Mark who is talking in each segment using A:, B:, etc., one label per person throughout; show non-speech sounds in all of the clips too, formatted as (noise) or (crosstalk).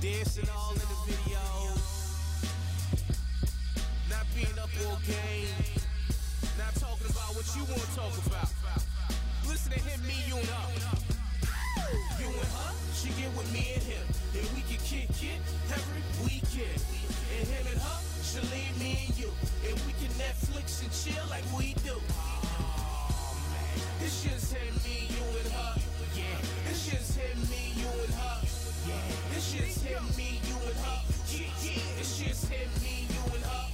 A: Dancing all in the videos. Not being up all game. Not talking about what you want to talk about. Listen to him, me, you, and her. You and her, she get with me and him. And we can kick it every weekend. And him and her, she leave me and you. And we can Netflix and chill like we do. This shit's hit me, you and her. Yeah. This shit's hit me, you and her. Yeah. This shit's hit me, you and her. Yeah, yeah. This shit's hit me, you and her.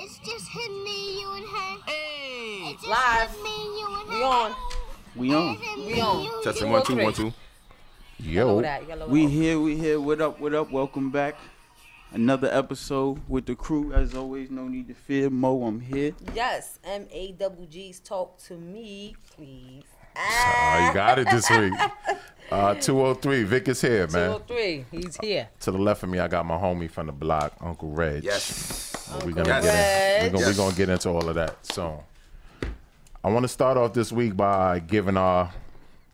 B: It's just him, me, you, and her.
C: Hey,
B: It's just
C: live.
B: him, me, you, and her.
C: We on.
D: We on.
B: It's him,
C: We
B: me,
C: on.
B: you,
D: Testing
B: you.
D: one two one two.
C: Lower
D: Yo.
C: that, you gotta lower
E: We
C: that.
E: here, we here. What up, what up? Welcome back. Another episode with the crew. As always, no need to fear. Mo, I'm here.
C: Yes, M A W G's talk to me, please. Ah,
D: Oh, you got it
C: (laughs)
D: this week. Uh, 203, Vic is here, man.
C: 203, he's here.
D: To the left of me, I got my homie from the block, Uncle Reg.
F: Yes.
D: We're gonna,
C: Uncle
D: get, in,
C: Reg.
D: we gonna, we gonna get into all of that soon. I want to start off this week by giving our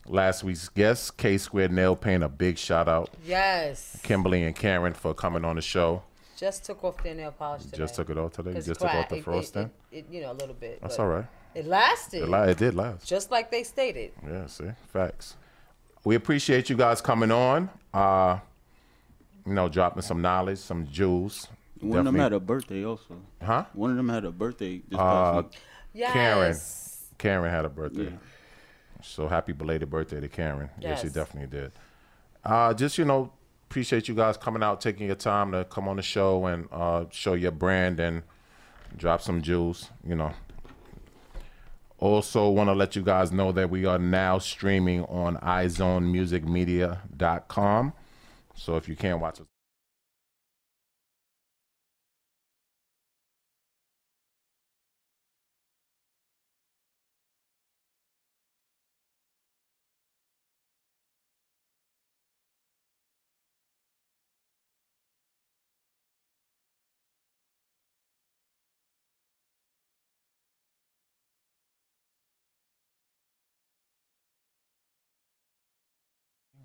D: last week's guest, K Squared Nail Paint, a big shout out.
C: Yes.
D: Kimberly and Karen for coming on the show.
C: Just took off their nail polish today.
D: Just took it off today.
C: 'Cause
D: Just
C: it
D: took
C: cried.
D: off the frost
C: It,
D: then.
C: it, it, you know, a little bit.
D: That's
C: but
D: all right.
C: It lasted.
D: It, li- it did last.
C: Just like they stated.
D: Yeah, see, facts. We appreciate you guys coming on. Uh, you know, dropping some knowledge, some jewels.
E: One of them
D: Definitely.
E: had a birthday also.
D: Huh?
E: One of them had a birthday this
D: Uh,
E: past week.
C: Yes.
D: Karen. Karen had a birthday.
E: Yeah.
D: So happy belated birthday to Karen. Yeah, she
C: Yes.
D: definitely did. Uh, just, you know, appreciate you guys coming out, taking your time to come on the show and uh, show your brand and drop some jewels, you know. Also, want to let you guys know that we are now streaming on iZoneMusicMedia.com. So if you can't watch us,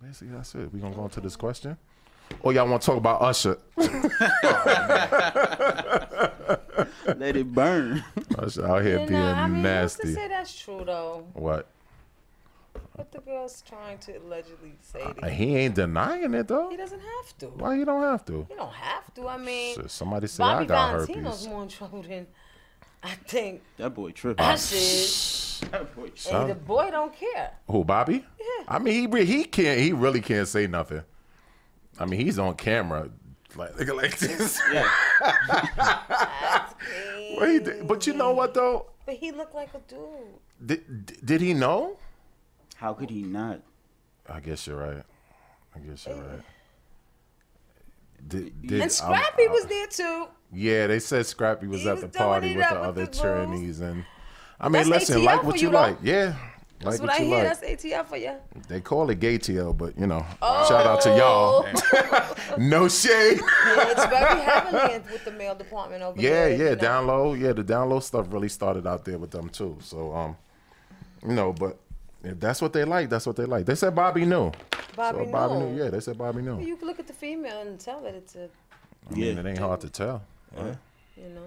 D: basically that's it. We're going to go into this question. Or y'all want to talk about Usher? (laughs)
E: Let it burn. (laughs)
D: Usher out here
C: You
D: being
C: know, I mean,
D: nasty.
C: Who's to say that's true though?
D: What?
C: What the girl's trying to allegedly say to
D: Uh,
C: you.
D: He ain't denying it though.
C: He doesn't have to.
D: Why you don't have to?
C: You don't have to. I mean,
D: Shit, somebody said
C: Bobby
D: I got
C: Valentino's
D: herpes.
C: more in trouble than I think
E: that boy tripping.
D: Oh,
C: Usher. is.
E: That boy tripping.
C: And the boy don't care.
D: Who, Bobby?
C: Yeah.
D: I mean, he re- he can't. He really can't say nothing. I mean, he's on camera, like (laughs) nigga like this. What he did- but you know what though?
C: But he looked like a dude.
D: Did did he know?
E: How could he not?
D: I guess you're right. I guess you're right. Did, did,
C: And
D: I'm-
C: Scrappy
D: I-
C: was there too.
D: Yeah, they said Scrappy was
C: He
D: at
C: was
D: the
C: doing
D: party
C: it
D: with
C: up
D: the
C: with
D: other
C: the bros.
D: trannies and. I mean,
C: That's
D: listen,
C: ATL
D: like
C: for
D: what
C: you,
D: you,
C: though.
D: like, yeah.
C: That's
D: like
C: what I
D: you
C: hear.
D: like.
C: That's ATL for you.
D: They call it gay TL, but you know, shout out to y'all.
F: (laughs)
D: (laughs)
C: (laughs)
D: no shade.
C: Yeah, Oh, it's very heavily in- with the mail department over
D: Yeah,
C: there.
D: yeah,
C: you know.
D: down low. Yeah, the down low stuff really started out there with them too. So, um, you know, but if that's what they like, that's what they like. They said Bobby knew.
C: Bobby,
D: so Bobby
C: knew.
D: knew. Yeah, they said Bobby knew.
C: You can look at the female and tell that it's a,
D: I mean,
E: Yeah.
D: it ain't hard to tell. Yeah.
C: you know.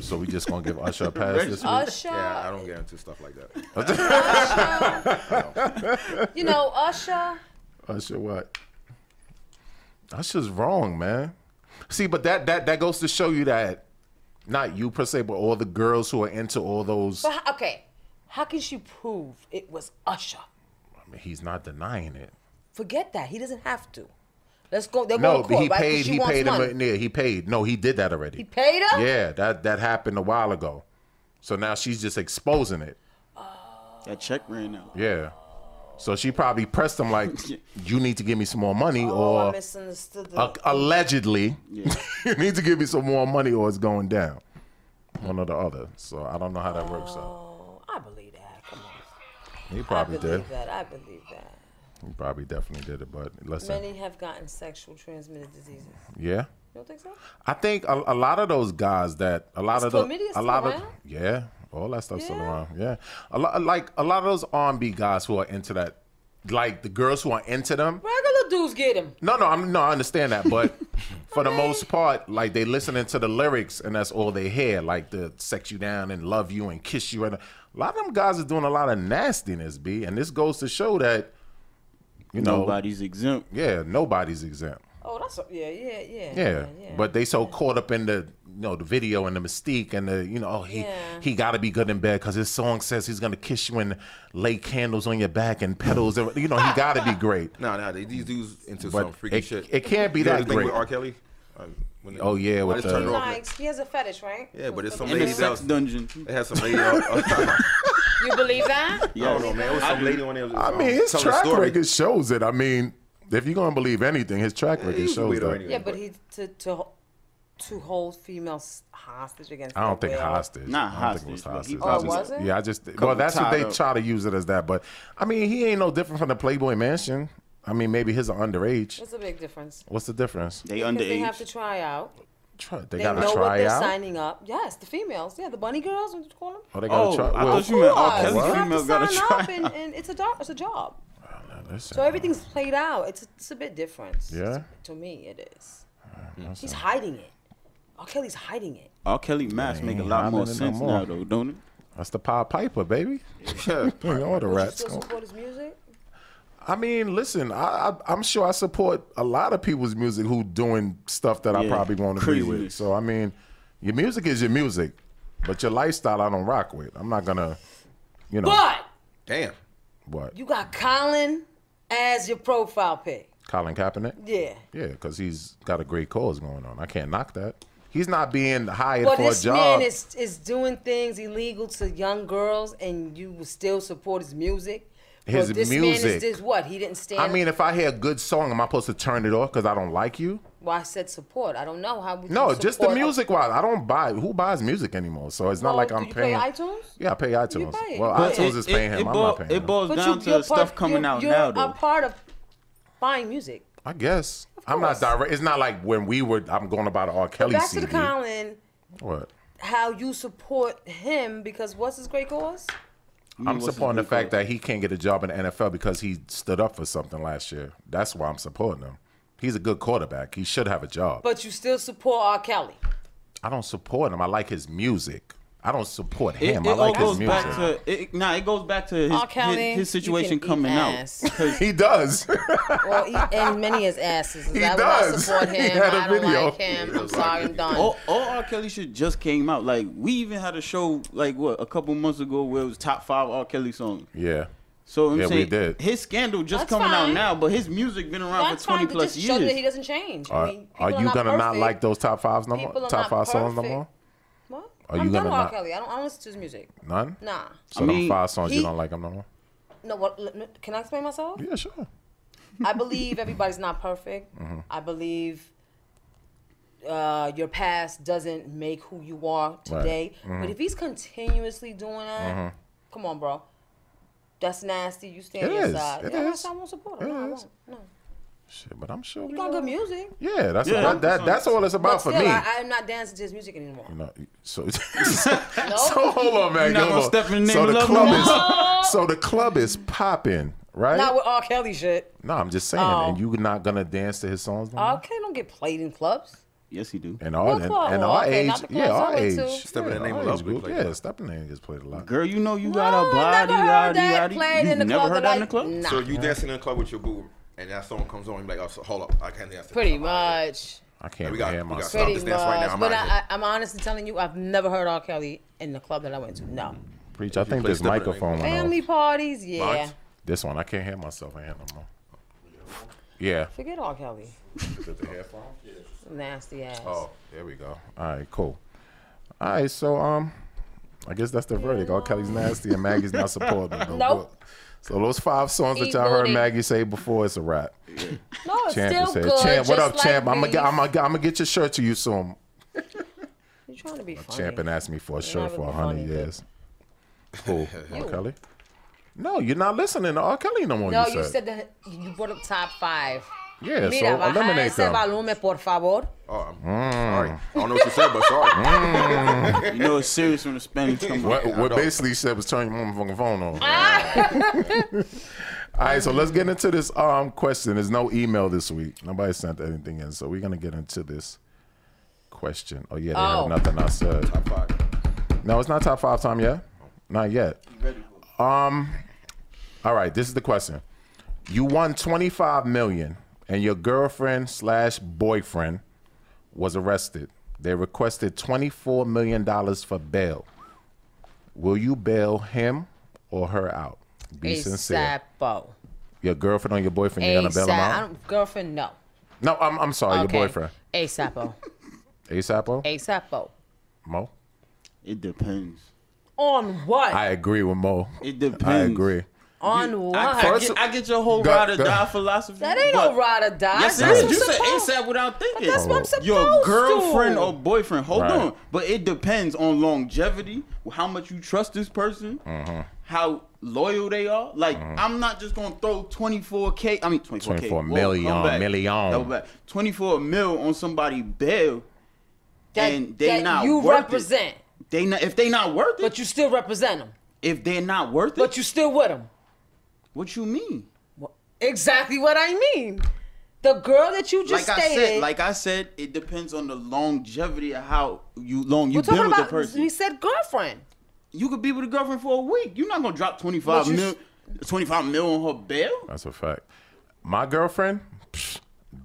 D: So we just gonna give Usher a pass this week.
C: Usher.
F: (laughs) Yeah, I don't get into stuff like
D: (laughs)
F: that.
C: You know, Usher.
D: Usher what? Usher's wrong, man. See, but that that that goes to show you that not you per se, but all the girls who are into all those.
C: But h- okay, how can she prove it was Usher?
D: He's not denying it.
C: Forget that. He doesn't have to. Let's go. They're
D: No,
C: going to
D: but
C: court,
D: he
C: right? 'Cause
D: paid.
C: she
D: He
C: wants
D: paid
C: money.
D: him. Yeah, he paid. No, he did that already.
C: He paid her.
D: Yeah, that that happened a while ago. So now she's just exposing it.
E: That check ran out.
D: Yeah. So she probably pressed him like, "You need to give me some more money," or
C: Oh, I misunderstood. The,
D: a- allegedly, (laughs) you need to give me some more money or it's going down. One or the other. So I don't know how that works out.
C: oh, I believe that. Come on.
D: He
C: I
D: probably
C: believe
D: did.
C: that. I believe that.
D: He probably definitely did it. But listen,
C: Many have gotten sexual transmitted diseases. You
D: yeah.
C: don't think so?
D: I think a, a lot of those guys that a lot
C: Is
D: of the
C: chlamydia
D: a
C: still
D: lot of
C: around?
D: yeah, all that stuff still
C: Yeah.
D: around. Yeah, a lot like a lot of those R and B guys who are into that like the girls who are into them.
C: Regular dudes get him.
D: No, no, I'm no, I understand that, but for the most part, like they listening to the lyrics and that's all they hear, like the sex you down and love you and kiss you. And a lot of them guys are doing a lot of nastiness, b. And this goes to show that, you know,
E: Nobody's exempt.
D: yeah, nobody's exempt.
C: Oh, that's a, yeah, yeah, yeah,
D: Yeah, but uh, they so caught up in the you know the video and the mystique and the you know oh he
C: Yeah.
D: he got to be good in bed because his song says he's gonna kiss you and lay candles on your back and petals and you know he got to be great.
F: No, no, they, these dudes into
D: But
F: (laughs) some freaky
D: it-
F: shit.
D: it can't be
F: You know
D: that
F: the thing
D: great.
F: with R. Kelly. Uh, when they-
D: Oh, yeah,
F: I
D: with
F: just
D: the-
F: turned it off.
C: Like, he has a fetish, right?
F: Yeah, but it's some
E: In the
F: ladies that
E: sex
F: was,
E: dungeon.
F: they had some lady. on- (laughs) I
C: You believe
F: (laughs)
C: that?
F: don't know, man. It was some
E: do.
F: lady on there. was,
D: I
F: um,
D: mean his
F: telling a
D: track
F: story.
D: record shows it. I mean if you're gonna believe anything, his track
F: He
D: record
F: was a
D: shows
F: weirdo
D: that.
F: anyway,
C: Yeah, but he to to to hold females hostage against.
D: I don't
C: their
D: think
C: will.
D: hostage.
E: Not
D: I don't think
E: hostage,
D: it was
E: but he-
D: hostage.
C: Oh,
D: I
C: was
D: just,
C: it?
D: Yeah, I just well, that's what
E: tied
D: they
E: up.
D: try to use it as that. But I mean, he ain't no different from the Playboy Mansion. I mean, maybe his are underage.
C: There's a big difference.
D: What's the difference?
E: They
C: Because they have
E: underage.
C: to try out.
D: Try, they,
C: They
D: gotta
C: know what
D: try
C: they're
D: out.
C: signing up. Yes, the females. Yeah, the bunny girls. What you call them?
D: Oh, they gotta
E: Oh,
D: try.
E: I
D: well,
E: thought you meant R.
C: Yes,
E: Kelly
C: you have to
E: female got to
C: sign
E: try.
C: up, and, and it's a do- it's a job.
D: listen,
C: So everything's played out. It's it's a bit different. It's-
D: Yeah? Mm,
C: To me, it is. He's hiding it. R. Kelly's hiding it.
E: R. Kelly maps make a
D: ain't
E: lot more
D: happening no
E: sense
D: more.
E: now, though, don't it?
D: that's the Pied Piper, baby. (laughs) Yeah, all the
C: You
D: rats.
C: still
D: go-
C: support his music?
D: Oh. I mean, listen, I, I, I'm sure I support a lot of people's music who doing stuff that I
E: Yeah,
D: probably won't agree with.
E: craziness.
D: So I mean, your music is your music, but your lifestyle I don't rock with. I'm not gonna, you know,
C: But
F: Damn.
D: what?
C: you got Colin as your profile pic.
D: Colin Kaepernick?
C: Yeah.
D: Yeah, because he's got a great cause going on. I can't knock that. He's not being hired
C: But
D: for a
C: this man
D: job.
C: is is doing things illegal to young girls, and you will still support his music.
D: His
C: but this man
D: music.
C: is this what he didn't stand.
D: I mean, if I hear a good song, am I supposed to turn it off because I don't like you?
C: well, I said support. I don't know how. would you
D: No, just the
C: support a-
D: music wise. I don't buy. Who buys music anymore? So it's not
C: Well,
D: like
C: do
D: I'm
C: you
D: paying.
C: Play iTunes.
D: Yeah, I pay iTunes.
C: pay it.
D: Well,
C: But
D: iTunes is paying him. I'm
E: boil-
D: not paying
E: it
D: him.
E: boils down to
C: you're
E: stuff coming
C: you're-
E: out
C: you're
E: now,
C: a
E: though.
C: part of buying music.
D: I guess. I'm not
C: course.
D: direct. It's not like when we were. I'm going about an R. Kelly
C: Back to
D: CD.
C: the Colin,
D: what?
C: how you support him because what's his great cause?
D: I'm
E: what's his
D: supporting the
E: new
D: fact
E: cause?
D: that he can't get a job in the NFL because he stood up for something last year. That's why I'm supporting him. He's a good quarterback. He should have a job.
C: But you still support R. Kelly.
D: I don't support him. I like his music. I don't support
E: It,
D: him.
E: it
D: I like
E: all goes
D: his music.
E: back to it, nah. It goes back to his,
C: R. Kelly,
E: his, his
C: you
E: situation
C: can eat
E: coming out.
C: ass.
E: (laughs) Because
D: (laughs) he does.
C: Well, he, and many his asses.
D: He
C: I would not
D: does.
C: support
D: (laughs) He
C: him.
D: had a
C: I don't
D: video.
C: like him. I'm sorry, I'm done.
E: all, all R. Kelly shit just came out. Like we even had a show like what a couple months ago where it was top five R. Kelly songs.
D: yeah.
E: So I'm
D: Yeah, we
E: saying
D: did.
E: his scandal just
C: That's
E: coming out
C: fine.
E: now, but his music been around
C: That's
E: for 20
C: fine to
E: plus
C: just show you that he
E: years.
C: doesn't change. I
D: Are,
C: mean, people
D: are you
C: not
D: gonna not
C: perfect.
D: like those top fives no more?
C: People are not
D: Top five songs no
C: perfect.
D: more?
C: What?
D: Are
C: I'm done
D: you gonna
C: with R.
D: not-
C: Kelly. I don't, I don't listen to his music.
D: None.
C: Nah.
D: So
E: I
D: them
E: mean,
D: five songs you
C: he-
D: don't like them no more?
C: No, what, l- l- can I explain myself?
D: Yeah, sure.
C: I believe everybody's not perfect. I believe uh, your past doesn't make who you are today. But if he's continuously doing that, come on, bro. That's nasty. You stand
D: It
C: your
D: is.
C: side.
D: It
C: yeah,
D: is.
C: that's I won't support him.
D: It
C: No, I
D: is.
C: won't. No.
D: Shit, but I'm sure. We
C: He got
D: all-
C: good music.
D: Yeah, that's
E: Yeah.
D: that, that that's all it's about
C: But
D: for
C: still,
D: me.
C: I, I'm not dancing to his music anymore.
D: No, so, (laughs) so hold on, man.
E: You not
D: hold
E: gonna
D: on.
E: step in the
D: so
E: name
D: the
E: of love
D: club
E: no
D: is so the club is popping, right?
C: Not with R. Kelly shit.
D: no, I'm just saying,
C: Oh.
D: and you're not gonna dance to his songs. No more?
C: R. Kelly don't get played in clubs.
E: Yes, he do.
D: And all
C: What
D: and,
C: club?
D: and
C: Well,
D: our
C: okay,
D: age,
C: not the clubs
D: yeah,
C: I
D: our
C: went
D: age,
C: to.
F: Stepping
D: yeah,
F: in the Name
D: our
F: of Love
D: age
F: we
D: group,
F: played
D: yeah,
F: that.
D: Step in the Name gets played a lot.
E: Girl, you know you
C: No,
E: got a body,
C: never heard that
E: yaddy,
C: played
E: yaddy.
C: in
E: You
C: the
E: never
C: club.
E: heard
C: that
E: that in the club?
C: I- (laughs) Nah.
F: So you dancing in the club with your boo, and that song comes on, you be like, oh, so, hold up, I can't dance. to
C: Pretty
F: this. I'm
C: much.
D: I can't
F: We got-
D: hear
F: we got
D: myself.
F: Stop
C: Pretty
F: this
C: much.
F: dance right now. I'm
C: but
F: outta here.
C: I, I, I'm honestly telling you, I've never heard R. Kelly in the club that I went to.
F: Oh,
C: No.
D: Preach. I think
F: play
D: this
F: Step in the Name.
D: microphone. went off.
C: Family parties, yeah.
F: Lawrence?
D: This one, I can't hear myself. I hear no more. Yeah.
C: Forget R. Kelly.
F: out. Is it the headphone?
C: Nasty ass.
F: Oh,
D: There we go. All right, cool. All right, so um, I guess that's the verdict. All Kelly's nasty and Maggie's not supporting. her.
C: Nope.
D: So those five songs that y'all heard
C: Equally.
D: Maggie say before, it's a wrap.
C: No, it's
D: Champ
C: still
D: said,
C: good.
D: "Champ, what
C: just
D: up,
C: like
D: Champ? I'm
C: these."
D: gonna, I'm gonna, I'm gonna get your shirt to you soon."
C: You're trying to be funny.
D: Champ and asked me for a shirt
C: not
D: for
C: really
D: a hundred
C: funny,
D: years. Cool,
C: (laughs)
D: R. Kelly. No, you're not listening to R. Kelly no more.
C: No, you said that you brought up top five.
D: yeah.
C: Mira,
D: so
C: baja
D: eliminate
C: ese
D: them.
C: volumen, por favor.
F: oh, I'm
D: Mm.
F: sorry. I don't know what you said, but sorry.
E: You know it's serious when the Spanish come out.
D: What, what basically said was turn your motherfucking phone on. (laughs) All right, so let's get into this um question. There's no email this week. Nobody sent anything in, so we're gonna get into this question. Oh yeah, they
C: Oh.
D: have nothing I said.
F: Top five.
D: No, it's not top five time yet. Not yet.
E: Ready
D: Um,
E: for it.
D: All right, this is the question. You won 25 million, and your girlfriend slash boyfriend was arrested. They requested 24 million dollars for bail. Will you bail him or her out? Be sincere.
C: ASAPO.
D: Your girlfriend or your boyfriend, you're gonna bail
C: ASAP.
D: them
C: I
D: out?
C: don't, girlfriend, no.
D: No, I'm, I'm sorry, your boyfriend.
C: ASAPO.
D: ASAPO?
C: ASAPO.
D: Mo?
E: It depends.
C: On what?
D: I agree with Mo.
E: It depends.
D: I agree.
C: On what?
E: I, I, get, I get your whole
D: Go-
E: ride or
D: go-
E: die philosophy.
C: that ain't
E: but-
C: no ride or die.
E: Yes, it
C: That's
E: is.
C: what
E: You
C: I'm
E: said
C: supposed-
E: ASAP without thinking.
C: That's what I'm supposed
E: Your girlfriend
C: to.
E: or boyfriend. Hold
D: Right.
E: on, but it depends on longevity, how much you trust this person,
D: Mm-hmm.
E: how loyal they are. Like I'm not just gonna throw 24k. I mean 24k.
D: 24
E: Whoa,
D: million,
E: come back.
D: million.
E: Come back. 24 mil on somebody bail.
C: that,
E: and they
C: that
E: not
C: you
E: worth it.
C: represent,
E: They not if they not worth it.
C: but you still represent them.
E: if they're not worth it,
C: But you still with them.
E: what you mean?
C: Exactly what I mean. The girl that you
E: Like
C: just
E: I
C: stated.
E: said, like I said, it depends on the longevity of how you long
C: we're
E: you've
C: talking
E: been with the
C: about.
E: person.
C: We said girlfriend.
E: you could be with a girlfriend for a week. You're not gonna drop 25
C: But you-
E: mil, 25 mil on her bail.
D: That's a fact. My girlfriend, psh,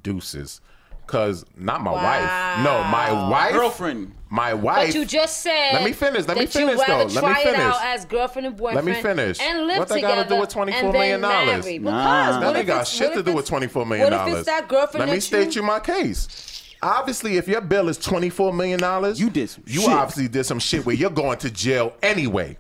D: deuces. Cause not my wife. No, my
C: Wow.
D: wife.
E: Girlfriend,
D: My
C: But
D: wife.
C: you just said.
D: Let me finish, let me
C: that
D: finish,
C: you rather
D: though. Let me
C: try it
D: finish.
C: out as girlfriend and boyfriend.
D: me finish.
C: And live
D: What that
C: together.
D: gotta do with $24
C: and then
D: million?
C: marry. Because
E: Nah. That
C: what
D: That
C: if
D: ain't got
C: it's- what
D: shit to
C: if
D: do
C: it's-
D: with twenty four million
C: What
D: dollars.
C: if it's that girlfriend
D: Let me
C: that
D: state you my case. Obviously, if your bill is twenty four million dollars,
E: You did some
D: You
E: shit.
D: obviously did some shit where you're going to jail anyway.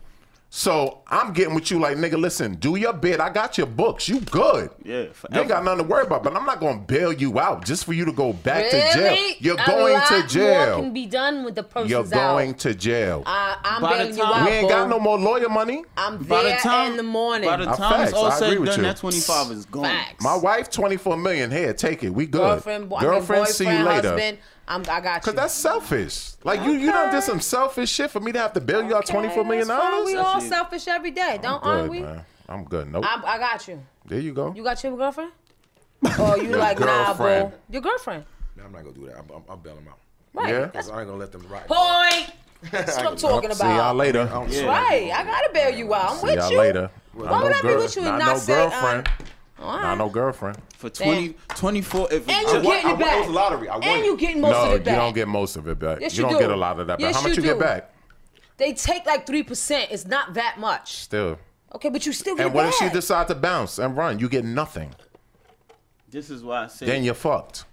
D: So I'm getting with you like, nigga, listen, do your bid. I got your books. You good.
E: Yeah,
D: You ain't
E: forever.
D: got nothing to worry about, but I'm not gonna bail you out just for you to go back
C: really?
D: to jail. You're
C: A
D: going
C: lot
D: to
C: More can
D: jail.
C: be done with the person's
D: You're going
C: out.
D: to jail.
C: I, I'm
E: By the
C: bailing you
E: time-
C: out.
D: we ain't got
C: boo.
D: no more lawyer money.
C: I'm
E: By the
C: there
E: time-
C: in the morning.
E: By the
D: I
E: time
D: facts,
E: it's all
D: I
E: said
D: agree
E: and
D: with
E: done,
D: you.
E: that 25 is gone.
C: Facts.
D: My wife, 24 million. Here, take it. We good.
C: girlfriend, bo- I mean,
D: see you
C: boyfriend,
D: later.
C: husband. I'm, I got you.
D: Cause that's selfish. Like you, you done did some selfish shit for me to have to bill you out twenty four million
C: That's fine. We
D: dollars.
C: all
E: it.
C: selfish every day, don't aren't
D: Good
C: we?
D: man. I'm good. Nope.
C: I, I got you.
D: there you go.
C: You got your (laughs) girlfriend? Or you like nah, bro?
D: girlfriend.
C: Your girlfriend,
F: Nah, I'm not gonna do that. I'm, I'm, I'm bailing 'em out.
C: right?
D: Yeah.
C: That's
F: Cause I ain't gonna let them ride.
C: point.
D: (laughs)
C: That's what I'm talking
D: See y'all
C: about.
D: later.
F: I don't-
D: See
C: Right? I gotta bail you out. I'm with
D: y'all
C: you.
D: later.
C: Why would I be with you and not
D: no
C: say, uh,
D: girlfriend?
C: All
D: Not
C: right.
D: no girlfriend.
E: For 20, 24, if
C: And
F: I
C: you
F: won,
C: getting
F: I
C: it
F: won-
C: back?
F: It was a lottery. I won.
C: And you
F: it.
C: getting most
D: No,
C: of
D: you
C: it back.
D: don't get most of it back.
C: Yes,
D: you
C: you
D: don't
C: do.
D: get a lot of that back.
C: Yes,
D: How much
C: you
D: you get
C: do.
D: back?
C: They take like three percent. It's not that much.
D: Still.
C: Okay, but you still get
D: And
C: it
D: what if she
C: back.
D: decide to bounce and run? You get nothing.
E: this is why I said,
D: Then you're fucked.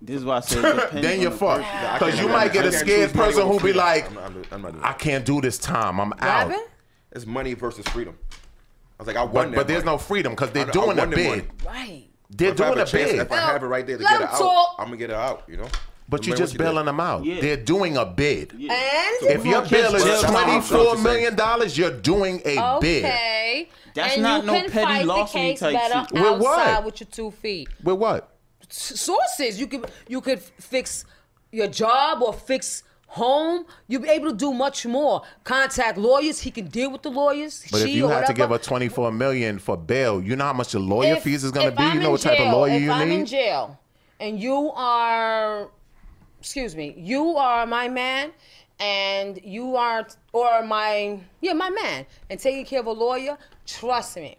E: this is why I said,
D: (laughs)
E: it depends
D: Then
E: on
D: you're
E: the
D: fucked.
E: person.
F: I
D: Cause
F: can't
D: you
F: do
D: might
F: that.
D: get
F: I
D: a
F: can't
D: scared
F: choose money
D: person
F: over
D: who be
F: freedom.
D: like,
F: I'm not, I'm not- I'm not doing
D: I
F: that.
D: can't do this time. I'm out.
C: Robin?
F: It's money versus freedom. I was like, I won
D: But,
F: that.
D: but there's
F: money.
D: no freedom because they're
F: I- I
D: doing a
F: won the money.
D: bid.
C: Right.
D: They're
F: If I have
D: doing a
F: a chance,
D: bid.
F: if I have it right there to
C: Let
F: get it
C: him
F: out,
C: talk.
F: I'm gonna get it out. You know.
D: But
F: No
D: you're
F: matter
D: just
F: what you do.
D: bailing them out.
E: Yeah.
D: They're doing a bid.
C: And
D: If your
E: Catch
D: bill is
E: jail time.
D: twenty-four million dollars, you're doing a bid.
C: Okay.
E: That's
C: and
E: not
C: you
E: no
C: can
E: petty
C: fight the
E: larceny
C: case
E: type
C: better
E: shit.
D: With what?
C: outside with your two feet.
D: With what?
C: S- Sources. You could you could fix your job or fix home. You'll be able to do much more. Contact lawyers. He can deal with the lawyers.
D: But
C: she
D: if you
C: or
D: had to give
C: whatever.
D: her twenty-four million for bail, you know how much the lawyer
C: If-
D: fees is going to
C: if
D: be.
C: I'm
D: you know
C: in
D: what type of
C: jail-
D: lawyer
C: if
D: you
C: I'm in
D: need.
C: jail, and you are, excuse me, you are my man, and you are or my yeah my man, and taking care of a lawyer. Trust me.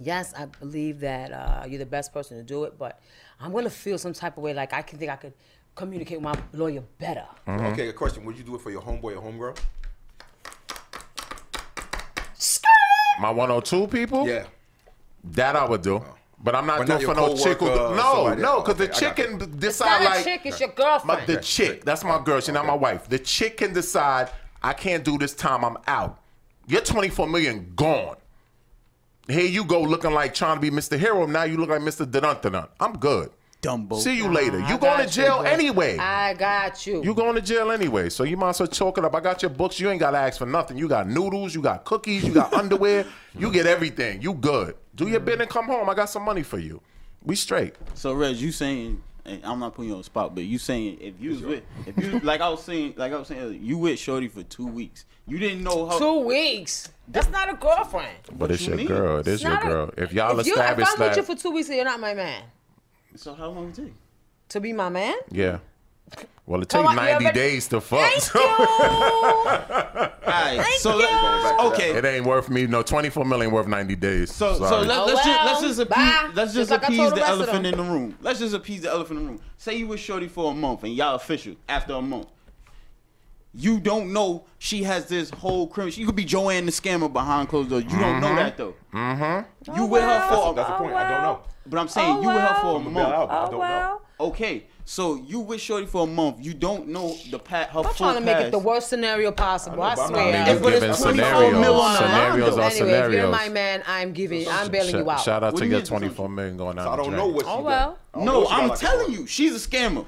C: Yes, I believe that uh, you're the best person to do it, but I'm gonna feel some type of way like I can think I could communicate with my lawyer better.
D: Mm. Mm-hmm.
F: Okay, a question. Would you do it for your homeboy or homegirl?
D: My one hundred two people.
F: Yeah. Oh.
D: That I would do. But I'm not
F: But
D: doing
F: not
D: for
F: your
D: no chick. Who,
F: coworker or
D: no,
F: somebody
D: no,
F: else.
D: because the
F: Okay, I
D: chick
F: got
D: can
F: you.
D: d-
C: It's not
D: decide
C: a
D: like
C: chick, it's your girlfriend.
D: my, the chick. That's my girl. She's not my wife. The chick can decide I can't do this time. I'm out. Your 24 million gone. Here you go looking like trying to be Mr. Hero. Now you look like Mr. Dun Dun. I'm good.
E: Dumbo.
D: See you later.
C: I
D: You
C: got
D: going to jail
C: boo.
D: anyway.
C: I got you.
D: You going to jail anyway, so you might as well chalk it up. I got your books. You ain't got to ask for nothing. You got noodles. You got cookies.
C: (laughs)
D: You got underwear. You get everything. You good. Do your bid and come home. I got some money for you. We straight.
E: So, Reg, you saying and I'm not putting you on the spot, but you saying if you was with, if you like I was saying, like I was saying, earlier, you with Shorty for two weeks, you didn't know how.
C: Two weeks. That's not a girlfriend.
D: But it's
E: you
D: your
E: mean?
D: girl. It is
C: It's
D: your
C: not a-
D: girl. If y'all
C: if, you, if I'm
D: establish
C: with you
D: that,
C: for two weeks and you're not my man,
E: So how long it take?
C: to be my man?
D: yeah. Well, it
C: Come
D: takes
C: on, you
D: 90
C: already-
D: days to fuck. (laughs)
C: Thank
D: so
C: you.
E: All right, so
F: Thank
E: let,
F: you.
E: okay,
D: It ain't worth me. No, 24 million worth 90 days.
E: So so
D: Sorry.
E: let, us
C: Oh,
E: just
C: well,
E: let's just
C: bye.
E: appease, let's just
C: Just like I
E: appease
C: told the
E: the
C: rest of
E: elephant
C: them.
E: in the room. Let's just appease the elephant in the room. Say you with Shorty for a month and y'all official after a month. You don't know she has this whole criminal. She could be Joanne the scammer behind closed doors. You don't know that though. Mm-hmm. You with her for, a-
F: That's the point. I don't know.
E: but I'm saying
C: Oh,
E: you with her for
C: well.
E: a
F: Bail out,
E: month.
F: but I
C: Oh
F: don't
C: well.
E: Okay, so you with Shorty for a month. You don't know the pat her
C: I'm
E: full
C: trying to make
E: past.
C: it the worst scenario possible. I,
F: know, but I'm not
C: swear.
D: I mean,
E: It's- but
D: you
E: it's
D: giving
E: 24 mil
D: scenarios.
E: on the line,
D: Scenarios
E: though.
D: are
E: our
C: anyway, if you're my
D: scenarios.
C: man, I'm giving. I'm bailing
D: Shout-
C: you out.
D: Shout out
E: What do
D: to
E: you
D: your
E: mean it's assumption?
D: 24 million going
F: So
D: out.
F: I
D: the
F: don't
D: drain.
F: know what she
C: Oh,
F: got.
C: well.
F: I don't know
E: No,
F: what she got
E: I'm
F: like that.
E: telling you, she's a scammer.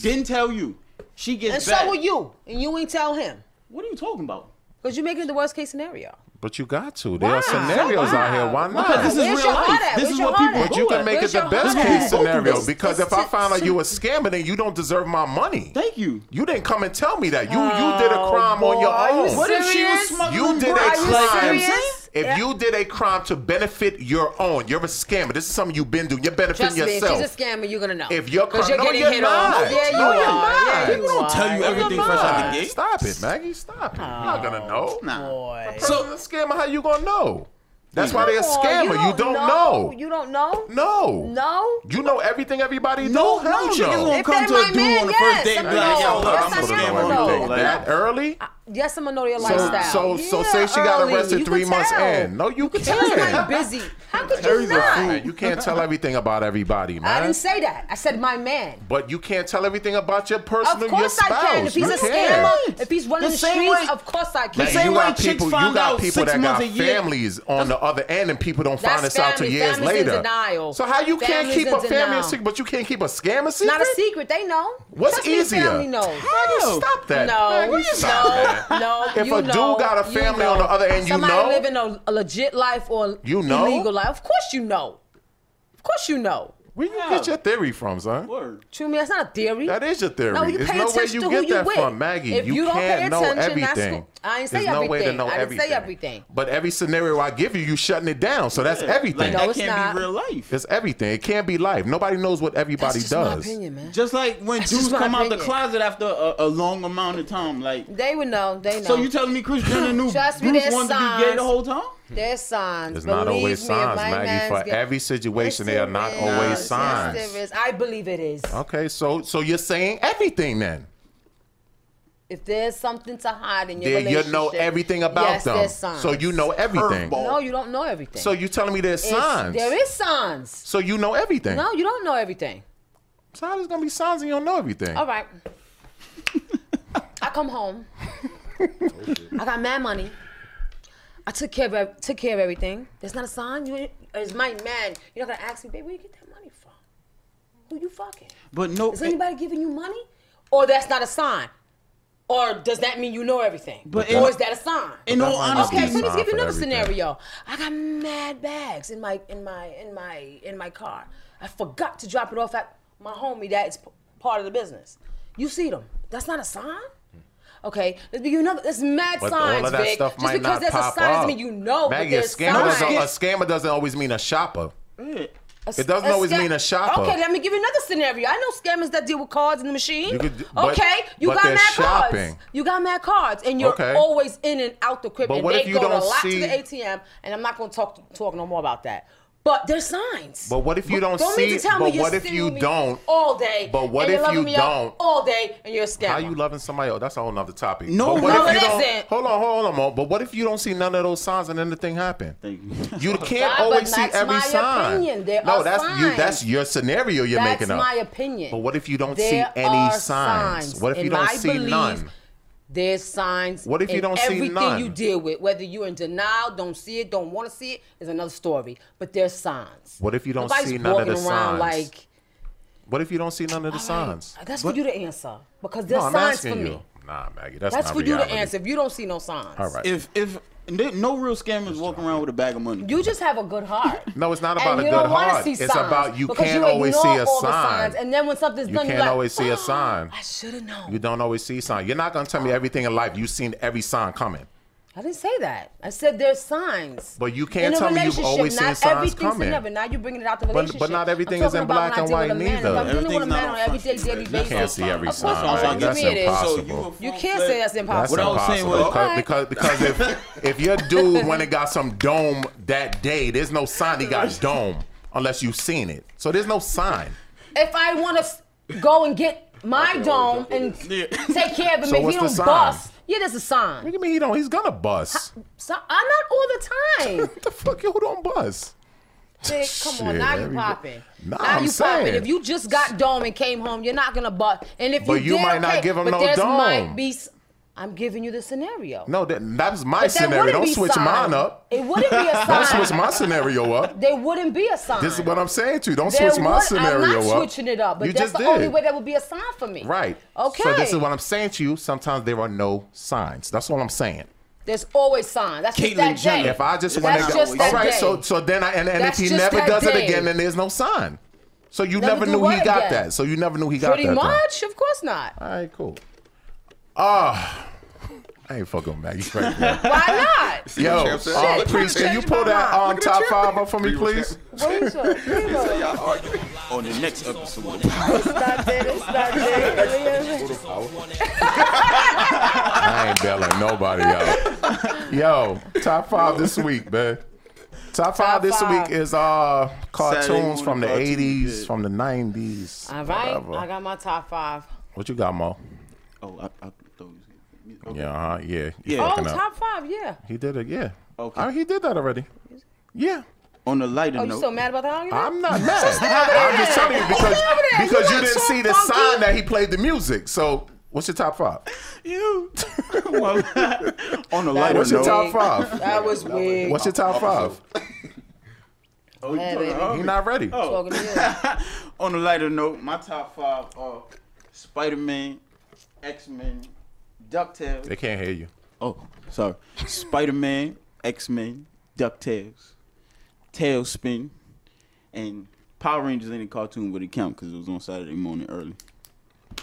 E: Didn't tell you. She gets
C: And
E: back.
C: so will you. And you ain't tell him.
E: What are you talking about?
C: Because you're making it the worst case scenario.
D: But you got to. There
C: Why?
D: are scenarios
C: So
D: out here.
C: why?
D: Why not?
E: Because this is
C: Where's
E: real
C: your heart
E: life.
C: at?
E: This
C: Where's
E: is
C: your
E: what
C: heart
E: people
C: at?
D: but you
E: do
D: can
E: at.
D: make
C: Where's
D: it the
C: your
D: best
C: heart
D: case
C: at?
D: scenario
C: This-
D: because
C: this-
D: if I find out you a scammer, then you don't deserve my money.
E: Thank you.
D: You didn't come and tell me that. You you did a crime on your
C: boy, are you
D: own.
E: What if she was
C: Serious?
E: smuggling
D: You did a
E: bricks?
D: crime.
C: serious?
D: If you did a crime to benefit your own, you're a scammer. This is something you've been doing. You're benefiting
C: Trust me, if
D: yourself.
C: she's a scammer, you're gonna know.
D: If you're
C: because you're
D: cr- no,
C: getting
D: you're
C: hit
D: not.
C: on. Yeah, you
D: No, you're
C: are.
D: not.
C: Yeah,
D: People
C: you
E: don't
C: are.
E: tell you everything
C: You're
E: fresh out the
C: not.
E: gate.
D: Stop it, Maggie. Stop it. You're not gonna know.
E: Nah.
C: Boy.
D: So a scammer, how you gonna know? That's why they a
C: Come on,
D: scammer. You don't know.
C: You don't know.
D: No.
C: No.
D: You know everything everybody
E: No,
D: knows.
E: no,
D: Hell
E: chick is
D: no.
E: gonna
C: If
E: come
C: they're
E: to a
C: my
E: dude
C: man,
E: on the
C: yes,
E: first date and
C: I'm
E: be like, yo,
C: gonna
E: look,
C: know.
E: I'm
C: Yes, I
E: gonna
C: am
E: scam on
C: gonna
E: you.
C: know.
E: Like,
D: that early?
C: Yes, I'm gonna know your
D: So,
C: lifestyle.
D: so, so
C: Yeah,
D: say she got
C: early.
D: arrested
C: You
D: three
C: can
D: months
C: tell.
D: in. No, you,
C: can
D: can't.
C: tell I'm busy. How could you
E: Terry's a
C: not?
D: You can't tell everything about everybody, man.
C: I didn't say that. I said my man.
D: but you can't tell everything about your
C: Of
D: personal, your
C: course
D: spouse.
C: I can. If he's
D: you
C: a
D: can.
C: scammer, if he's running
E: The
C: the,
E: same
C: streets,
E: way-
C: of course I
D: Man,
C: can.
E: The same
D: you
E: way
D: got
E: chicks
D: people, you
E: find
D: got
E: out
D: people
E: six
D: that got
E: months a year.
D: families on the other end, and people don't find
C: That's
D: this out till
C: family.
D: years
C: Family's in
D: later.
C: denial.
D: So how you can't
C: Family's
D: keep
C: in
D: a family a
C: denial.
D: secret, but you can't keep a scam a secret?
C: Not a secret. They know.
D: What's
C: Trust me,
D: easier?
C: Family knows.
D: Maggie, stop that.
C: No,
D: Maggie, stop
C: no,
D: that.
C: no.
D: If
C: you
D: a dude
C: know,
D: got a
C: you
D: family
C: know.
D: on the other end, you
C: Somebody
D: know?
C: living a, a legit life or
D: You know?
C: illegal life. Of course you know. Of course you know.
D: Where you get your theory from, son?
E: Word.
C: True me, that's not a theory.
D: That is your theory.
C: No, you
D: There's
C: pay
D: no way
C: attention
D: you
C: to
D: get
C: who you
D: that
C: with.
D: from, Maggie.
C: If you don't pay
D: can't know
C: attention, that's
D: everything.
C: cool. I ain't say
D: There's no way to
C: everything.
D: know
C: I didn't say
D: everything.
C: everything.
D: But every scenario I give you, you shutting it down. So that's everything.
E: Like, that
C: No, it's
E: can't
C: not.
E: be real life.
D: It's everything. It can't be life. Nobody knows what
C: that's
D: everybody
C: just
D: does.
C: my opinion, man.
E: Just like when
C: That's
E: dudes
C: just my
E: come out the
C: opinion.
E: closet after a, a long amount of time. Like,
C: They would know. They know.
E: so you telling me Chris Jenner knew
C: (clears throat) Trust me,
E: Bruce
C: there's
E: wanted to be gay
C: signs.
E: the whole time?
C: There's signs.
D: There's not
C: Believe
D: always
C: me, if
D: signs,
C: my
D: Maggie.
C: man's
D: For
C: get-
D: every
C: Yes,
D: situation, they are
C: it
D: not
C: is.
D: always
C: Yes,
D: signs.
C: there is. I believe it is.
D: Okay, so so you're saying everything then?
C: If there's something to hide in your
D: There you
C: relationship,
D: know everything about
C: yes,
D: them.
C: There's signs.
D: So you know everything.
E: Curveball.
C: No, you don't know everything.
D: So you telling me there's
C: It's-
D: signs?
C: There is signs.
D: So you know everything.
C: No, you don't know everything.
D: So how there's gonna be signs and you don't know everything?
C: All right. I come home. I got mad money. I took care of ev- took care of everything. There's not a sign. You ain't- it's my man. You're not gonna ask me, babe, where you get that money from? Who you fucking?
E: But no.
C: Is anybody giving you money? Or that's not a sign. Or does that mean you know everything?
E: But
C: or
E: in-
C: is that a sign?
E: In all
D: That might not
E: honesty,
D: be
C: Okay,
D: a
C: so
D: sign
C: let's give
D: for
C: you another
D: everything.
C: scenario. I got mad bags in my in my in my in my car. I forgot to drop it off at my homie. That's p- part of the business. You see them? That's not a sign. Okay, let's be you know that's mad
D: But
C: signs,
D: all of that
C: Vic.
D: stuff
C: Just
D: might
C: because
D: not
C: there's
D: pop
C: a sign
D: up.
C: doesn't mean you know that
D: Maggie, a
C: there's
D: scammer,
C: signs. Mm.
D: doesn't, a scammer doesn't always mean a shopper.
E: yeah.
D: It doesn't
C: A
D: always
C: scam-
D: mean a shopper.
C: Okay, let me give you another scenario. I know scammers that deal with cards in the machine.
D: You could- but-
C: okay, you
D: but
C: got
D: they're
C: mad
D: shopping.
C: cards. You got mad cards, and you're
D: Okay.
C: always in and out the crib.
D: But
C: and
D: what
C: they
D: if you
C: go
D: don't
C: to a lot to
D: see-
C: the ATM, and I'm not going to talk talk no more about that. But there's signs.
D: But what if you don't
C: don't mean
D: see-
C: to tell me
D: but
C: you're
D: what if
C: sitting
D: you
C: with me
D: don't-
C: all day?
D: but what
C: and you're
D: if you
C: loving me up
D: don't-
C: all day, and you're a scammer?
D: How you loving somebody else? That's a whole nother topic.
E: No,
D: But what
E: no,
D: if you
C: it
D: don't-
C: isn't.
D: Hold on, hold on, Mo. But what if you don't see none of those signs and then the thing happen?
E: Thank (laughs) you.
D: You
C: (laughs) God,
D: can't
C: but
D: always see
C: that's
D: every
C: my
D: sign.
C: opinion. There
D: no,
C: are
D: that's you.
C: signs.
D: That's your scenario you're
C: That's
D: making up.
C: my opinion.
D: But what if you don't
C: There
D: see any
C: are
D: signs? What if
C: In
D: you don't
C: my
D: see
C: belief,
D: none?
C: There's signs.
D: What if you
C: in
D: don't see
C: everything
D: none?
C: you deal with, whether you're in denial, don't see it, don't want to see it, is another story. But there's signs.
D: What if you don't
C: Nobody's
D: see none of
C: walking
D: the
C: around
D: signs?
C: like
D: what if you don't see none of the signs?
C: that's for you to answer because
D: No,
C: there's
D: I'm
C: uh, signs for
D: asking
C: me.
D: you. Nah, Maggie, that's,
C: That's
D: not
C: for you
D: reality.
C: to answer if you don't see no signs.
D: All right.
E: if if And there- no real scammers walking around with a bag of money.
C: You just have a good heart.
D: (laughs) No, it's not
C: And
D: about a
C: you
D: good
C: don't wanna
D: heart.
C: See
D: It's
C: signs
D: about you
C: because
D: can't always
C: ignore
D: see a
C: all the
D: sign.
C: signs, and then when something's
D: You
C: done,
D: can't
C: you're like,
D: always see a
C: "Oh,
D: sign.
C: I should have known.
D: You don't always see signs. You're not gonna tell me everything in life. You've seen every sign coming,
C: I didn't say that. I said there's signs.
D: but you can't
C: in a
D: tell me you've
C: relationship,
D: always
C: not
D: seen signs
C: everything's
D: coming.
C: Never. Now you're bringing it out the
D: but
C: relationship.
D: not everything
C: I'm
D: is in
C: talking about
D: black
C: when I
D: and
C: deal with
D: white
C: a man. If I'm
D: neither.
C: dealing with a
E: Everything's
C: man
E: not
C: on
E: on
C: every day,
E: function,
C: daily
E: man. You
C: basis.
E: can't
D: see every
C: Of course
D: sign,
C: not. Give
D: right?
C: me
D: That's
C: it is.
D: impossible.
E: So you a
C: You
E: full
C: can't
E: flip-
C: say that's impossible.
D: That's
E: What I was saying
D: impossible.
E: was-
C: Okay.
D: because, because if if your dude went and got some dome that day, there's no sign he got dome unless you've seen it. So there's no sign.
C: if I want to go and get my dome and take care of him,
D: So
C: if
D: what's
C: he
D: the
C: don't
D: sign?
C: bust, yeah, there's a sign.
D: What do you mean he don't? He's gonna bust.
C: So, I'm not all the time.
D: What the fuck? You who don't bust?
C: Dick, Come on,
D: Shit,
C: now you
D: everybody-
C: popping.
D: Nah,
C: now
D: I'm
C: you
D: saying.
C: popping. If you just got dome and came home, you're not gonna butt. And if
D: But
C: you,
D: you
C: did,
D: might not
C: okay,
D: give 'em
C: but
D: no
C: there's
D: dome.
C: Might be, s- I'm giving you the scenario.
D: No, that, that's my
C: But there
D: scenario.
C: wouldn't
D: Don't
C: be
D: switch
C: sign.
D: mine up.
C: It wouldn't be a sign.
D: (laughs) Don't switch my scenario up.
C: There wouldn't be a sign.
D: This is what I'm saying to you. Don't
C: There
D: switch my
C: would-
D: scenario
C: I'm not
D: up.
C: switching it up, but
D: you
C: that's
D: just
C: the
D: did.
C: only way that would be a sign for me.
D: Right.
C: Okay.
D: So this is what I'm saying to you. Sometimes there are no signs. That's all I'm saying.
C: There's always signs. That's
E: Caitlyn
C: just that
E: Jenner.
C: day.
D: If I just
E: It's
D: went
E: not
D: and
E: just
D: got, all
E: that
D: right,
C: day.
D: so so then I and, and if
C: That's
D: he
C: just
D: never
C: that
D: does it
C: day.
D: again, then there's no sign. So you
C: Never
D: never,
C: do
D: knew he
C: what
D: got
C: again?
D: that. So you never knew he got
C: Pretty
D: that. then.
C: much, of course not.
D: All right, cool. Ah, I ain't fucking with Maggie
E: (laughs)
D: Frank. man. (laughs)
C: Why not?
D: Yo,
F: Champ said-
D: uh,
F: Shit,
D: priest, can you
C: changed
D: pull
C: my
D: that
C: mind.
D: um,
F: Look at the
D: top
F: champ.
D: five up for me,
F: Three was
D: please?
F: champ.
C: What is your-
F: So y'all arguing.
E: on the next episode.
C: Not that it's not that.
D: I ain't bailing nobody
E: (laughs)
D: out. Yo, top five this week, man. Top five
C: Top
D: this
C: five.
D: week is uh
E: Saturday
D: cartoons
E: morning
D: from the
E: cartoons,
D: eighties,
E: yeah.
D: from the nineties.
C: All right, I got my top five.
D: what you got, Mo?
E: Oh, I, I thought you was gonna-
D: Yeah, uh-huh, yeah.
E: Yeah.
D: yeah.
C: Oh, top five, yeah.
D: He did it, yeah.
E: Okay.
D: Uh, he did that already. Yeah.
E: On the lighter
C: Oh, you
E: note,
C: still mad about the argument?
D: I'm not mad. I'm just telling you because,
C: over there.
D: because
C: You
D: you
C: like
D: didn't
C: so
D: see the
C: funky.
D: sign that he played the music. So what's your top five?
E: you. (laughs) on the
C: That
E: lighter
D: What's your
C: was
E: note,
D: top
C: weak. (laughs)
D: five?
C: That was weird.
D: What's your top five?
E: Oh, you
C: Yeah,
E: talking
C: baby.
E: about-
D: You're not ready.
C: Talking to you.
E: on a lighter note, my top five are Spider Man, X Men,
D: They
E: DuckTales.
D: can't hear you.
E: Oh, sorry. Spider Man, X Men, DuckTales, Tailspin, and Power Rangers in the cartoon would not count because it was on Saturday morning early.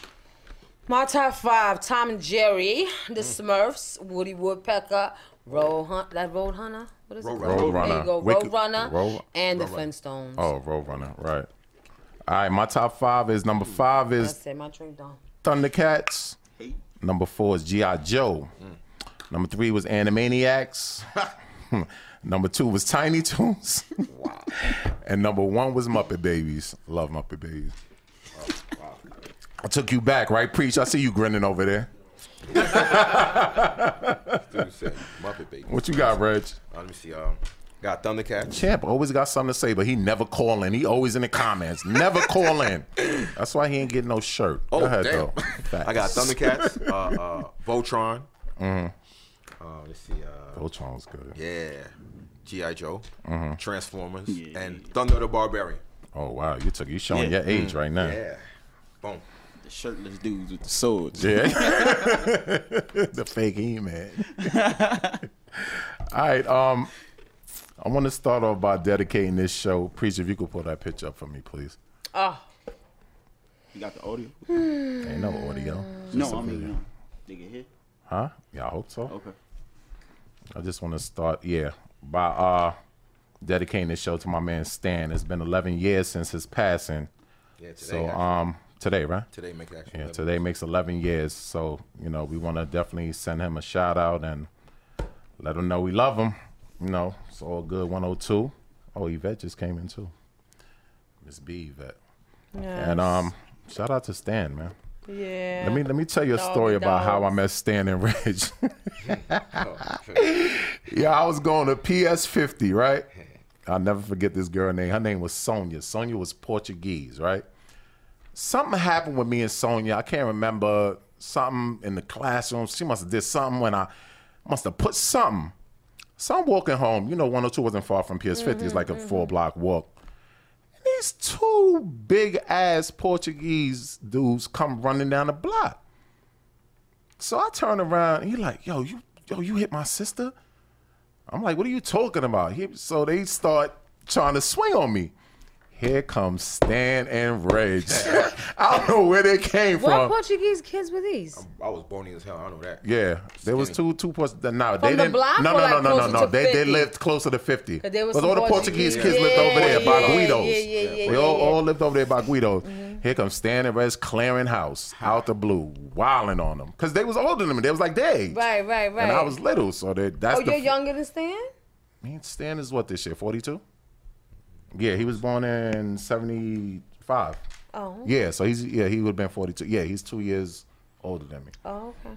C: (laughs) My top five: Tom and Jerry, The Smurfs, Woody Woodpecker, Road Hunt. That Road Hunter. What is it?
F: Roadrunner.
C: called?
D: Roadrunner.
C: There you go.
D: Wicked-
C: Roadrunner
D: Road-
C: and The Flintstones.
D: Oh, Roadrunner, right. All right, my top five is number five
C: I
D: is
C: said my drink down.
D: Thundercats.
E: Hey.
D: Number four is G.I. Joe. Number three
C: (laughs)
D: was Animaniacs. number two was Tiny Toons. (laughs) and number one was Muppet Babies. Love Muppet Babies. I took you back, right, Preach? I see you grinning over there.
F: Dude said Muppet Baby.
D: What you got, Reg?
F: Uh, let me see. Um, got Thundercats.
D: Champ always got something to say, but he never call in. He always in the comments. Never call in. That's why he ain't getting no shirt.
F: Oh
D: Go ahead,
F: damn!
D: though.
F: (laughs) I got
D: Facts.
F: Thundercats. Uh, uh, Voltron.
D: Mm-hmm.
F: Uh, let's see. Uh,
D: Voltron was good.
F: yeah, GI Joe,
D: Mm-hmm.
F: Transformers,
E: Yeah.
F: and Thunder the Barbarian.
D: Oh wow, you took you showing
E: Yeah.
D: your age right now.
F: Yeah, boom.
E: The shirtless dudes with the swords.
D: Yeah. (laughs) the fake E man. (laughs) All right. Um I want to start off by dedicating this show. Preacher, if you could pull that picture up for me, please.
C: Oh,
E: You got the audio?
D: Ain't no audio. Just
E: No,
D: a
E: I mean,
D: video.
E: no. They can hear?
D: Huh? Yeah, I hope so.
E: Okay.
D: I just want to start, yeah, by uh dedicating this show to my man Stan. It's been 11 years since his passing.
F: Yeah, today.
D: So
F: actually.
D: um today, right?
F: today make action.
D: Yeah, today makes 11 years. So, you know, we want to definitely send him a shout out and let him know we love him. You know, it's all good. 102. Oh, Yvette just came in too. Miss B, Yvette. And um, shout out to Stan, man.
C: yeah.
D: Let me let me tell you a
C: Doggy
D: story about how I
C: dogs.
D: met Stan and Reg. (laughs) yeah, I was going to PS50, right? I'll never forget this girl name. Her name was Sonia. Sonia was Portuguese, right? Something happened with me and Sonia. I can't remember something in the classroom. She must have did something when I must have put something. So I'm walking home. You know, 102 wasn't far from PS50. it's like a four block walk. And these two big ass Portuguese dudes come running down the block. So I turn around. He like, yo, you, yo, you hit my sister. I'm like, what are you talking about? He, so they start trying to swing on me. Here comes Stan and Reg. (laughs) I don't know where they came
C: What
D: from. Um,
C: Portuguese kids were these?
F: I was bony as hell. I know that.
D: Yeah, there was two two plus. No, nah, they
C: the
D: didn't.
C: block
D: no,
C: or
D: no,
C: like
D: no, no, no,
C: closer
D: no.
C: to
D: They they
C: 50?
D: lived closer to fifty.
C: 'Cause there was
D: Because all
C: some
D: the Portuguese
C: Portuguese-
D: kids lived over there by
C: Yeah, yeah,
D: Guido's.
C: yeah, yeah, yeah,
D: we
C: yeah, Mm-hmm.
D: all,
C: yeah.
D: all lived over there by Guido's. Here comes Stan and Red's clearing house out the blue, wilding on them because they was older than me. They was like they.
C: Right, right, right.
D: And I was little, so they, that's
C: oh,
D: the.
C: you're younger than Stan?
D: Man, Stan is what this year? Forty two. Yeah, he was born in seventy five.
C: Oh.
D: Yeah, so he's yeah he would have been forty two. Yeah, he's two years older than me.
C: Oh, okay.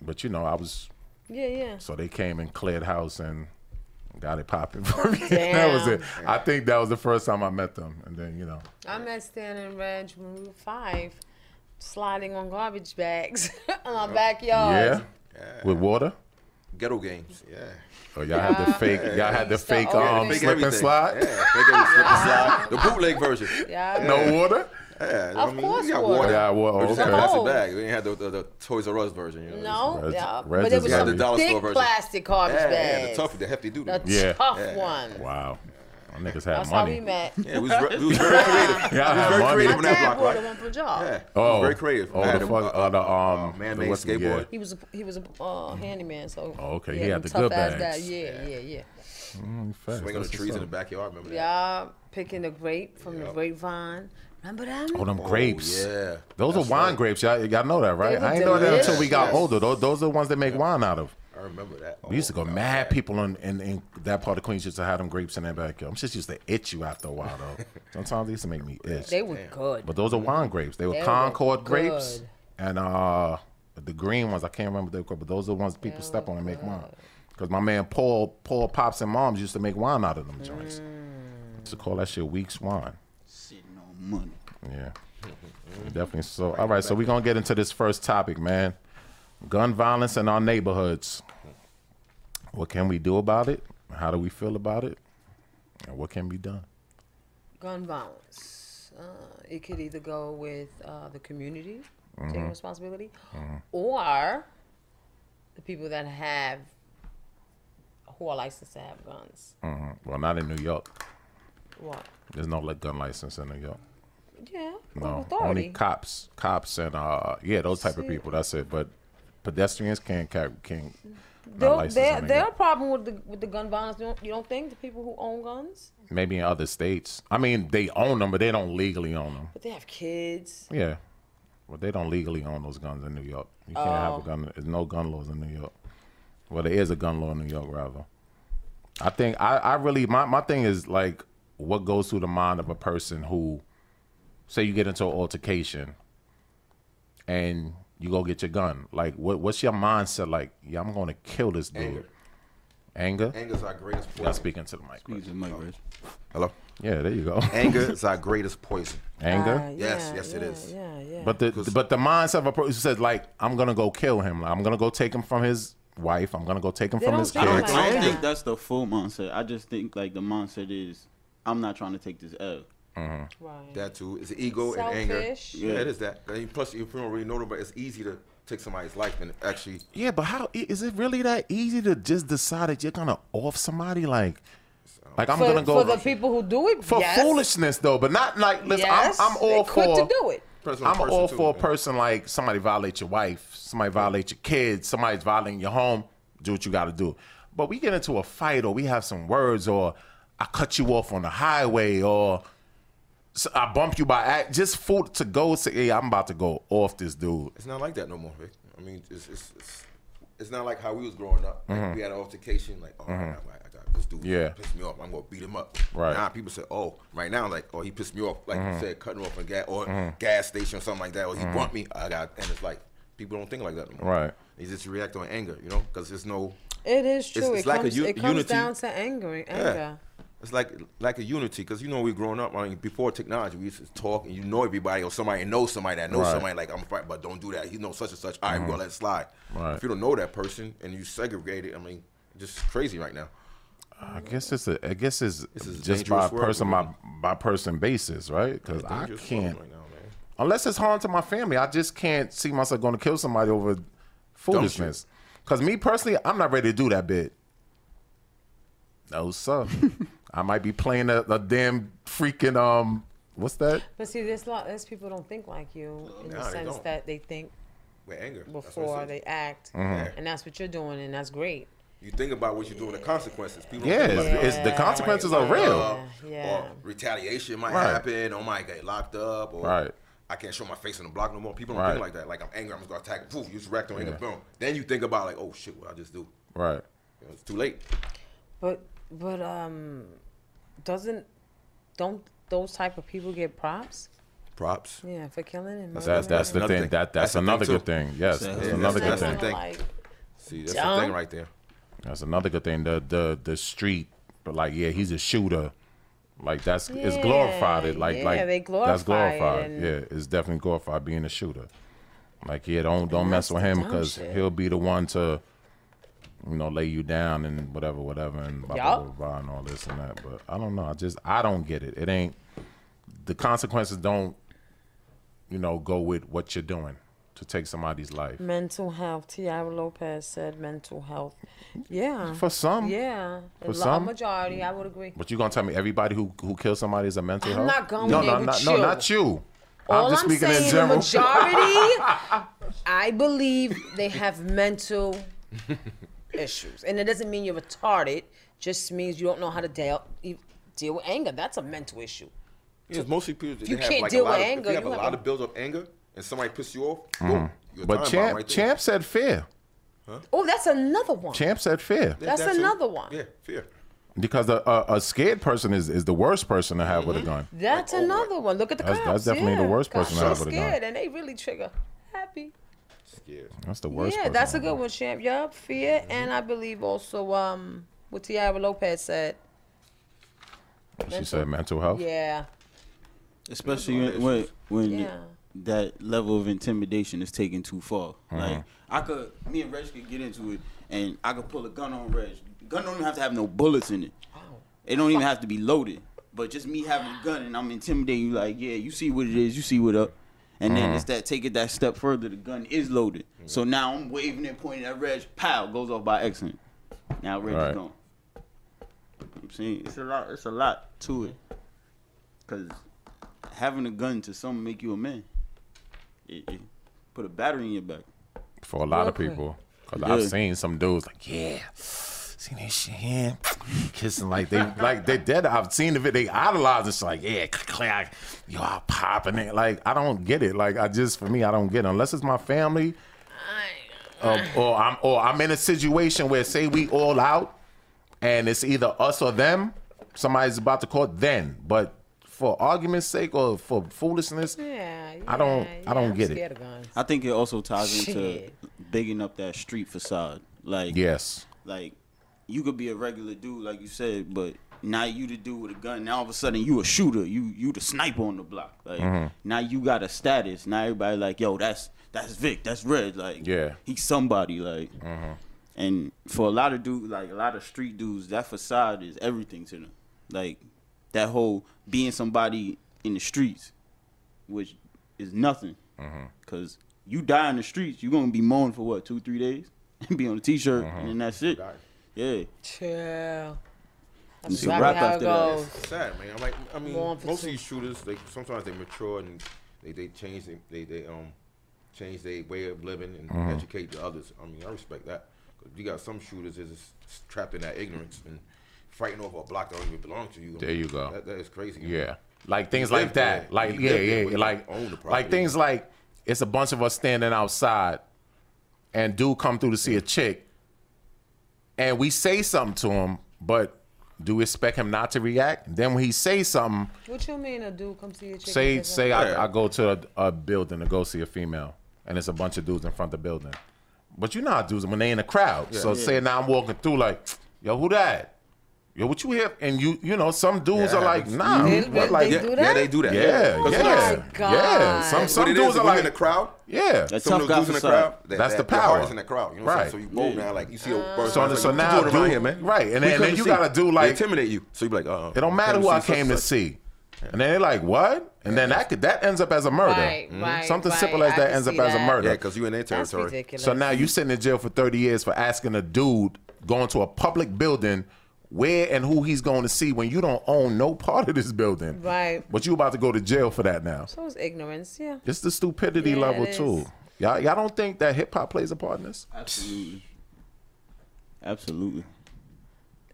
D: But you know, I was
C: Yeah, yeah.
D: so they came and cleared house and got it popping (laughs) for me. that was it. I think that was the first time I met them. And then, you know,
C: I met Stan and Reg when we were five, sliding on garbage bags (laughs) in
D: Oh,
C: our backyard.
D: yeah, with water.
F: Ghetto games. Yeah.
D: Oh, y'all had the fake, y'all had the
C: used to
D: fake
C: always-
D: um,
C: Fake
D: slip and slide.
F: Yeah. Fake every slip and slide. The bootleg version.
C: Yeah.
D: No water.
F: Yeah.
C: Of course
F: we got
C: water.
D: Yeah, well,
F: We just had
D: okay.
F: plastic
C: Oh.
F: bag. We didn't have the, the, the Toys R Us version. You know?
C: No,
D: Reg-
C: yeah.
D: Reg
C: but there
D: is
C: was
D: like-
C: some
D: Yeah, the
F: dollar
C: thick
F: store version.
C: plastic garbage
F: Yeah, yeah, the
C: bags.
F: tough, the hefty duty.
C: the
D: (laughs)
F: one.
D: Yeah.
C: tough one.
D: Wow, Y'all niggas had
C: That's how we
D: money.
C: met.
F: Yeah, we was, re- we was very creative.
D: Y'all had
F: very
D: money.
F: creative
C: My
F: when that
C: dad
F: block,
C: bought
F: right?
C: a one for job.
F: Yeah, we
D: Oh,
F: was very creative.
D: Oh,
F: I had
D: the
F: a-
D: fuck,
F: a-
D: uh, the um,
F: man-made
D: what's the-
F: skateboard.
D: yeah.
C: He was a, he was a uh, handyman, so
D: Oh, okay. He
C: them
D: had the good
C: tough-ass
D: bags.
C: dad- Yeah, yeah, yeah.
D: Facts,
F: Swing on the
D: that's
F: trees in
D: what's
F: the
D: up.
F: backyard. Remember that?
C: Y'all picking the grape from the
F: Yep.
C: grapevine. Remember them?
D: Oh, them
F: Oh,
D: grapes.
F: yeah.
D: Those
F: That's
D: are wine
F: right.
D: grapes. Y'all, y'all know that, right?
C: They were
D: I ain't know that until
C: delicious.
D: we got
F: Yes.
D: older. Those, those are the ones that make wine out of.
F: I remember that.
D: We used to
F: Oh,
D: go mad people in, in, in that part of Queens used to have them grapes in their backyard. I'm just used to itch you after a while
F: (laughs)
D: though. Sometimes they used to make me itch.
C: They were good.
D: but those are wine grapes. They were
C: They were
D: Concord grapes
C: good.
D: and uh the green ones. I can't remember what they were called, but those are the ones people step on and make wine. Because my man Paul, Paul pops and moms used to make wine out of them joints. Used to call that shit Weeks wine.
E: Sitting on money.
D: Yeah. Definitely. So, all right. So, we're going to get into this first topic, man gun violence in our neighborhoods. What can we do about it? How do we feel about it? And what can be done?
C: gun violence. Uh, it could either go with uh, the community
D: Mm-hmm.
C: taking responsibility or the people that have who are licensed to have guns.
D: Mhm. Well, not in New York.
C: What?
D: There's no like, gun license in New York.
C: Yeah,
D: No,
C: no, authority.
D: only cops, cops, and uh, yeah, those type of people. That's it. But pedestrians can't carry, can't. not
C: They'll-
D: licensed
C: they're
D: in New
C: they're a
D: York.
C: problem with the with the gun violence. You don't, you don't think the people who own guns,
D: Maybe in other states. I mean, they own them, but they don't legally own them.
C: but they have kids.
D: Yeah, but they don't legally own those guns in New York. You can't have a gun. There's no gun laws in New York. Well, there is a gun law in New York, rather. I think I, I really my my thing is like what goes through the mind of a person who, say, you get into an altercation, and you go get your gun. Like, what what's your mindset? Like, yeah, I'm going to kill this dude.
F: Anger.
D: Anger.
F: Anger's our greatest poison.
D: Y'all speaking to the mic.
E: He's a mic, Reg.
F: Hello.
D: Yeah, there you go.
F: Anger is
D: (laughs)
F: our greatest poison.
D: Anger.
C: Uh,
F: Yes,
C: yeah,
F: yes, it
C: yeah,
F: is.
C: Yeah, yeah.
D: But the but the mindset of a person says like I'm gonna go kill him. Like, I'm gonna go take him from his wife. I'm gonna go take him
C: They
D: from
C: don't
D: his
C: think like
D: kids.
E: I don't
C: that.
E: think that's the full mindset. I just think like the mindset is, I'm not trying to take this L.
C: right.
F: That too is ego and anger.
C: Selfish.
F: Yeah, it is that. And plus, if you don't really know nobody, it's easy to take somebody's life and actually.
D: yeah, but how i- is it really that easy to just decide that you're gonna off somebody like like I'm
C: for,
D: gonna go
C: for the people who do it
D: for
C: yes.
D: foolishness though, but not like listen.
C: Yes,
D: I'm, I'm all
C: they're quick
D: for
C: to do it.
F: Person on
D: I'm all
F: too,
D: for a
F: yeah.
D: person like somebody violate your wife, somebody violate your kids, somebody's violating your home. Do what you got to do. But we get into a fight, or we have some words, or I cut you off on the highway, or s- I bump you by act. Just food to go say, hey, I'm about to go off this dude.
F: It's not like that no more, Vic. I mean, it's it's it's, it's not like how we was growing up. Like, We had an altercation, like, oh, I, got- I got this dude
D: Mm-hmm. Yeah.
F: pissed me off. I'm gonna beat him up.
D: Right. Mm-hmm.
F: Now people say, oh, right now, like, oh, he pissed me off, like you said, cutting off a gas or gas station or something like that, or he bumped me. I got, and it's like people don't think like that no more.
D: Right.
F: They just react on anger, you know, because there's no.
C: It is true.
F: it's
C: it,
F: like a
C: comes,
F: u-
C: it comes
F: unity.
C: down to anger. anger.
F: It's like like a unity because you know we growing up. I mean, before technology, we used to talk and you know everybody or somebody knows somebody that knows
D: Right. Mm-hmm.
F: somebody. Like I'm fighting, but don't do that. You know such and such. All right, we're gonna let it slide.
D: Right.
F: If you don't know that person and you segregate it, I mean, just crazy right now.
D: I guess it's a. I guess it's
F: is a
D: just by
F: dangerous world
D: person
F: we live
D: by by person basis, right? Because I
F: Dangerous world
D: can't.
F: right now, man.
D: unless it's harm to my family. I just can't see myself going to kill somebody over foolishness. Because me personally, I'm not ready to do that bit. Oh,
F: (laughs)
D: so I might be playing a, a damn freaking um. What's that?
C: But see, there's lot. There's people don't think like you in
F: Nah,
C: the
F: they
C: sense
F: don't.
C: that they think
F: with anger. That's what it
C: before
F: says.
C: they act,
F: Mm-hmm.
C: and that's what you're doing, and that's great.
F: You think about what you're doing, the consequences. People
D: Yeah,
F: don't think about
D: it's- it's- the
F: that.
D: consequences
F: I might
D: are
F: get
D: real.
F: locked up,
C: Yeah,
F: Or
C: yeah.
F: retaliation might
D: Right.
F: happen. Or might get locked up. Or
D: Right.
F: I can't show my face on the block no more. People don't
D: Right.
F: think like that. Like I'm angry, I'm just gonna attack. Poof, you just racked on anger. Boom. Then you think about like, oh shit, what I just do?
D: Right.
F: You know, it's too late.
C: But but um, doesn't don't those type of people get props?
F: Props.
C: Yeah, for killing and
D: That's that's the
F: Another
D: thing.
F: thing.
D: That that's,
F: That's the thing,
D: another
F: too.
D: good thing. Yes,
E: Yeah,
D: that's
E: yeah,
D: another
F: that's-
D: good
F: that's
D: thing.
F: the thing. See, that's the
C: Dumb.
F: thing right there.
D: That's another good thing. The the the street, but like yeah, he's a shooter. Like that's it's
C: Yeah,
D: glorified. It like
C: yeah,
D: like
C: they
D: that's
C: glorify it
D: glorified.
C: and-
D: yeah, it's definitely glorified being a shooter. Like yeah, don't don't
C: And
D: mess
C: that's
D: with
C: the
D: him
C: dumb
D: because
C: shit.
D: he'll be the one to, you know, lay you down and whatever, whatever, and blah, blah,
C: Yup.
D: blah, blah, and all this and that. But I don't know. I just I don't get it. It ain't the consequences don't, you know, go with what you're doing to take somebody's life.
C: Mental health. Tiara Lopez said mental health. Yeah.
D: For some,
C: yeah.
D: for
C: a lo-
D: some-
C: a majority, I would agree.
D: But you gonna tell me everybody who who kills somebody is a mental
C: I'm
D: health?
C: not going
D: no,
C: there
D: no,
C: with
D: not,
C: you.
D: no, not you.
C: All
D: I'm just
C: I'm
D: speaking
C: saying,
D: in general.
C: the
D: (laughs)
C: majority, I believe they have mental issues, and it doesn't mean you're retarded. Just means you don't know how to deal you deal with anger. That's a mental issue.
F: Because mostly people they
C: You
F: have,
C: can't
F: like,
C: deal
F: a lot
C: with
F: of, If
C: anger,
F: you have
C: you
F: a
C: have
F: lot
C: a-
F: of build up anger and somebody pisses you off, boom, you're a time
D: Mm-hmm. but
F: bomb
D: Champ,
F: right there.
D: Champ said fear.
C: Oh, that's another one.
D: Champ said fear
F: That-
C: That's
F: that too.
C: another one.
F: Yeah, fear.
D: because a, a, a scared person is, is the worst person to have with a gun.
C: That's
F: Like, oh,
C: another one. Look at the
D: That's-
C: cops.
D: that's definitely the
C: yeah.
D: worst
C: Cops
D: person I
C: are
D: ever done.
C: scared, and they really trigger happy.
F: Scared.
D: That's the worst.
C: yeah,
D: person
C: that's
D: to
C: a good
D: have.
C: one, champ. Yup, fear,
D: Mm-hmm.
C: and I believe also um what Tiara Lopez said.
D: She said mental health.
C: Yeah,
E: especially when when, when
C: Yeah.
E: that level of intimidation is taken too far. Like I could, me and Reg could get into it, and I could pull a gun on Reg. Gun don't even have to have no bullets in it. It don't even have to be loaded. But just me having a gun and I'm intimidating you, like yeah, you see what it is, you see what up. And then it's that take it that step further. The gun is loaded, so now I'm waving it, pointing at Reg. Pow goes off by accident. Now Reg
D: Right.
E: is gone. I'm saying it's a lot. It's a lot to it. Cause having a gun to some make you a man. It, it put a battery in your back.
D: for a lot of
C: Okay.
D: people. Cause I've
E: Yeah.
D: seen some dudes like, yeah, seen that shit, yeah, kissing like they (laughs) like they dead. I've seen the video. They idolize it's like, yeah, clack, you all popping it. Like I don't get it. Like I just for me, I don't get it unless it's my family, um, or I'm or I'm in a situation where say we all out, and it's either us or them. Somebody's about to call then, but for argument's sake or for foolishness,
C: yeah.
D: I don't-
C: yeah,
D: I don't
C: I'm
D: get it.
C: scared of guns.
E: I think it also ties into
C: Shit.
E: bigging up that street facade. Like
D: yes,
E: like you could be a regular dude, like you said, but now you the dude with a gun. Now all of a sudden you a shooter. You you the sniper on the block. Like now you got a status. Now everybody like, yo, that's that's Vic. That's Red. Like
D: Yeah.
E: he's somebody. Like and for a lot of dude, like a lot of street dudes, that facade is everything to them. Like that whole being somebody in the streets, which is nothing, because you die in the streets, you gonna be mourning for what two three days (laughs) and be on a t-shirt and then that's it. Yeah,
C: Chill. That's
E: You see
C: exactly
E: rap
C: how it
E: after that.
C: goes.
F: It's sad, man. I'm like, I mean,
C: Law enforcement.
F: most of these shooters, they sometimes they mature and they they change they they, they um change their way of living and
D: Uh-huh.
F: educate the others. I mean, I respect that. 'Cause you got some shooters is just trapped in that ignorance and fighting over a block that don't even belong to you.
D: There you go.
F: That, that is crazy.
D: Yeah. Like things
F: live
D: like that.
F: there.
D: Like
F: You
D: yeah,
F: live there,
D: yeah,
F: but
D: yeah.
F: you
D: Like
F: don't own the
D: like
F: property.
D: things like it's a bunch of us standing outside and dude come through to see a chick and we say something to him, but do we expect him not to react? Then when he say something,
C: What you mean a dude come see your chicken?
D: say
C: and
D: say
F: Yeah.
D: I, I go to a, a building to go see a female and it's a bunch of dudes in front of the building. But you know how dudes when they in a crowd. So say now I'm walking through like, yo, who that? Yo, what you here? And you you know, some dudes
F: Yeah,
D: are like,
F: but-
D: nah,
C: They-
D: what,
C: they-
D: like
C: they
F: yeah,
C: do
F: yeah,
C: that?
F: they do that.
D: yeah,
F: 'Cause
C: Oh
D: yeah,
F: sometimes-
C: my God.
D: yeah. Some
F: What
D: some
F: it is,
D: dudes
F: when
D: are
F: you in
D: like,
F: the crowd.
D: yeah.
E: That's
F: Some of
E: tough
F: those
E: guy
F: dudes in the
E: facade.
F: crowd. that-
D: That's
F: that-
D: the
F: Your heart
D: power.
F: is in the crowd. You know what I'm
D: Right.
F: saying? So you bold now, like you see a person.
D: So-
F: like,
D: so
F: what you
D: now
F: doing around
D: dude-
F: here, man.
D: right, and
F: We
D: then-
F: come
D: then
F: to
D: you
F: see.
D: got a dude
F: They
D: like-
F: intimidate you. So you be like, uh,
D: it don't matter who I came to
F: see. such- such.
D: see. And then they're like, what? And then that could, that ends up as a murder.
C: Right, right,
D: Something simple
C: right.
D: as
C: I
D: that
C: can
D: ends up
C: see
D: as a
C: that.
D: murder.
F: Yeah, because you in their
C: That's
F: territory.
C: ridiculous.
D: so now you sitting in jail for 30 years for asking a dude going to a public building where and who he's going to see when you don't own no part of this building.
C: Right.
D: But you about to go to jail for that now.
C: So is ignorance, yeah.
D: It's the stupidity
C: Yeah,
D: level
C: it is.
D: too. Y'all, y'all don't think that hip hop plays a part in this?
E: Absolutely. Absolutely.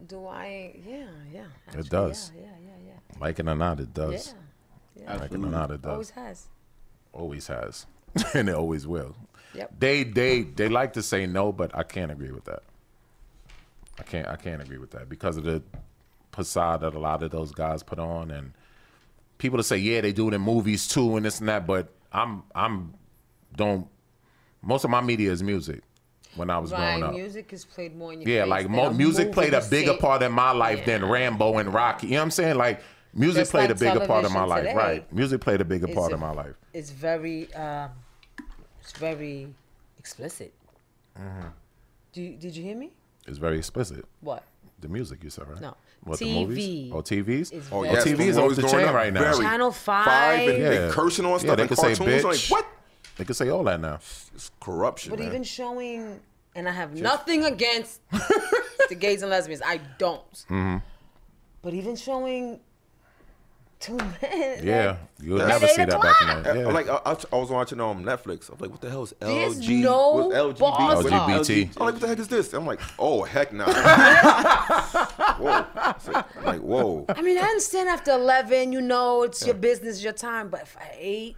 C: Do I? Yeah, yeah. actually,
D: does.
C: Yeah, yeah, yeah, yeah.
D: Like it or not, it
C: Yeah,
D: does. Like it or
E: Absolutely.
D: not, it does.
C: always has.
D: Always has, (laughs) and it always will.
C: Yep.
D: They they they like to say no, but I can't agree with that. I can't I can't agree with that because of the facade that a lot of those guys put on, and people that say yeah they do it in movies too and this and that, but I'm I'm don't most of my media is music when I was growing
C: Right,
D: up.
C: music is played more in your
D: Yeah,
C: face
D: like
C: than
D: mo-
C: a
D: music
C: movie
D: played a
C: you
D: bigger
C: see.
D: part in my life than Rambo and Rocky. You know what I'm saying? Like music
C: Just like
D: played a bigger part of my
C: television
D: life,
C: today.
D: right? Music played a bigger
C: Is
D: part
C: it-
D: of my life.
C: It's very, um, it's very explicit.
D: Mm-hmm.
C: Do you, did you hear me?
D: It's very explicit.
C: What?
D: The music you said, right?
C: No. TV
D: What the movies? Oh, TVs.
C: is
D: oh,
C: very- yes,
D: TVs
F: when we
D: off
F: was
D: the
F: growing
D: chain
F: up,
D: right now.
F: very-
C: Channel
F: Five and
C: Five.
F: they cursing on
D: Yeah,
F: stuff
D: they
F: in
D: could say
F: cartoons.
D: bitch.
F: Like what?
D: They could say all that now.
F: It's corruption,
C: But
F: man.
C: even showing, and I have nothing against the gays and lesbians. I don't. But even showing two men.
D: Yeah, you'll
F: That's-
D: never
C: At
D: see
C: eight
D: that back in
C: o'clock.
D: the
F: I-
D: yeah.
F: Like I, I, I was watching um Netflix. I was like, what the hell is
C: There's
F: LG?
C: no
F: What's LGB?
C: bars
F: What-
C: up.
D: LGBT.
F: I'm like, what the heck is this? I'm like, oh
C: (laughs)
F: heck no. whoa. It's like- I'm like, whoa.
C: I mean, I understand after 11, you know, it's your business, your time. But for eight,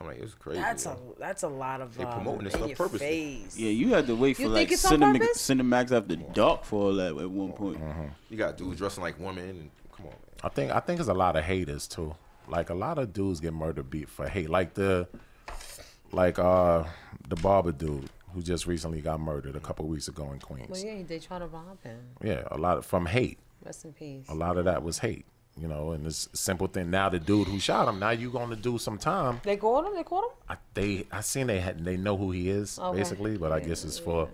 F: I'm like, it's crazy.
C: that's
F: man.
C: a that's a lot of.
F: They
C: um,
F: promoting this
C: in
F: stuff
C: your
F: purposely.
C: face.
E: Yeah, you had to wait for
C: You
E: like
C: think it's on
E: cinema-
C: purpose?
E: Cinemax after dark for all that at one point.
F: You got dudes dressing like women. And, come on, man.
D: I think I think it's a lot of haters too. Like a lot of dudes get murdered beat for hate. Like the like uh the barber dude who just recently got murdered a couple weeks ago in Queens.
C: Well,
D: yeah.
C: yeah, they try to rob him.
D: a lot of, from hate.
C: Rest in peace.
D: A lot of that was hate, you know. And it's a simple thing. Now the dude who shot him, now you going to do some time.
C: They caught him. They caught him.
D: I, they I seen they had they know who he is
C: Okay.
D: basically, but I guess it's for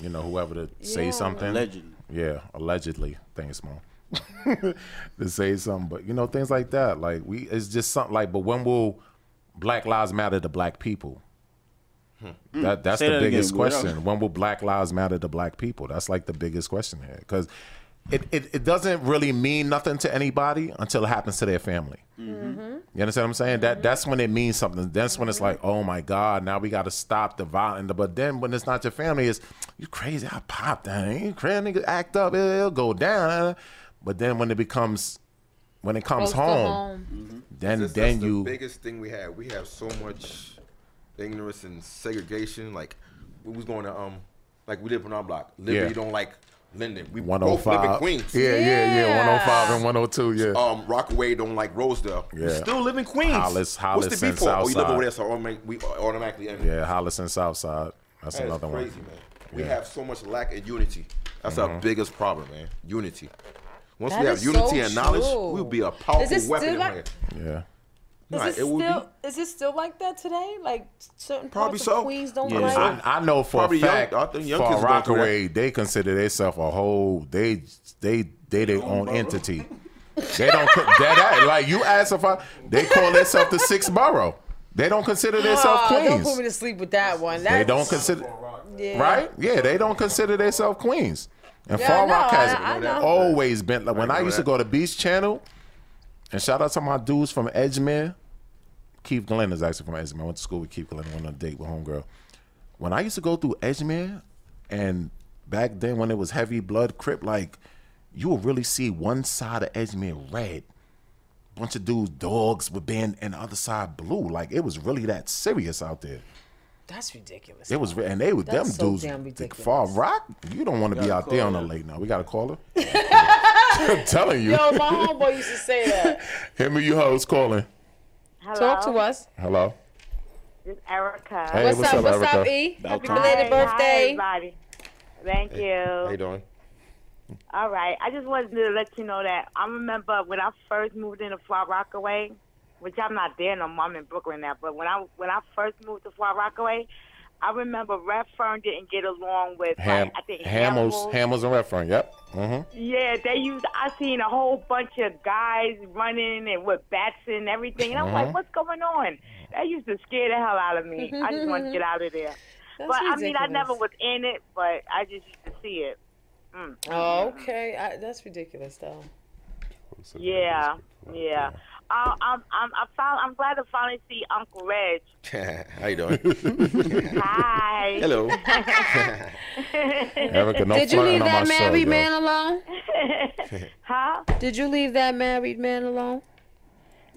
D: you know whoever to say
C: Yeah.
D: something.
E: Allegedly.
D: Yeah, allegedly. Thanks, mom. (laughs) to say something, but you know things like that. Like we, it's just something like. But when will Black Lives Matter to Black people? That that's
E: Hmm. Say
D: the
E: that again,
D: biggest
E: Will.
D: question. When will Black Lives Matter to Black people? That's like the biggest question here because. It, it, it doesn't really mean nothing to anybody until it happens to their family. You understand what I'm saying? That that's when it means something. That's when it's like, oh my God, now we got to stop the violence. But then when it's not your family, it's you crazy. I popped that. You crazy nigga, act up. It'll, it'll go down. But then when it becomes, when it
C: Close
D: comes
C: to
D: home,
C: home.
D: then
F: This-
D: then
F: that's
D: you
F: the biggest thing we have. We have so much ignorance and segregation. Like we was going to um, like we live on our block. Liberty
D: Yeah.
F: don't like Linden. We both live in
D: 105.
F: Queens.
D: Yeah, yeah, yeah.
C: Yeah.
D: 105 and 102. Yeah.
F: Um, Rockaway don't like Rosedale. We
D: Yeah.
F: still live in Queens.
D: Hollis- Hollis
F: What's the
D: and
F: default? Oh, you live
D: Southside.
F: over there, so automatic- we automatically. envy.
D: yeah, Hollis and Southside. That's
F: That's
D: another one.
F: crazy,
D: Mm-hmm.
F: man. We have so much lack of unity. That's our biggest problem, man. Unity. Once
C: That
F: we have
C: is
F: unity
C: so
F: and knowledge,
C: true.
F: we'll be a
C: Is it
F: powerful
C: still
F: weapon. in
C: like-
F: hand.
D: Yeah.
F: Nah,
C: is it,
F: will be.
C: still is it still like that today? Like certain
F: Probably
C: parts
F: so.
C: of Queens don't Uh,
E: Yeah.
C: like.
E: So-
D: I, I know for
F: Probably
D: a
F: young-
D: fact
F: I think young
D: for
F: kids are going through that.
D: Rockaway, they consider themselves a whole they they they their own entity. They don't co- that, that like you ask if I they call themselves the sixth borough. They don't consider themselves
C: Ah, don't
D: queens.
C: put me to sleep with that one.
D: they
C: That's-
D: don't consider
C: yeah.
D: right? Yeah, they don't consider themselves queens. And
C: Yeah, I
D: Far
C: know,
D: Rock has
C: I- I know.
D: always been like when
F: I
D: I
F: know
D: used to
F: that.
D: go to Beach Channel, and shout out to my dudes from Edgeman. Keith Glenn is actually from Edgeman. I went to school with Keith Glenn. Went on a date with homegirl. When I used to go through Edgeman, and back then when it was heavy blood crip, like you would really see one side of Edgeman red bunch of dudes dogs would be in, and the other side blue like it was really that serious out there
C: That's ridiculous. (laughs)
D: it was, re- and they were them
C: That's so
D: dudes.
C: damn
D: the
C: ridiculous.
D: Far Rock, you don't want to be
E: Gotta
D: out there on
E: call
D: a
E: her.
D: late now. We got to call
C: (laughs)
D: her. I'm telling you,
C: Yo, my homeboy used to say that.
D: him or you hoes calling.
G: Hello.
C: (laughs) Talk to us.
D: Hello.
G: This is Erica.
D: Hey,
C: What's,
D: what's
C: up?
D: up,
C: What's up,
D: Erica?
C: E? Happy
E: About
C: belated
G: Hi, Hi,
C: birthday.
G: everybody. Thank you.
F: Hey, Don.
G: All right. I just wanted to let you know that I remember when I first moved into Far Rockaway, which I'm not there no more. I'm in Brooklyn now. But when I when I first moved to Far Rockaway, I remember Red Fern didn't get along with
D: Ham,
G: like, I think
D: Hamels,
G: Hamels.
D: Hamels and Redfern. Yep. Mm-hmm.
G: Yeah, they used. I seen a whole bunch of guys running and with bats and everything, and I'm
D: Mm-hmm.
G: like, what's going on? That used to scare the hell out of me.
C: (laughs)
G: I just wanted to get out of there.
C: That's
G: but I mean, I
C: ridiculous.
G: never was in it, but I just used to see it.
C: Oh, okay. I, that's ridiculous, though.
G: Yeah, yeah. Uh, I'm I'm I found, I'm glad to finally see Uncle Reg.
F: (laughs) How you
D: (laughs)
F: doing?
G: Hi.
F: Hello.
D: Erica, no
C: Did you
D: flirting
C: leave
D: on my
C: that
D: show,
C: married
D: yo.
C: man alone?
G: huh?
C: Did you leave that married man alone?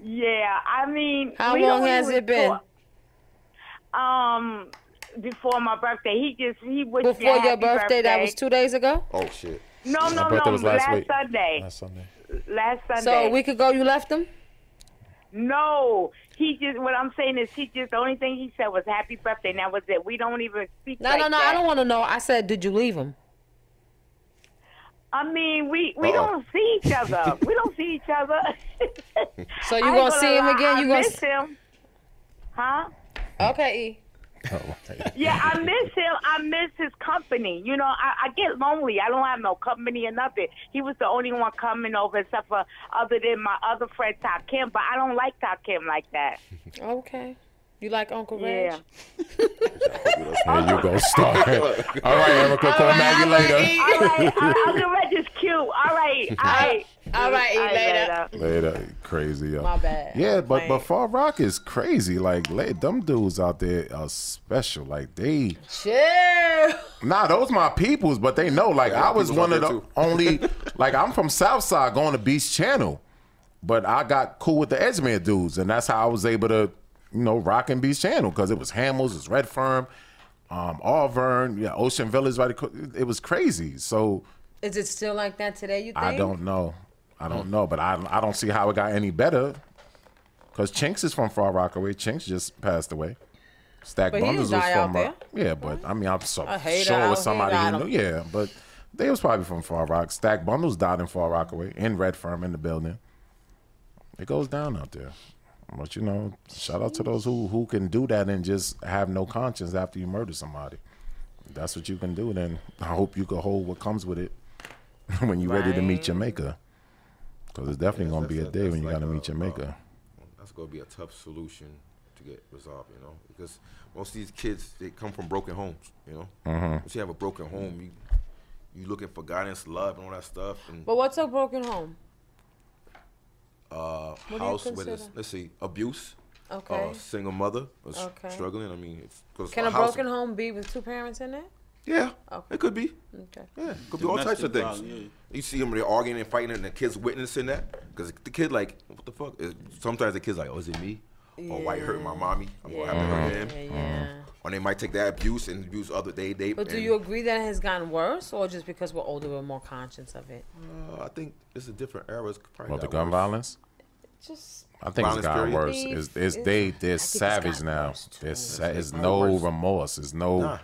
G: Yeah. I mean,
C: How
G: we
C: long
G: only
C: has
G: was
C: it been?
G: talk- Um, before my birthday, he just he wished me a
C: Before your
G: happy
C: birthday, that was two days ago.
D: (laughs)
F: oh shit.
G: No, no,
D: birthday
G: no.
D: was last
G: last,
D: week.
G: Sunday.
D: That's Sunday.
G: Last Sunday.
C: So a week ago, you left him.
G: No, he just. What I'm saying is, he just. The only thing he said was "Happy birthday." And that was it. We don't even speak.
C: No,
G: like
C: no, no.
G: that.
C: I don't want to know. I said, did you leave him?
G: I mean, we we
F: Uh-oh.
G: don't see each (laughs) other. we don't see each other.
C: (laughs) So you
G: I ain't
C: gonna see him
G: lie,
C: again?
G: I
C: You gonna?
G: miss
C: s-
G: him? Huh?
C: Okay. E.
G: Yeah,
C: (laughs)
G: I miss him. I miss his company. You know, I, I get lonely. I don't have no company or nothing. He was the only one coming over, except for other than my other friend Takim. But I don't like Takim like (laughs) that.
C: Okay. You like Uncle Reg?
G: Yeah.
D: Oh, (laughs) There you
C: (laughs)
D: go. Start. All right, Erica, come
C: right,
D: back you
C: all right,
D: later.
C: E.
G: All right, I, I'm gonna register cute. All right, all right.
C: All right, E.
G: All right,
C: Later.
D: Later, crazy. Yo.
C: My bad.
D: Yeah, but
C: Like,
D: but Far Rock is crazy. Like, la- them dudes out there are special. Like, they
C: chill.
D: nah, those my peoples, but they know. Like,
F: Yeah,
D: I was
F: peoples
D: one of
F: out
D: the
F: there too.
D: only.
F: (laughs)
D: Like, I'm from Southside, going to Beach Channel, but I got cool with the Edgemere dudes, and that's how I was able to, you know, rock and Beach Channel because it was Hamels, it was Red Firm, um, Auburn, yeah, Ocean Village. Right, acro- it was crazy. So
C: Is it still like that today? You think?
D: I don't know. I don't know, but I I don't see how it got any better. Cause Chinks is from Far Rockaway. Chinks just passed away. Stack
C: But he
D: Bundles
C: didn't
D: was
C: die
D: from
C: out
D: uh, yeah, but I mean I'm so
C: A hater
D: sure it
C: out
D: was
C: here
D: somebody
C: got
D: he knew. Yeah, but they was probably from Far Rock. Stack Bundles died in Far Rockaway in Red Firm in the building. It goes down out there. But you know, shout out to those who who can do that and just have no conscience after you murder somebody. That's what you can do. Then I hope you can hold what comes with it (laughs) when you're ready to meet your maker. Because it's definitely gonna be a
F: that's-
D: day
F: that's
D: when you
F: like
D: gotta
F: a,
D: meet your
F: uh,
D: maker.
F: That's gonna be a tough solution to get resolved, you know, because most of these kids they come from broken homes, you know. Once you have a broken home, you you looking for guidance, love, and all that stuff, and
C: But what's a broken home?
F: uh,
C: you
F: house with us.
C: consider?
F: Let's see, abuse,
C: Okay.
F: uh, single mother, was
C: Okay.
F: struggling. I mean, it's, cause
C: Can a
F: house-
C: broken home be with two parents in it?
F: Yeah,
C: Okay.
F: it could be.
C: Okay.
F: Yeah, it could be all types
E: Domestic
F: of things.
E: violence,
F: You see them, they're arguing and fighting, and the kids witnessing that. Because the kid, like, what the fuck? It- sometimes the kid's like, oh, is it me? Or why you hurting my mommy? I'm gonna have to hurt him.
C: Yeah, yeah.
D: Um,
F: Or they might take that abuse and abuse other. They, they.
C: But do
F: and,
C: you agree that it has gotten worse, or just because we're older, we're more conscious of it?
F: Uh, I think it's a different era. It's probably
D: Well, the
F: got
D: gun
F: worse.
D: violence.
C: Just
D: I think
F: Violence
D: it's gotten
F: period.
D: worse. It's, it's they they're
C: it's
D: savage
C: gotten
D: now.
C: worse, too.
D: There's sa- it's
F: gotten
D: no
F: worse.
D: remorse. It's no
F: Nah.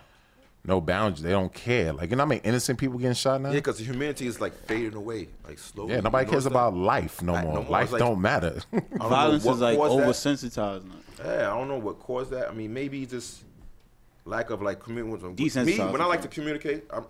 D: no boundaries. They don't care. Like you know, how many innocent people getting shot now.
F: Yeah,
D: Yeah,
F: because humanity is like fading away, like slowly.
D: nobody
F: You
D: cares
F: notice
D: about
F: that?
D: life no
F: Like,
D: more.
F: no more.
D: life
F: It's like- Oh,
D: don't
F: (laughs)
D: matter.
F: I don't know
E: Violence
F: what
E: is like
F: caused that.
E: oversensitized now.
F: Yeah, I don't know what caused that. I mean, maybe just lack of like communication. Me,
E: Desensitized,
F: when I like
E: okay.
F: to communicate, I'm,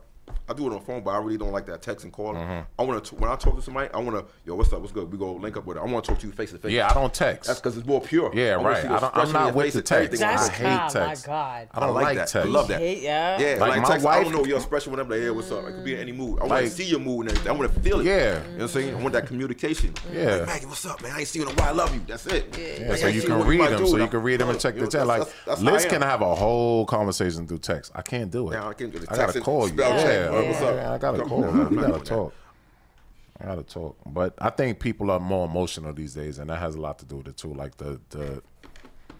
F: I do it on phone, but I really don't like that text and call.
D: Mm-hmm.
F: I want to when I talk to somebody, I want to yo, what's up? What's good? We go link up with it. I want to talk to you face to
D: (laughs)
F: face.
D: yeah, I don't text.
F: that's because it's more pure.
D: Yeah,
F: I wanna
D: right.
F: see
D: I don't, I'm
F: expression in
D: not
F: your
D: with
F: face
D: the
F: and everything.
D: text.
F: Like,
C: That's
D: I
F: I-
D: hate
C: Oh, my
D: text.
C: God.
D: I don't
F: I like
D: like
F: that.
D: text.
F: I love that.
C: hate, yeah.
F: Yeah,
D: Like,
F: like,
D: my
F: text, I
D: wife-
F: don't know your expression when I'm like, yeah, what's up? It could be in any mood. I want
D: Like-
F: to see your mood and everything. I want to feel it.
D: Yeah.
F: You know what I'm saying? I want that communication.
D: Yeah.
F: Like, Maggie, what's up, man? I ain't seen you in a while. I love you. That's it.
D: Yeah,
F: Like,
D: so
F: I
D: you
F: see
D: can
F: what
D: read
F: my
D: them.
F: dude,
D: So you
F: I'm-
D: can read them and check the
F: That's-
D: text. Like,
F: that's- that's how
D: Liz
F: I am.
D: can have a whole conversation through text. I can't do it.
F: Nah, I can't do the
D: I gotta
F: text.
D: call you.
F: Spell
D: yeah,
F: check, bro.
D: yeah,
F: What's up?
D: yeah, I gotta
F: Come
D: call.
F: on.
D: man.
F: (laughs)
D: We gotta
F: Come on.
D: talk. I gotta talk. But I think people are more emotional these days, and that has a lot to do with it too. Like the the the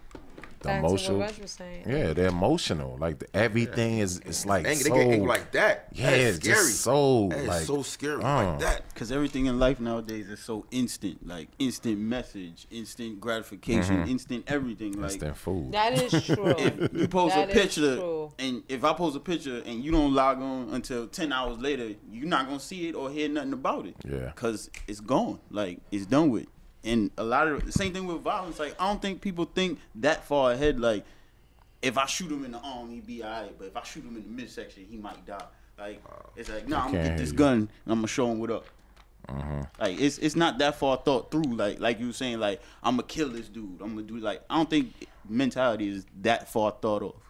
C: Back to what
D: emotional.
C: Reg was saying.
D: Yeah, they're emotional. Like the, everything is it's like
F: Angry,
D: so.
F: they get angry like that.
D: Yeah,
F: that is
D: it's
F: scary.
D: just so,
F: that is
D: like,
F: so scary.
D: uh.
F: like that.
E: Cause everything in life nowadays is so instant, like instant message, instant gratification, instant everything. Like
D: instant food.
C: That
D: (laughs)
C: is true.
E: if you post
C: That
E: a
C: is
E: picture
C: true.
E: and if I post a picture and you don't log on until ten hours later, you're not gonna see it or hear nothing about it.
D: Yeah.
E: Cause it's gone. Like it's done with. And a lot of same thing with violence. Like I don't think people think that far ahead. Like if I shoot him in the arm, he be alright. But if I shoot him in the midsection, he might die. Like it's like no, nah, I'm
D: can't
E: gonna
D: hear
E: get this
D: you.
E: gun and I'm gonna show him what up. Like it's it's not that far thought through. Like like you were saying, like I'm gonna kill this dude. I'm gonna do like I don't think mentality is that far thought off.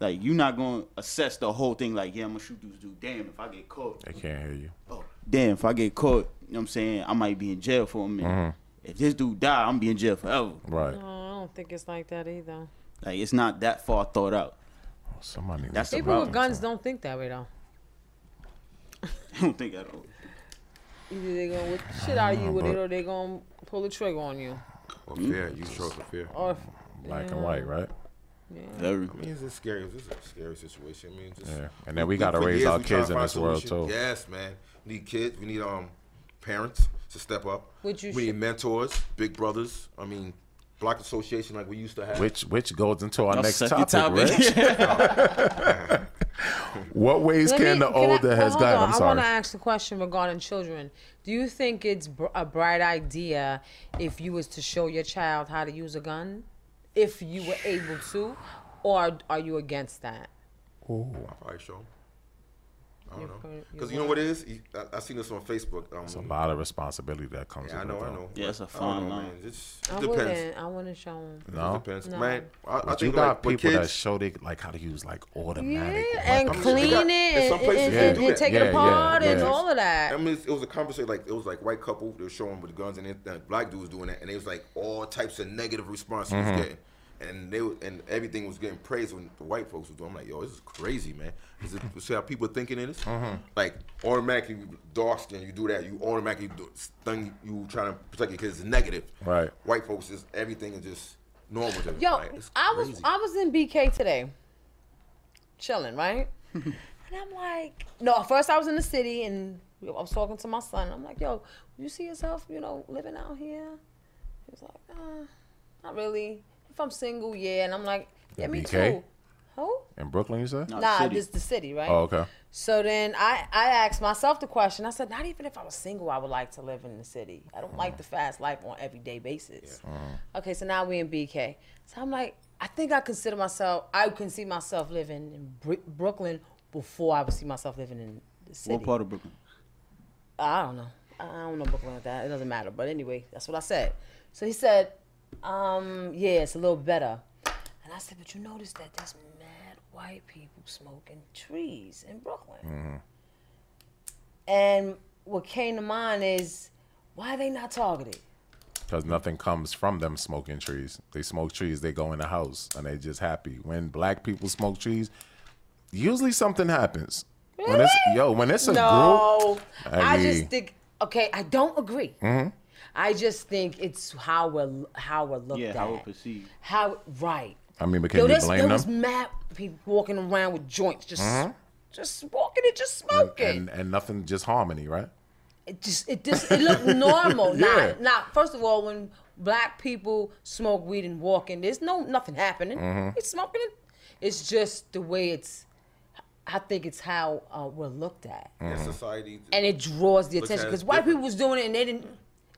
E: Like you're not gonna assess the whole thing. Like yeah, I'm gonna shoot this dude. Damn, if I get caught,
D: I can't hear you.
E: oh, damn, if I get caught, you know what I'm saying, I might be in jail for a minute. If this dude die, I'm be in jail forever.
D: Right.
C: Oh, I don't think it's like that either.
E: Like it's not that far thought out. (laughs)
D: Somebody.
E: That's the
C: People with
E: problem.
C: guns don't think that way though.
E: I don't think at all.
C: Either they gonna whip the shit out of you with it, or they gonna pull the trigger on you.
F: Or fear. You show for fear.
C: Or if,
D: black and white, right?
E: Very.
F: I mean, it's a scary, it's a scary situation. I mean, just
D: Yeah. And then we gotta
F: for
D: raise
F: years
D: our
F: we trying
D: kids
F: to
D: in
F: find
D: this world,
F: solutions.
D: too.
F: Yes, man. We need kids. We need um parents to step up.
C: Would you
F: we
C: sh-
F: need mentors, big brothers. I mean, block association like we used to have.
D: Which which goes into our
E: I'll
D: next
E: suck
D: topic,
E: your (laughs) topic.
D: Rich. What ways
C: Let me-
D: can the
C: can I-
D: older
C: well,
D: has
C: hold
D: gotten?
C: on.
D: I'm
C: I want
D: sorry.
C: to ask a question regarding children. Do you think it's br- a bright idea if you was to show your child how to use a gun, if you were able to, or are you against that?
F: I probably show 'em.
C: You
F: I don't know.
C: probably- you
F: Because you know what it is? You- I, I seen this on Facebook.
D: It's a
F: Um,
D: lot of responsibility that comes.
F: yeah, I
D: with
F: know,
D: it,
F: I
D: though.
F: know.
E: Yeah, it's a
F: I don't
E: fine
F: know,
E: line.
F: man. It's, it
C: I
F: depends.
C: wouldn't. I wouldn't show them.
D: No?
F: It depends.
C: No.
F: Man, I, I
D: But you
F: think
D: got
F: like, with
D: people that
F: kids,
D: show they like how to use like
C: Yeah,
D: automatic.
C: and
D: weapons.
F: they
C: clean
F: got-
C: it
F: in some
C: and,
F: places
C: and,
F: they
C: and,
F: do
C: and
F: that.
C: take
D: Yeah,
C: it
D: yeah,
C: apart
D: yeah.
C: and all of
F: I
C: that.
F: mean, it was a conversation like it was like white couple they were showing with the guns and it, uh, black dudes doing that, and it was like all types of negative response he was getting, and they were- and everything was getting praised when the white folks was doing. I'm like, yo, this is crazy, man. Is it you see how people thinking it is? Like automatically you dark skin, you do that, you automatically do, thing you trying to protect your kids is negative.
D: Right.
F: White folks is everything is just normal. To them.
C: Yo,
F: Like, it's
C: I was
F: crazy.
C: I was in BK today, chilling, right? and I'm like, no. at First, I was in the city, and I was talking to my son. I'm like, yo, you see yourself, you know, living out here? He was like, uh, not really. If I'm single, yeah. And I'm like, yeah,
D: In
C: me
D: BK?
C: too. Who?
D: in Brooklyn, you said?
E: Nah,
C: Nah,
E: city.
C: this the city, right?
D: Oh, okay.
C: So then I, I asked myself the question. I said, not even if I was single, I would like to live in the city. I don't like the fast life on everyday basis. Okay, so now we in BK. So I'm like, I think I consider myself, I can see myself living in Br- Brooklyn before I would see myself living in the city.
E: What part of Brooklyn?
C: I don't know. I don't know Brooklyn like that. It doesn't matter. But anyway, that's what I said. So he said, um, yeah, it's a little better. And I said, but you notice that there's mad white people smoking trees in Brooklyn.
D: Mm-hmm.
C: And what came to mind is, why are they not targeted?
D: Because nothing comes from them smoking trees. They smoke trees, they go in the house, and they just happy. When black people smoke trees, usually something happens. When it's
C: Really?
D: yo, when it's a
C: no,
D: group,
C: I,
D: mean, Mm-hmm.
C: just think. Okay, I don't agree. I just think it's how we're how we're looked
E: Yeah,
C: at.
E: how we perceive.
C: How right?
D: I mean, but can
C: Yo,
D: you
C: there's,
D: blame
C: there
D: them?
C: was mad people walking around with joints, just just walking and just
D: and,
C: smoking.
D: and and nothing, just harmony, right?
C: it just it just it looked
D: (laughs)
C: normal.
D: Yeah.
C: Not not first of all when black people smoke weed and walking, there's no nothing happening.
D: Mm-hmm.
C: It's smoking it. It's just the way it's. I think it's how uh, we're looked at,
F: in society.
C: and it draws the
F: Look at
C: attention
F: it
C: because white people
F: different.
C: was doing it and they didn't.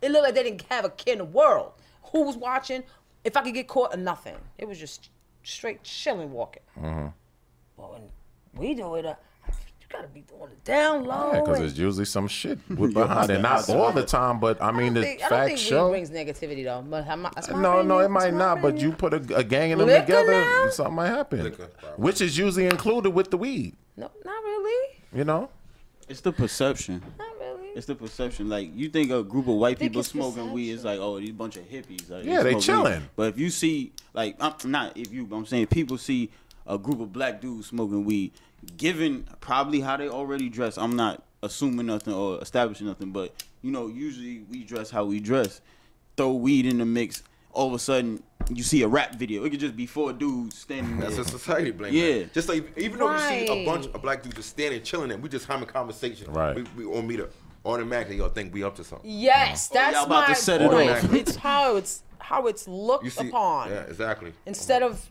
C: It looked like they didn't have a care in the world. Who was watching? If I could get caught or nothing, it was just straight chilling walking.
D: Mm-hmm.
C: But when we do it, uh, you gotta be doing it down low.
D: Because
C: and-
D: there's usually some
F: (laughs)
D: shit with behind it. Not all the time, but I mean, the
C: think- I don't
D: facts
C: think
D: show.
C: weed brings negativity though. But I'm not, that's my
D: No, no,
C: opinion.
D: it might
C: That's my
D: not. But you
C: opinion.
D: put a, a gang of them
C: Liquor
D: together,
C: now?
D: something might happen,
F: Liquor, probably.
D: which is usually included with the weed.
C: no, not really,
D: You know,
E: It's the perception.
C: not really.
E: It's the perception. Like you think a group of white
C: think
E: people
C: it's
E: smoking weed is
C: perception.
E: like, oh, these bunch of hippies. Like,
D: Yeah, they
E: smoke weed.
D: chilling.
E: But if you see, like, I'm not if you, but I'm saying people see a group of black dudes smoking weed, given probably how they already dress. I'm not assuming nothing or establishing nothing, but you know, usually we dress how we dress. Throw weed in the mix. All of a sudden, you see a rap video. It could just be four dudes standing
F: That's
E: there.
F: a society blame.
E: Yeah.
F: man. Just like even though we see a bunch
C: Right.
F: of black dudes just standing chilling and we just having conversation.
D: Right.
F: We, we on meet up automatically. Y'all think we up to something. Oh,
C: Yes, that's
E: y'all about
C: my
E: to set it
C: point.
F: off.
C: it's how it's how it's looked
F: You see?
C: upon.
F: Yeah, exactly.
C: Instead of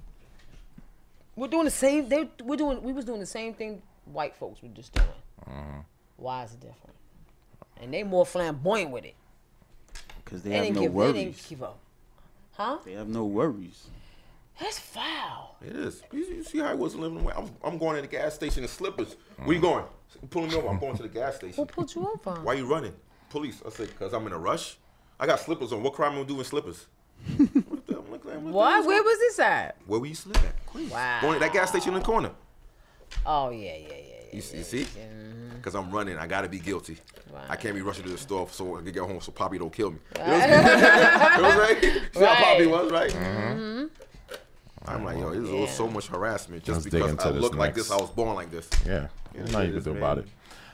C: we're doing the same, they we're doing we was doing the same thing white folks were just doing. Why is it different? And they more flamboyant with it.
E: Because they
C: They
E: have
C: didn't
E: no
C: give. They didn't
E: worries.
C: give up. Huh?
E: They have no worries.
C: That's foul.
F: It is. You, you see how I was living away. I'm, I'm going to the gas station in slippers. Where you going? Pulling me over. I'm going to the gas
C: Who (laughs)
F: station.
C: pulled you over?
F: Why you running? Police. I said, cause I'm in a rush. I
C: (laughs)
F: got slippers on. What crime am I doing slippers? what? The, I'm like, what the hell's
C: What?
F: going-
C: Where was this at?
F: Where we used to live at? Going to that gas station in the corner.
C: Oh yeah, yeah, yeah. yeah.
F: You, see- you see? Because I'm running. I got to be guilty. I can't be rushing to the store so I can get home so Poppy don't kill me. You know what I'm saying? (laughs) You know what I'm saying? See how Poppy
C: Right. Mm-hmm.
F: was, right? I'm like, yo, it was, it was so much harassment just
D: Let's dig
F: because
D: into
F: I
D: this
F: look like
D: next.
F: this. I was born like this.
D: Yeah. There's nothing you
F: it
D: can
F: is,
D: do
F: man.
D: about it.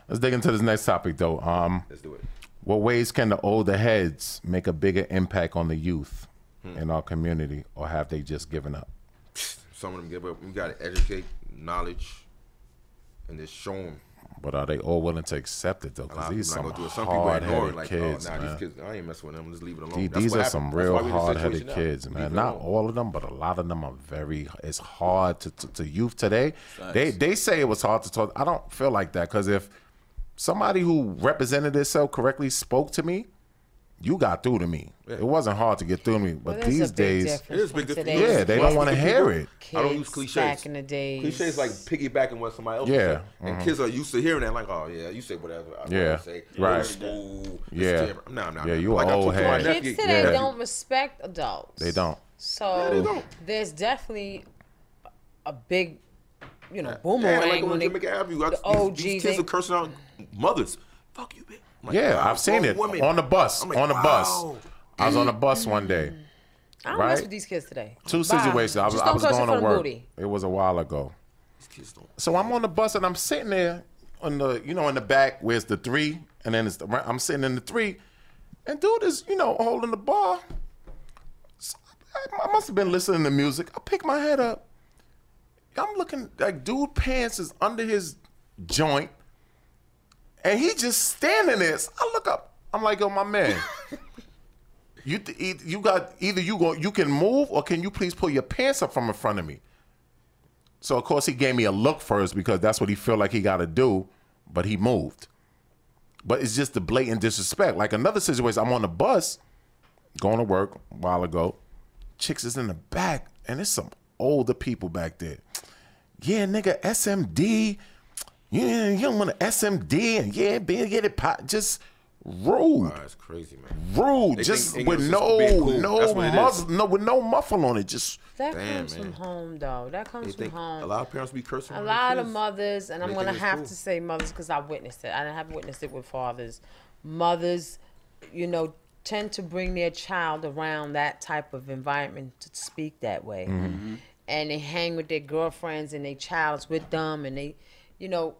D: Let's dig into this next topic though. Um,
F: Let's do it.
D: what ways can the older heads make a bigger impact on the youth
F: Hmm.
D: in our community, or have they just given up?
F: Some of them give up. We got to educate, knowledge, and just show them.
D: But are they all willing to accept it though?
F: A
D: Because
F: lot of
D: these
F: people
D: some
F: not gonna do it. Some people ignore it.
D: hard-headed
F: Like,
D: kids,
F: oh, nah,
D: man.
F: these kids, I ain't messing with them. Just leave it alone.
D: These,
F: That's
D: these
F: what
D: are
F: happened.
D: some
F: That's why
D: real
F: we in this
D: hard-headed
F: situation now.
D: kids,
F: Leave
D: man.
F: it
D: Not
F: alone.
D: all of them, but a lot of them are very. It's hard to, to, to youth today. They they say it was hard to talk. I don't feel like that because if somebody who represented itself correctly spoke to me, you got through to me. It wasn't hard to get through to me. But
C: Well, there's
D: these
C: a big
D: days,
F: It is
C: difference
F: big
C: from
F: difference.
D: yeah,
C: today's
F: Yeah,
D: they
F: Well,
D: don't want to
F: people-
D: hear it.
C: kids
F: I don't use cliches.
C: back in the days.
F: Cliches like piggybacking what somebody else
D: Yeah, mm-hmm.
F: said. And kids are used to hearing that, like, oh, yeah, you say whatever. I
D: Yeah,
F: yeah. Say. Go to
D: right.
F: School, it's
D: Yeah.
F: different. Nah, nah,
D: Yeah,
F: nah.
D: you a
F: like I
D: old
F: talked to
D: head.
F: my
D: Nephew-
C: Kids today
D: yeah.
C: don't respect adults.
D: they don't.
C: So
F: they don't.
C: there's definitely a big, you know,
F: Yeah,
C: boomerang
F: like on
C: when they,
F: Jamaica Avenue. I,
C: the
F: these,
C: OGs.
F: these kids
C: they-
F: are cursing out mothers. Fuck you, bitch. I'm like,
D: Yeah,
F: wow,
D: I've seen
F: grown
D: it
F: women.
D: on the bus.
F: I'm like,
D: on the
F: wow.
D: bus, I was on a bus one day.
C: I don't
D: right?
C: mess with these kids today.
D: Two
C: Bye.
D: situations. I was,
C: Just
D: I
C: don't
D: was
C: curse
D: going
C: in front
D: to
C: of
D: work.
C: Booty.
D: It was a while ago.
F: These kids don't.
D: So I'm on the bus and I'm sitting there on the, you know, in the back where's the three, and then it's the, I'm sitting in the three, and dude is, you know, holding the bar. So I, I must have been listening to music. I pick my head up. I'm looking like dude pants is under his joint, and he just standing there. So I look up. I'm like, yo, my man. You, th- eith- you got either you go you can move or can you please pull your pants up from in front of me? So of course he gave me a look first because that's what he felt like he got to do, but he moved. But it's just the blatant disrespect. Like another situation, I'm on the bus going to work a while ago. Chicks is in the back, and there's some older people back there. Yeah, nigga, SMD. Yeah, you don't want to SMD, and yeah, being get it pot. Just rude,
F: That's crazy, man.
D: rude,
F: They
D: just
F: think
D: with
F: English is
D: no,
F: being cool.
D: no,
F: That's what it
D: muff,
F: is.
D: no, with no muffle on it. Just
C: That
F: Damn,
C: comes from
F: man.
C: home, though. That
F: They
C: comes from
F: think
C: home.
F: a lot of parents be cursing.
C: a
F: on their
C: lot of
F: kids.
C: mothers, and I'm
F: They
C: gonna
F: think it's
C: have
F: cool.
C: to say mothers because I witnessed it. I didn't have witnessed it with fathers. Mothers, you know, tend to bring their child around that type of environment to speak that way,
F: Mm-hmm.
C: and they hang with their girlfriends and their child's with them, and they, you know,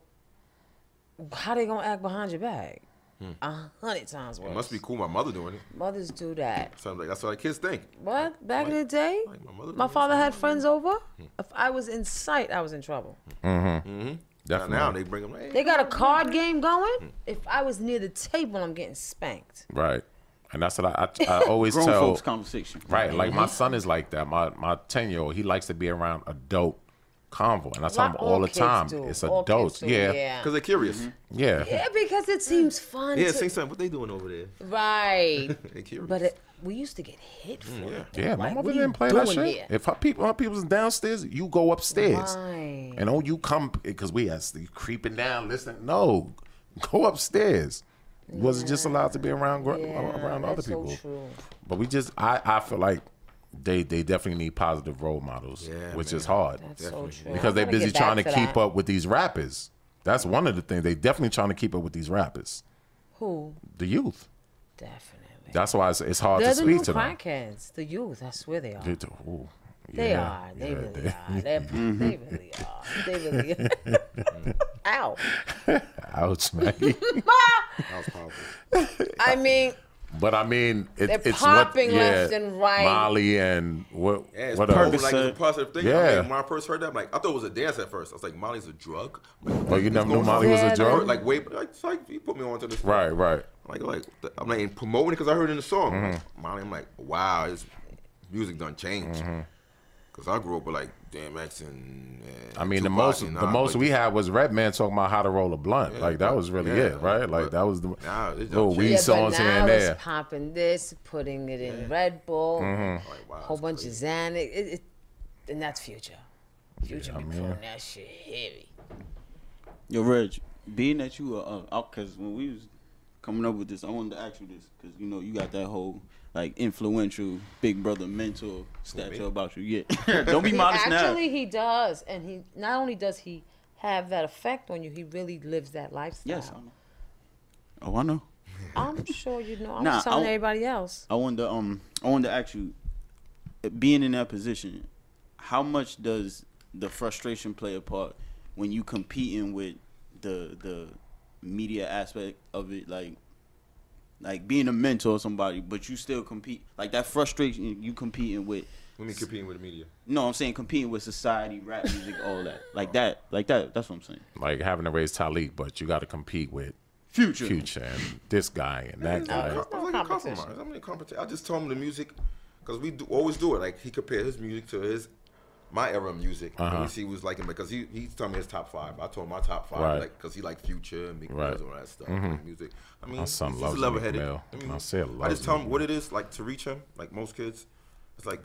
C: how they gonna act behind your back?
F: Hmm.
C: A hundred times worse.
F: It must be cool. My mother doing it.
C: Mothers do that.
F: So I'm like, that's what our kids think.
C: What back in the day?
F: Like, my mother
C: My
F: doing
C: father had friends over.
F: Hmm.
C: If I was in sight, I was in trouble.
F: Now,
D: Mm-hmm.
F: now they bring them. Hey,
C: They got a card game going. If I was near the table, I'm getting spanked.
D: Right. And that's what I, I, (laughs) I always
E: Grown
D: tell.
E: folks conversation.
D: Right. Like my son is like that. My my ten year old, he likes to be around adult convo, and I tell
C: Lot-
D: him all the
C: kids
D: time,
C: do.
D: it's
C: All kids
D: adults.
C: do,
D: Yeah. Mm. Yeah.
C: yeah.
F: because they're curious.
D: Mm-hmm.
C: Yeah, because it seems fun.
F: Yeah,
C: to-
F: sing something. What they doing over there?
D: (laughs)
C: right.
F: They curious.
C: but it, we used to get hit for it.
D: Mm, Yeah, my
C: Like,
D: mother
C: what are you
D: didn't play that
C: doing
D: shit.
C: here?
D: If her people, her people's downstairs, you go upstairs,
C: Right.
D: and oh, you come because we asked you creeping down, listening. No, go upstairs. Wasn't just allowed to be around gr-
C: Yeah,
D: around other
C: that's so
D: people.
C: true.
D: But we just, I, I feel like they they definitely need positive role models,
F: Yeah,
D: which
F: man.
D: is hard.
C: That's so true.
D: because they're
C: I'm gonna
D: busy
C: get
D: trying to
C: back
D: keep
C: that.
D: up with these rappers. That's one of the things they definitely trying to keep up with these rappers,
C: Who?
D: the youth.
C: Definitely.
D: That's why it's, it's hard
C: They're
D: to
C: the
D: speak
C: new
D: to them.
C: crackheads, the youth. I swear they are.
D: It- ooh,
C: They
D: yeah,
C: are. They
D: yeah,
C: really
D: they- Mm-hmm.
C: are.
D: (laughs)
C: They're, They really are. They really are. (laughs) Ow.
D: (laughs) Ouch, Maggie.
F: That was powerful.
C: I mean,
D: but I mean, it,
C: They're
D: it's
C: popping
D: what, yeah,
C: left and right.
D: Molly and what?
F: Yeah, it's
D: what else?
F: perfect. Like
E: Percocet.
F: it's a positive thing.
D: Yeah.
F: I mean, when I first heard that, I'm like, I thought it was a dance at first. I was like, Molly's a drug. I'm Like,
D: Oh, you
F: what's
D: never knew
F: going
D: Molly
F: on?
D: was
C: Yeah,
D: a drug.
F: Like way, like, it's like you put me onto this.
D: right, right.
F: Like, like th- I'm like promoting it because I heard it in the song. Like,
D: Mm-hmm.
F: Molly, I'm like, wow, his music done changed. Cause I grew up with like Damn X and. and
D: I mean, the
F: Tupac
D: most
F: and
D: the
F: Nas,
D: most
F: but
D: we had was Redman talking about how to roll a blunt. like that
F: but-
D: was really
F: yeah,
D: it, right? Like
F: but-
D: that was the
F: Nah, it's
D: little
F: done
D: weed
F: changed.
C: yeah, but
D: songs here
C: now
D: and there.
C: it's popping this, putting it in Red Bull,
D: Mm-hmm.
F: like, wow,
C: whole
F: it's
C: bunch
F: crazy.
C: of Xanax. It, it, and that's future. Future be
D: man.
C: pulling that shit heavy.
E: Yo, Reg, being that you are, uh, because when we was coming up with this. I wanted to ask you this because you know you got that whole like influential big brother mentor stature about you. Yeah, don't be modest
C: Actually,
E: now.
C: he does, and he not only does he have that effect on you, he really lives that lifestyle.
E: Yes, I know. Oh, I know.
C: I'm sure you know. I'm
E: Nah,
C: just telling
E: I-
C: everybody else.
E: I wanted to um I wanted to ask you, being in that position, how much does the frustration play a part when you competing with the the media aspect of it, like like being a mentor to somebody, but you still compete like that frustration you competing with.
F: Let me competing with the media.
E: No, I'm saying competing with society, rap music, all that, like that, like that. That's what I'm saying.
D: Like having to raise Talik, but you got to compete with
E: Future.
D: Future and this guy and
C: Mm,
D: that guy.
F: I'm not gonna compromise. I'm not gonna compromise. I just tell him the music, because we do, always do it. Like he compared his music to his my era of music.
D: Uh-huh.
F: And we see who's liking because he he told me his top five. I told him my top five,
D: Right.
F: like because he liked Future and Meek Mill
D: Right. Mm-hmm.
F: and all that stuff. like music. I mean,
D: My son
F: he's
D: loves
F: he's
D: Meek
F: level-headed.
D: Mill.
F: I mean,
D: My son
F: I
D: loves
F: just tell
D: Meek
F: him what it is like to reach him. Like most kids, it's like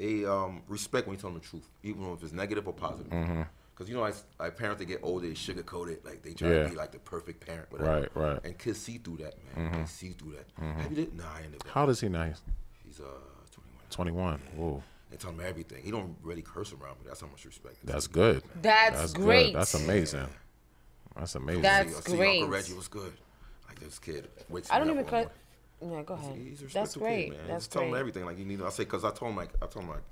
F: a um, respect when you tell them the truth, even if it's negative or positive.
D: Mm-hmm.
F: Cause you know, like, like parents that get older, they sugarcoat it. Like they try
D: Yeah.
F: to be like the perfect parent, whatever.
D: Right, right.
F: And kids see through that, man. They see through that. Have you did? Nah, I ended
D: Mm-hmm.
F: up.
D: How does he now? He's
F: He's uh 21.
D: 21. Whoa,
F: They tell him everything. He don't really curse around, but that's how much respect. they
D: that's good.
C: That's,
D: good.
C: great.
D: That's amazing. That's amazing.
F: tell
C: That's-
F: him. I oh, see- I see
C: great.
F: Uncle Reggie was good. Like this kid. wakes
C: I
F: me
C: don't
F: up
C: even.
F: one
C: Cl-
F: morning.
C: yeah, go ahead.
F: He's a
C: That's
F: respectful
C: great.
F: Kid, man.
C: That's
F: just tell him
C: great.
F: everything like you need. to- I say because I told him like I told him like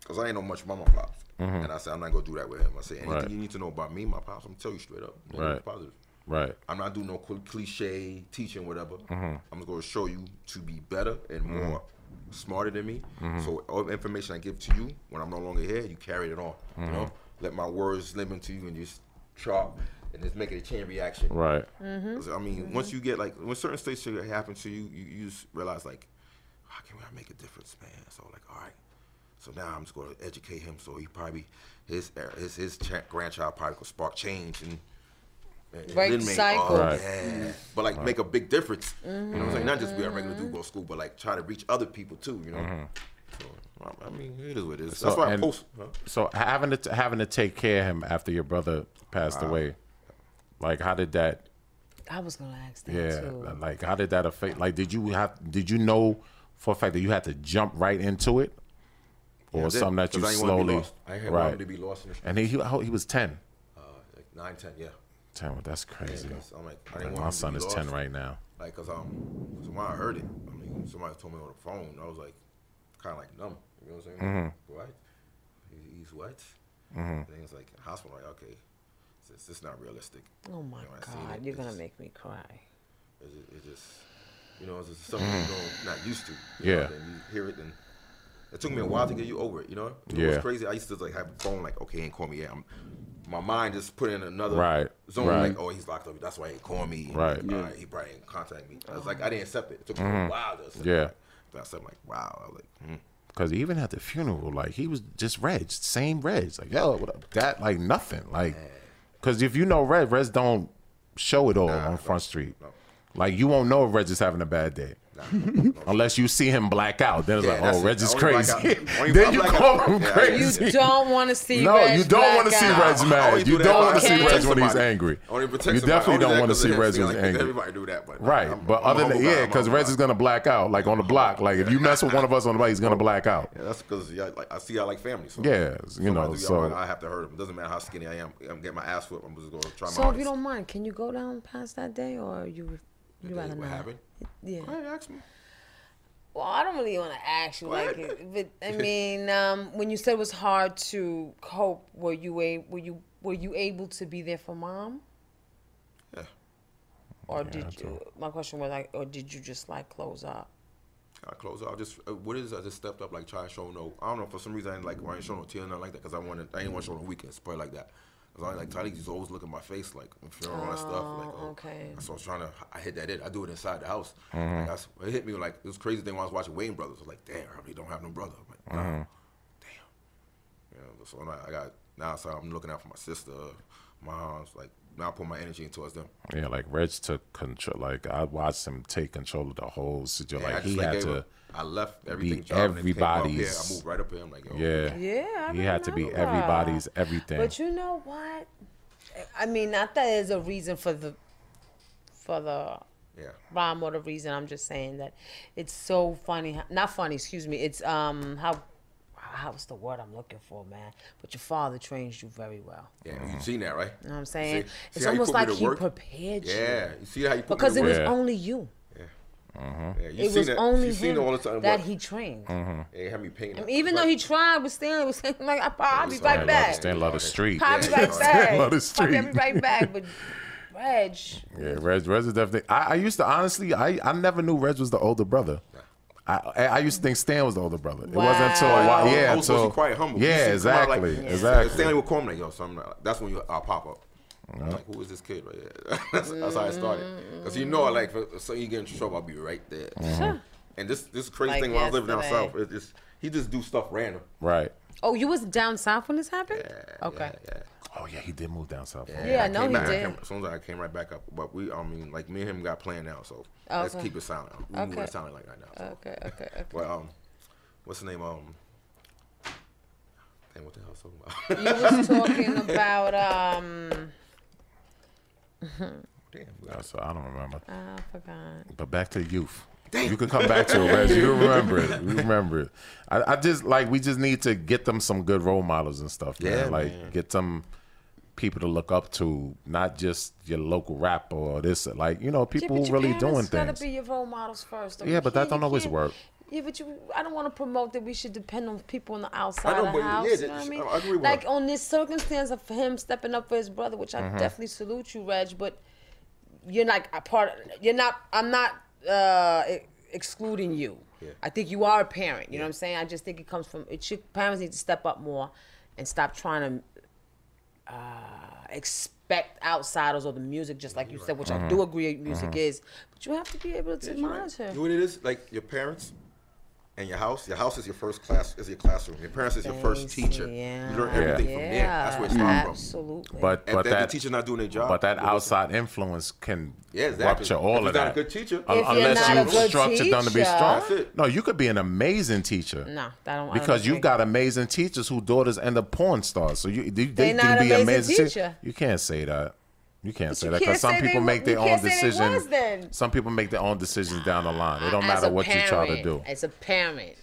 F: because I ain't know much about my pops, and I said I'm not gonna do that with him. I said anything
D: Mm-hmm. Right.
F: you need to know about me, my pops, I'm gonna tell you straight up. Negative,
D: Right.
F: Positive.
D: Right.
F: I'm not doing no cl- cliche teaching, whatever. I'm gonna show you to be better and more smarter than me. So all the information I give to you when I'm no longer here, you carry it on. You know, let my words live into you and just chop and just make it a chain reaction.
D: Right.
F: 'Cause, I mean, once you get like when certain states should happen to you, you, you just realize like, how can I make a difference, man? So like, all right. So now I'm just going to educate him, so he probably his er- his his cha- grandchild probably could spark change and. and
C: Break
F: then
C: the
F: make-
C: cycle.
F: oh,
D: Right.
F: yeah. But like make a big difference. You know what I'm saying? Not just be a regular dude go to school, but like try to reach other people too. You know. So I- I mean, it is what it is. That's
D: Mm-hmm. So,
F: why I
D: and-
F: post. Huh?
D: So having to t- having to take care of him after your brother passed away, like how did that?
C: I was gonna ask that
D: Yeah.
C: too.
D: Like how did that affect? Like did you have? Did you know for a fact that you had to jump right into it, or
F: Yeah, I did,
D: something that you
F: 'cause I ain't wanna be
D: slowly?
F: lost. I ain't wanted
D: right.
F: to be lost in the
D: And he oh, he, how- he was ten.
F: uh, like nine ten, yeah.
D: Ten. well, That's crazy.
F: So I'm like, I didn't
D: Like,
F: want
D: my
F: him to
D: son
F: be
D: is
F: lost.
D: ten right now.
F: Like, cause um, cause when I heard it, I mean, somebody told me on the phone, I was like, kind of like numb. You know what I'm saying?
D: Mm-hmm.
F: What? He- He's what? And then it's like hospital. Like, okay, it's, it's not realistic.
C: oh my
F: You know, I seen
C: God,
F: it.
C: you're gonna
F: It's-
C: make me cry.
F: It's, ju- it's just, you know, it's just something you don't not used to. you
D: Mm. Yeah.
F: Know? Then you hear it, and it took me a while to get you over it. You know? It
D: Yeah.
F: was crazy. I used to like have a phone like, okay, he ain't call me yet. I'm, my mind just put in another
D: Right,
F: zone
D: right.
F: like, oh, he's locked up. That's why he ain't calling me.
D: Right. Mm-hmm.
F: All right, He probably ain't contact me. I was like, I didn't accept it. It took me a while to accept
D: Yeah.
F: it. Then I said, like, wow. I was like, mm.
D: Cause even at the funeral, like he was just Reg, same Reg, like yo, what up? That like nothing, like, cause if you know Reg, Reg don't show it all on Front Street.
F: no.
D: Like you won't know if Reg is having a bad day
F: nah. no, no.
D: unless you see him black out. Then it's
F: Yeah,
D: like,
F: that's
D: oh,
F: it.
D: Reg is
F: Only black
D: crazy. (laughs)
F: out- only
D: then you
F: black
D: call
F: out.
D: him
F: Yeah, yeah.
D: crazy.
C: You don't
D: (laughs)
C: want to see.
D: No,
C: Reg
D: you don't want to
C: black
D: see
C: out.
D: Reg mad.
F: only
D: You
F: do
D: don't
F: that
D: want to
F: if (laughs) I
D: see
F: protect
D: Reg when he's
F: somebody.
D: angry.
F: Only protect
D: You
F: somebody.
D: definitely
F: Only do
D: don't
F: that
D: want to
F: 'cause
D: see
F: of him.
D: Reg when
F: like,
D: he's angry.
F: Everybody do that, but
D: Right,
F: I'm-
D: but
F: I'm a
D: other than
F: humble guy.
D: yeah,
F: I'm a
D: because
F: humble
D: Reg
F: guy.
D: is gonna black out. Like on the block, like if you mess with one of us on the block, he's gonna black out.
F: Yeah, that's because yeah, like I see y'all like family. So
D: Yeah, you know, so
F: I have to hurt him. It doesn't matter how skinny I am. I'm getting my ass whipped. I'm just gonna try
C: So
F: my
C: if you
F: hardest.
C: don't mind, can you go down past that day, or you you rather
F: what
C: not?
F: happened?
C: Yeah.
F: Go ahead, ask me.
C: Well, I don't really want to ask you like
F: ahead.
C: it, but
D: (laughs)
C: I mean, um, when you said it was hard to cope, were you a were you were you able to be there for mom?
F: Yeah.
C: Or did you? My question was like, or did you just like close up?
F: I close out. Just uh, what is? I just stepped up, like try to show no. I don't know. For some reason, I didn't like. I ain't show no tears, nothing like that, because I wanted. I didn't want to show no weakness, probably like that. Cause I like Talik just always look at my face, like I'm feeling all that stuff.
C: Oh,
F: Like, oh.
C: okay.
F: So I was trying to. I hit that in. I do it inside the house.
D: Mm-hmm.
F: Like, I s- it hit me like it was crazy thing when I was watching Wayne Brothers. I was like, damn, I really don't have no brother. I'm like, wow,
D: Mm-hmm.
F: damn. You know, so now I got now. So I'm looking out for my sister, my aunts. Like now, I put my energy into us them.
D: Yeah, like Reg took control. Like I watched him take control of the whole situation.
F: Yeah, I
D: like
F: just,
D: he
F: like,
D: had
F: gave
D: to,
F: up. I left everything.
D: be
F: job and came up here.
D: everybody's-
F: I moved right up here. I'm like, yo,
D: yeah,
C: Yeah, I
D: he had to be
C: remember.
D: everybody's everything.
C: But you know what? I mean, not that there's a reason for the for the
F: Yeah.
C: rhyme or the reason. I'm just saying that it's so funny. how- Not funny, excuse me. It's um how how's the word I'm looking for, man? But your father trains you very well.
F: Yeah,
D: Mm-hmm.
F: you seen that, right?
C: You know what I'm saying?
F: See- see
C: it's
F: how you
C: almost
F: put me
C: like
F: to
C: he
F: work?
C: prepared you.
F: Yeah, you see how you put
C: Because
F: me
C: it
F: to
C: was
F: work?
D: Yeah.
C: only you.
F: yeah, you
C: It
F: seen
C: was
F: that.
C: only
F: you seen
C: him
F: it all the time.
C: that
F: but-
C: he trained.
D: Mm-hmm.
F: They had me painting.
C: And
F: that-
C: even though he tried with Stanley, was saying like I'll, I'll be
F: it's
C: right
F: all right,
D: I
C: back.
D: understand love the street.
C: I'll be
F: (laughs) Yeah,
C: right
F: it's
C: back.
D: Love the
C: Fuck, I'll be
D: street.
C: right back. But Reg,
D: Yeah, Reg, Reg is definitely. I, I used to honestly, I, I never knew Reg was the older brother. I, I I used to think Stan was the older brother. It wasn't until a
C: Wow.
D: while, yeah,
F: I was supposed to
D: until
F: be quiet, humble. You
D: Yeah,
F: see, come out like-
D: exactly,
F: Yeah. If
D: exactly.
F: Stanley would call me like, yo, something. Like, that's when you, I'll pop up. I'm like, who is this kid right here? (laughs) that's, that's how I started. Because you know, like, if so you get in trouble, I'll be right there.
D: Mm-hmm.
F: And this this crazy
C: Like
F: thing when I was living down
C: yesterday.
F: south, it just he just do stuff random.
D: Right.
C: oh, you was down south when this happened? okay.
F: Yeah, yeah.
D: Oh yeah, he did move down south.
C: Yeah, I
F: came
C: know he
F: back- I
C: did.
F: came- as soon as I came right back up, but we, I mean, like me and him got planned out, so let's
C: Okay.
F: keep it silent. We okay. moving
C: Okay.
F: it silent like right now. So.
C: Okay. Okay. Okay.
F: But um, what's the name? Um, damn, what the hell? was I talking about?
C: You was talking about um.
F: (laughs) damn, we
D: Yeah,
F: got-
D: So I don't remember.
C: I forgot.
D: But back to youth. You could come back to it, Reg.
F: (laughs)
D: You remember it. You remember it. I, I just like we just need to get them some good role models and stuff. Man.
F: Yeah,
D: like
F: man.
D: get some people to look up to, not just your local rapper or this. Like you know, people
C: but
D: who
C: your
D: really
C: parents
D: doing
C: gotta
D: things.
C: be your role models first. though.
D: Yeah,
C: You
D: but that
C: can't-
D: don't
C: you
D: always
C: can't-
D: work.
C: Yeah, but you, I don't want to promote that we should depend on people on the outside of
F: don't
C: the
F: believe- yeah,
C: house.
F: that-
C: you know what I mean?
F: I agree with
C: like
F: her.
C: on this circumstance of him stepping up for his brother, which
D: Mm-hmm.
C: I definitely salute you, Reg. But you're like a part. You're not. I'm not uh, e- excluding you.
F: Yeah.
C: I think you are a parent. You know what I'm saying? I just think it comes from. It should, parents need to step up more and stop trying to expect outsiders or the music, just like you said, which I
D: Mm-hmm.
C: do agree music is. But you have to be able to
F: That's right.
C: monitor.
F: You know what it is? Like your parents and your house. Your house is your first class. Is your classroom. Your parents is your first
C: Basically,
F: teacher.
C: yeah.
F: You learn everything from there. That's where it starts from.
C: Absolutely.
D: But
F: If
D: but
F: that,
D: that
F: the teacher's not doing their job,
D: but that
F: it doesn't-
D: outside influence can
F: Yeah, exactly.
D: rupture all
F: If
D: of
F: you're not
D: that.
F: a good teacher-
C: If
D: Un-
C: you're
D: unless
C: not a
D: you've
C: good
D: structured them to be
C: teacher-
D: strong.
F: That's it.
D: No, you could be an amazing
C: no,
D: teacher.
C: that don't I don't
D: Because you've
C: agree.
D: got amazing teachers who daughters end up porn stars, so you they, they
C: They
D: can
C: not
D: be
C: amazing
D: amazing teachers.
C: teacher.
D: You can't say that. You can't say
C: you
D: that
C: can't
D: because some
C: say they
D: people
C: wa-
D: make their
C: you
D: own
C: can't say they was
D: decision.
C: then.
D: Some people make their own decisions down the line. It don't
C: As
D: matter
C: a
D: what you try to
C: parent,
D: do.
C: As a parent,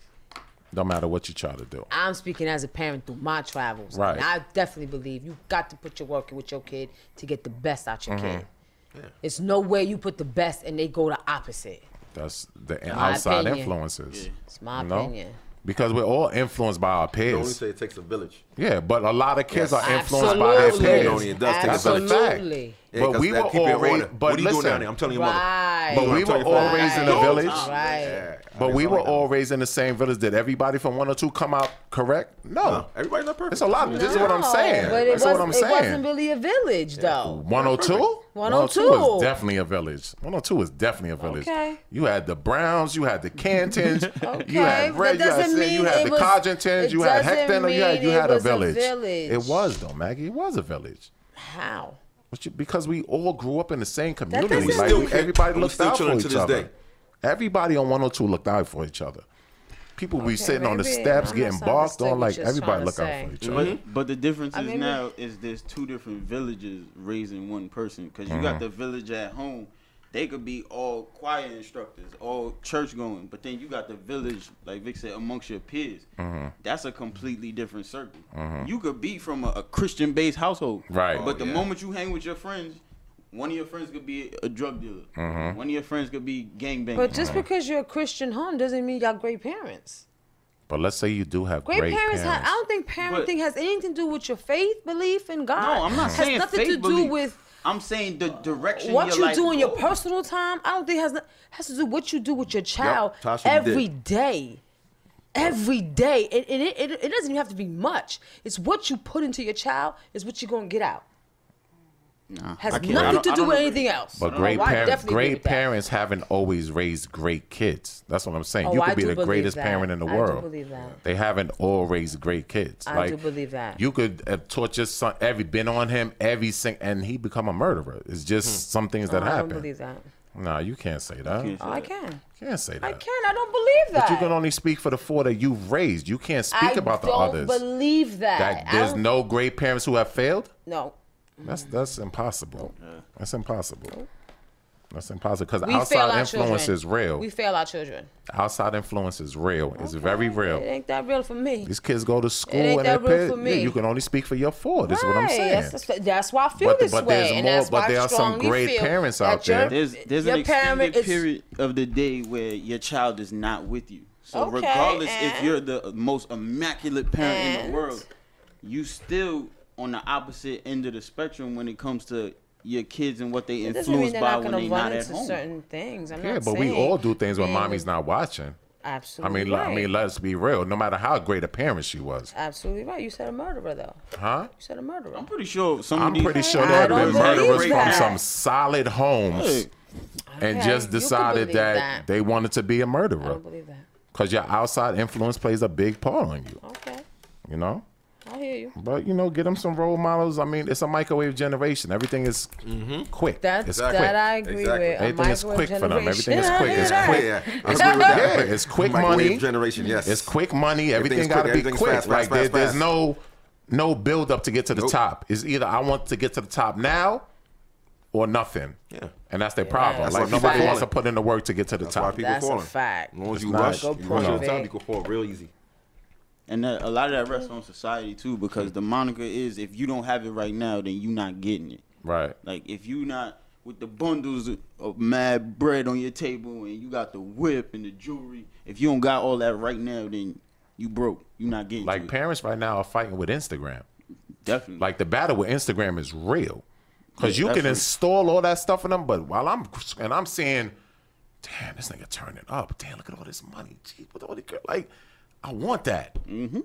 D: Don't matter what you try to do.
C: I'm speaking as a parent through my travels.
D: Right.
C: And I definitely believe you got to put your work in with your kid to get the best out your
D: Mm-hmm.
C: kid. It's no way you put the best and they go the opposite.
D: That's the
C: my
D: outside
C: opinion.
D: influences.
C: It's my
D: you know?
C: opinion.
D: Because we're all influenced by our
F: They only
D: peers.
F: say it takes a village.
D: Yeah, but a lot of kids
F: Yes.
D: are influenced by their
C: Absolutely.
D: peers.
F: It does take a
D: That's
F: village.
D: a fact.
C: Absolutely.
F: Yeah,
D: But
F: 'cause
D: we
F: that
D: were
F: keep it
D: all
F: real.
D: ra- but
F: what are you doing
D: listen.
F: down there? I'm telling your mother.
C: Right.
D: But we
F: I'm telling
D: were
F: you,
D: all
F: right.
D: raised in a
F: All
D: village.
F: time.
C: Right.
F: Yeah, I
D: But
F: guess
D: we
F: I
D: were
F: like that.
D: all raised in the same village. Did everybody from one or two come out correct? No.
F: No, everybody's not perfect.
D: It's a lot. This is what I'm
C: No,
D: saying.
C: But it,
D: That's
C: was,
D: what I'm
C: it
D: saying.
C: wasn't really a village, though.
D: 102?
C: 102.
D: is definitely a village. 102 is definitely a village.
C: Okay.
D: You had the Browns, you had the Cantons, you
C: (laughs) Okay,
D: had
C: but
D: Red,
C: that
D: you had,
C: doesn't
D: Sid, you
C: mean
D: had
C: it
D: the
C: was-
D: Codgentons,
C: it
D: you had
C: doesn't
D: Hector, you had,
C: mean
D: you
C: it
D: had a
C: was a
D: village.
C: village.
D: It was, though, Maggie. It was a village.
C: How?
D: But you- because we all grew up in the same
C: doesn't
D: community.
C: We
D: Like,
F: still
D: we-
F: can-
D: everybody
F: we
D: looked
F: still
D: out for
F: children
D: each
F: to this
D: other.
F: day.
D: Everybody on 102 looked out for each other. People be sitting on the
C: maybe
D: steps
C: I
D: getting barked
C: misunderstood
D: on.
C: what
D: Like,
C: you're trying
D: everybody
C: to
D: look
C: say.
D: out for
F: Mm-hmm.
D: each other.
E: But but the difference
C: Mm-hmm. I
E: is
C: mean, we-
E: now is there's two different villages raising one person because you got the village at home. They could be all choir instructors, all church going, but then you got the village, like Vic said, amongst your peers. That's a completely different circle. You could be from a, a Christian based household,
D: Right.
E: But
D: Oh,
E: the
F: yeah.
E: moment you hang with your friends, one of your friends could be a drug dealer, one of your friends could be gangbanging.
C: But just because you're a Christian home doesn't mean you got great parents.
D: But let's say you do have
C: Great,
D: great,
C: parents, ha- I don't think parenting
E: But-
C: has anything to do with your faith belief in God.
E: no, I'm not
C: has
E: saying
C: nothing
E: faith
C: to do
E: belief.
C: with
E: I'm saying the direction
C: what
E: your
C: you
E: life Oh.
C: do in your
E: goes.
C: personal time. I don't think has no- has to do what you do with your child
F: Tasha, you did.
C: every day. Every day, it, it, it, it doesn't even have to be much. It's what you put into your child is what you're gonna get out.
E: Nah, I
C: Has
E: can't- I
C: nothing
E: don't-
C: to do
E: I don't
C: with
E: agree.
C: anything else.
D: But
C: Oh,
D: great,
C: I
D: parent-
C: definitely agree
D: great
C: with that.
D: parents haven't always raised great kids. That's what I'm saying.
C: Oh,
D: you
C: I
D: could be
C: do
D: the
C: believe
D: greatest
C: that.
D: parent in the
C: I do
D: world.
C: believe that.
D: They haven't all raised great kids.
C: I
D: like,
C: do believe that.
D: You could have taught your son every been on him every sing, and he become a murderer. It's just some things that
C: I
D: happen.
C: don't believe that.
D: Nah, you can't say that. Hmm. You
C: Oh, I can.
D: can't say that.
C: I can. I don't believe that.
D: But you can only speak for the four that you've raised. You can't speak
C: I
D: about the
C: don't
D: others.
C: believe that.
D: that
C: I
D: there's
C: don't-
D: no great parents who have failed.
C: no.
D: That's that's impossible. That's impossible. That's impossible because
C: We fail
D: outside
C: our
D: influence
C: children.
D: is real.
C: We fail our children.
D: outside influence is real. It's very
C: It
D: real.
C: ain't that real for me.
D: These kids go to school
C: ain't
D: and
C: that
D: they
C: real
D: pay-
C: for
D: yeah,
C: me.
D: you can only speak for your four. That's what I'm
C: Right.
D: saying.
C: That's, that's- that's why I feel
D: But-
C: this
D: but
C: way,
D: there's
C: and
D: more-
C: that's
D: but
C: why I
D: there are some
C: strongly
D: great
C: feel
D: parents
C: that
D: out there.
C: your-
E: There's there's
C: your
E: an extended
C: parent is-
E: period of the day where your child is not with you. So
C: Okay,
E: regardless if
C: and-
E: you're the most immaculate parent in
C: And?
E: the world, you still on the opposite end of the spectrum when it comes to your kids and what they
C: It doesn't mean
E: influenced
C: they're
E: by
C: not
E: when
C: going
E: they
C: to run
E: not at
C: into
E: home.
C: certain things. I'm
D: yeah,
C: not
D: but we
C: saying-
D: all do things when
C: and-
D: mommy's not watching. I
C: Absolutely.
D: mean,
C: right.
D: I mean, let's be real. No matter how great a parent she was,
C: absolutely right. You said a murderer, though. You
D: huh?
C: said a murderer.
E: I'm pretty sure some
D: I'm
E: of these
D: pretty sure
C: I
D: there have been
C: don't believe
D: murderers from
C: that.
D: some solid homes
E: Hey,
D: and
C: Okay,
D: just
C: you can
D: decided
C: believe
D: that,
C: that.
D: they wanted to be a
C: I
D: murderer
C: don't believe that.
D: because your outside influence plays a big part on you.
C: Okay,
D: You know.
C: I hear you.
D: But you know, get them some role models. I mean, it's a microwave generation. Everything is
F: Mm-hmm.
D: quick.
C: That
D: it's
F: Exactly.
C: that I agree
F: Exactly.
C: with. A
D: Everything is
C: microwave
D: quick for them. Everything is
C: generation.
D: quick.
C: I
D: It's
C: hear
D: quick.
C: that. (laughs)
F: Yeah, I agree with that.
D: Yeah, it's quick
F: Microwave
D: money.
F: generation, yes.
D: It's quick money. Everything
F: Everything's
D: got to
F: quick.
D: be
F: Everything's
D: quick.
F: fast,
D: like
F: fast,
D: there-
F: fast,
D: there's
F: fast.
D: no no build up to get to the
F: Nope.
D: top. It's either I want to get to the top now or nothing.
F: Yeah.
D: And that's their problem.
C: That's
D: like
F: why
D: nobody
F: people
D: wants
F: fall.
D: to put in the work to get to the
F: That's why
D: top.
F: people
C: That's a
F: falling.
C: fact.
F: As long as you
D: not-
F: rush,
D: Go
F: you rush to the
C: prove it.
F: top, you can fall real easy.
E: and that, a lot of that rests on society too, because the moniker is if you don't have it right now, then you not getting it.
D: Right.
E: Like if you not with the bundles of mad bread on your table and you got the whip and the jewelry, if you don't got all that right now, then you broke. You not getting to
D: Like
E: it.
D: parents right now are fighting with Instagram.
E: definitely.
D: Like the battle with Instagram is real, because you
E: Yeah,
D: can
E: that's
D: install all that stuff in them. But while I'm and I'm seeing, damn, this nigga turning up. Damn, look at all this money. Gee, what all the girl like? I want that. Mm-hmm.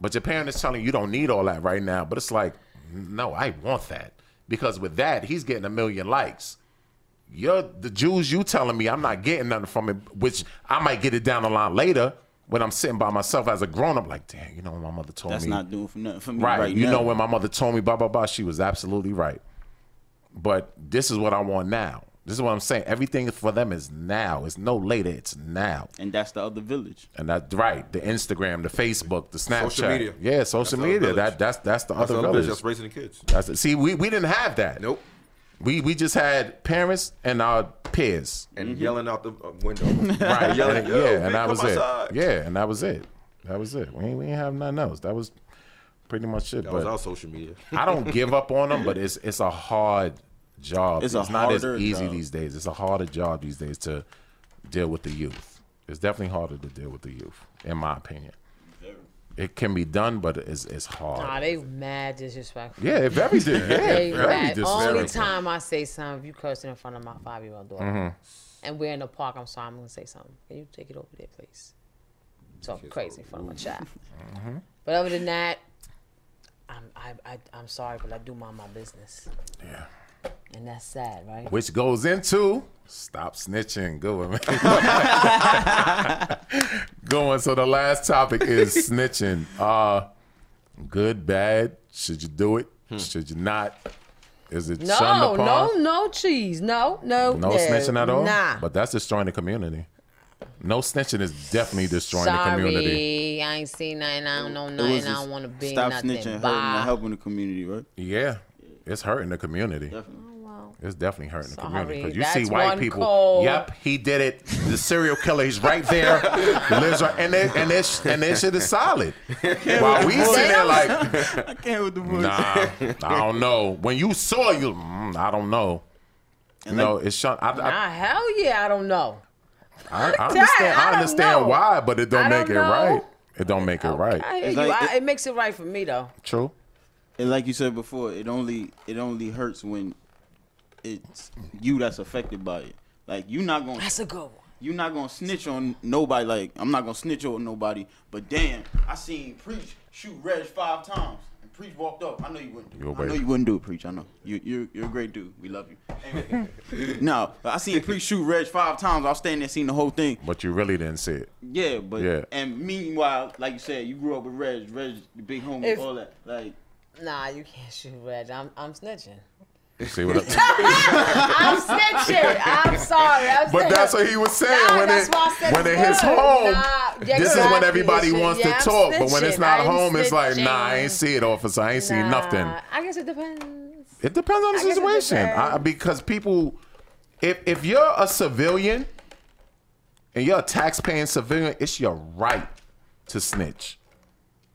D: But your parent is telling you you don't need all that right now. But it's like, no, I want that because with that he's getting a million likes. You're the Jews. You telling me I'm not getting nothing from it, which I might get it down the line later when I'm sitting by myself as a grown up. Like, damn, you know what my mother told
E: that's
D: me
E: not doing for nothing for me
D: right.
E: right,
D: you
E: now.
D: know when my mother told me blah blah blah, she was absolutely right. But this is what I want now. This is what I'm saying. Everything for them is now. It's no later. It's now.
E: and that's the other village.
D: And that's right. The Instagram, the Facebook, the Snapchat.
F: Social media.
D: Yeah, social
F: That's our
D: media.
F: village.
D: That that's that's the
F: That's
D: other
F: another
D: village.
F: bitch that's raising the kids.
D: That's it. See, we, we didn't have that.
F: Nope.
D: We we just had parents and our peers.
F: And yelling out the uh, window.
D: (laughs) Right.
F: Yelling,
D: and-
F: (laughs) "Yo,
D: yeah,
F: bitch,
D: and that
F: come
D: was it.
F: outside."
D: Yeah, and that was it. That was it. We ain't, we ain't have nothing else. That was pretty much it.
F: That
D: but
F: was our social media.
D: I don't give up on them, but it's it's a hard job.
E: It's
D: It's,
E: a
D: not as
E: harder
D: easy
E: job.
D: these days. It's a harder job these days to deal with the youth. It's definitely harder to deal with the youth, in my opinion. It can be done, but it's it's hard.
C: Nah, they mad disrespectful.
D: yeah, if everything,
C: They
D: yeah, very
C: mad. Only
D: disrespectful.
C: time I say something, if you cursing in front of my five year old daughter,
D: Mm-hmm.
C: and we're in the park, I'm sorry, I'm gonna say something. Can you take it over there, please? Talking crazy in front of my child.
D: Mm-hmm.
C: But other than that, I'm I, I I'm sorry, but I do mind my business,
D: Yeah.
C: and that's sad, right?
D: Which goes into stop snitching. Good one, man. Going. So the last topic is snitching. Uh good, bad. Should you do it? Should you not? Is it shunned
C: No,
D: upon?
C: no, no cheese. No, no,
D: No snitching at all.
C: Nah.
D: But that's destroying the community. No snitching is definitely destroying
C: Sorry,
D: the community.
C: I ain't seen nothing. I don't know
E: It was
C: nothing. I
E: just
C: don't want to be
E: stop
C: nothing.
E: snitching, hurting, and
C: Bye.
E: helping the community, right?
D: Yeah. It's hurting the community.
E: Definitely.
C: Oh, Wow.
D: It's definitely hurting the community
C: Sorry,
D: because you
C: that's
D: see white
C: one
D: people.
C: cold.
D: Yep, he did it. The serial killer, he's right there. lives right, and they, and their sh- and their shit is solid. While we sitting there like,
E: I can't with the voice.
D: nah, I don't know. When you saw you, mm, I don't know. no, it's shun- I, I,
C: Nah, Ah, hell yeah, I don't know.
D: I, I understand.
C: I
D: I,
C: don't
D: understand
C: know.
D: why, but it don't
C: I
D: make
C: don't
D: it
C: know.
D: right. It don't make it
C: I
D: right.
C: hear
E: It's
C: you.
E: like-
C: I, it makes it right for me though.
D: True.
E: And like you said before, it only it only hurts when it's you that's affected by it. Like you not gonna
C: That's a good one.
E: you're not gonna snitch on nobody. Like I'm not gonna snitch on nobody. But damn, I seen preach shoot Reg five times, and preach walked up. I know you wouldn't.
D: You're
E: Do it. I
D: weird.
E: know you wouldn't do it, preach. I know you you're, you're a great dude. We love you.
D: (laughs)
E: no, I seen preach shoot Reg five times. I was standing there, seeing the whole thing.
D: But you really didn't see it.
E: Yeah, but
D: Yeah.
E: and meanwhile, like you said, you grew up with Reg, Reg, the big homie,
C: If-
E: all that. Like
C: Nah, you can't shoot red. I'm I'm snitching.
D: See what? I,
C: I'm snitching. I'm sorry. I'm
D: but
C: snitching.
D: that's what he was saying
C: Nah,
D: when
C: that's
D: it
C: why I said
D: when it
C: it's
D: hits
C: good. Nah,
D: home.
C: yeah,
D: this is when
C: exactly.
D: everybody
C: Yeah,
D: wants
C: I'm
D: to talk, but when it's
C: snitching.
D: not
C: I'm
D: home, it's like, nah, I ain't
C: snitching.
D: see it, officer. I ain't seen
C: Nah,
D: nothing.
C: I guess it depends.
D: It depends on the
C: I guess it
D: situation. I,
C: depends.
D: because people if if you're a civilian and you're a taxpaying civilian, it's your right to snitch.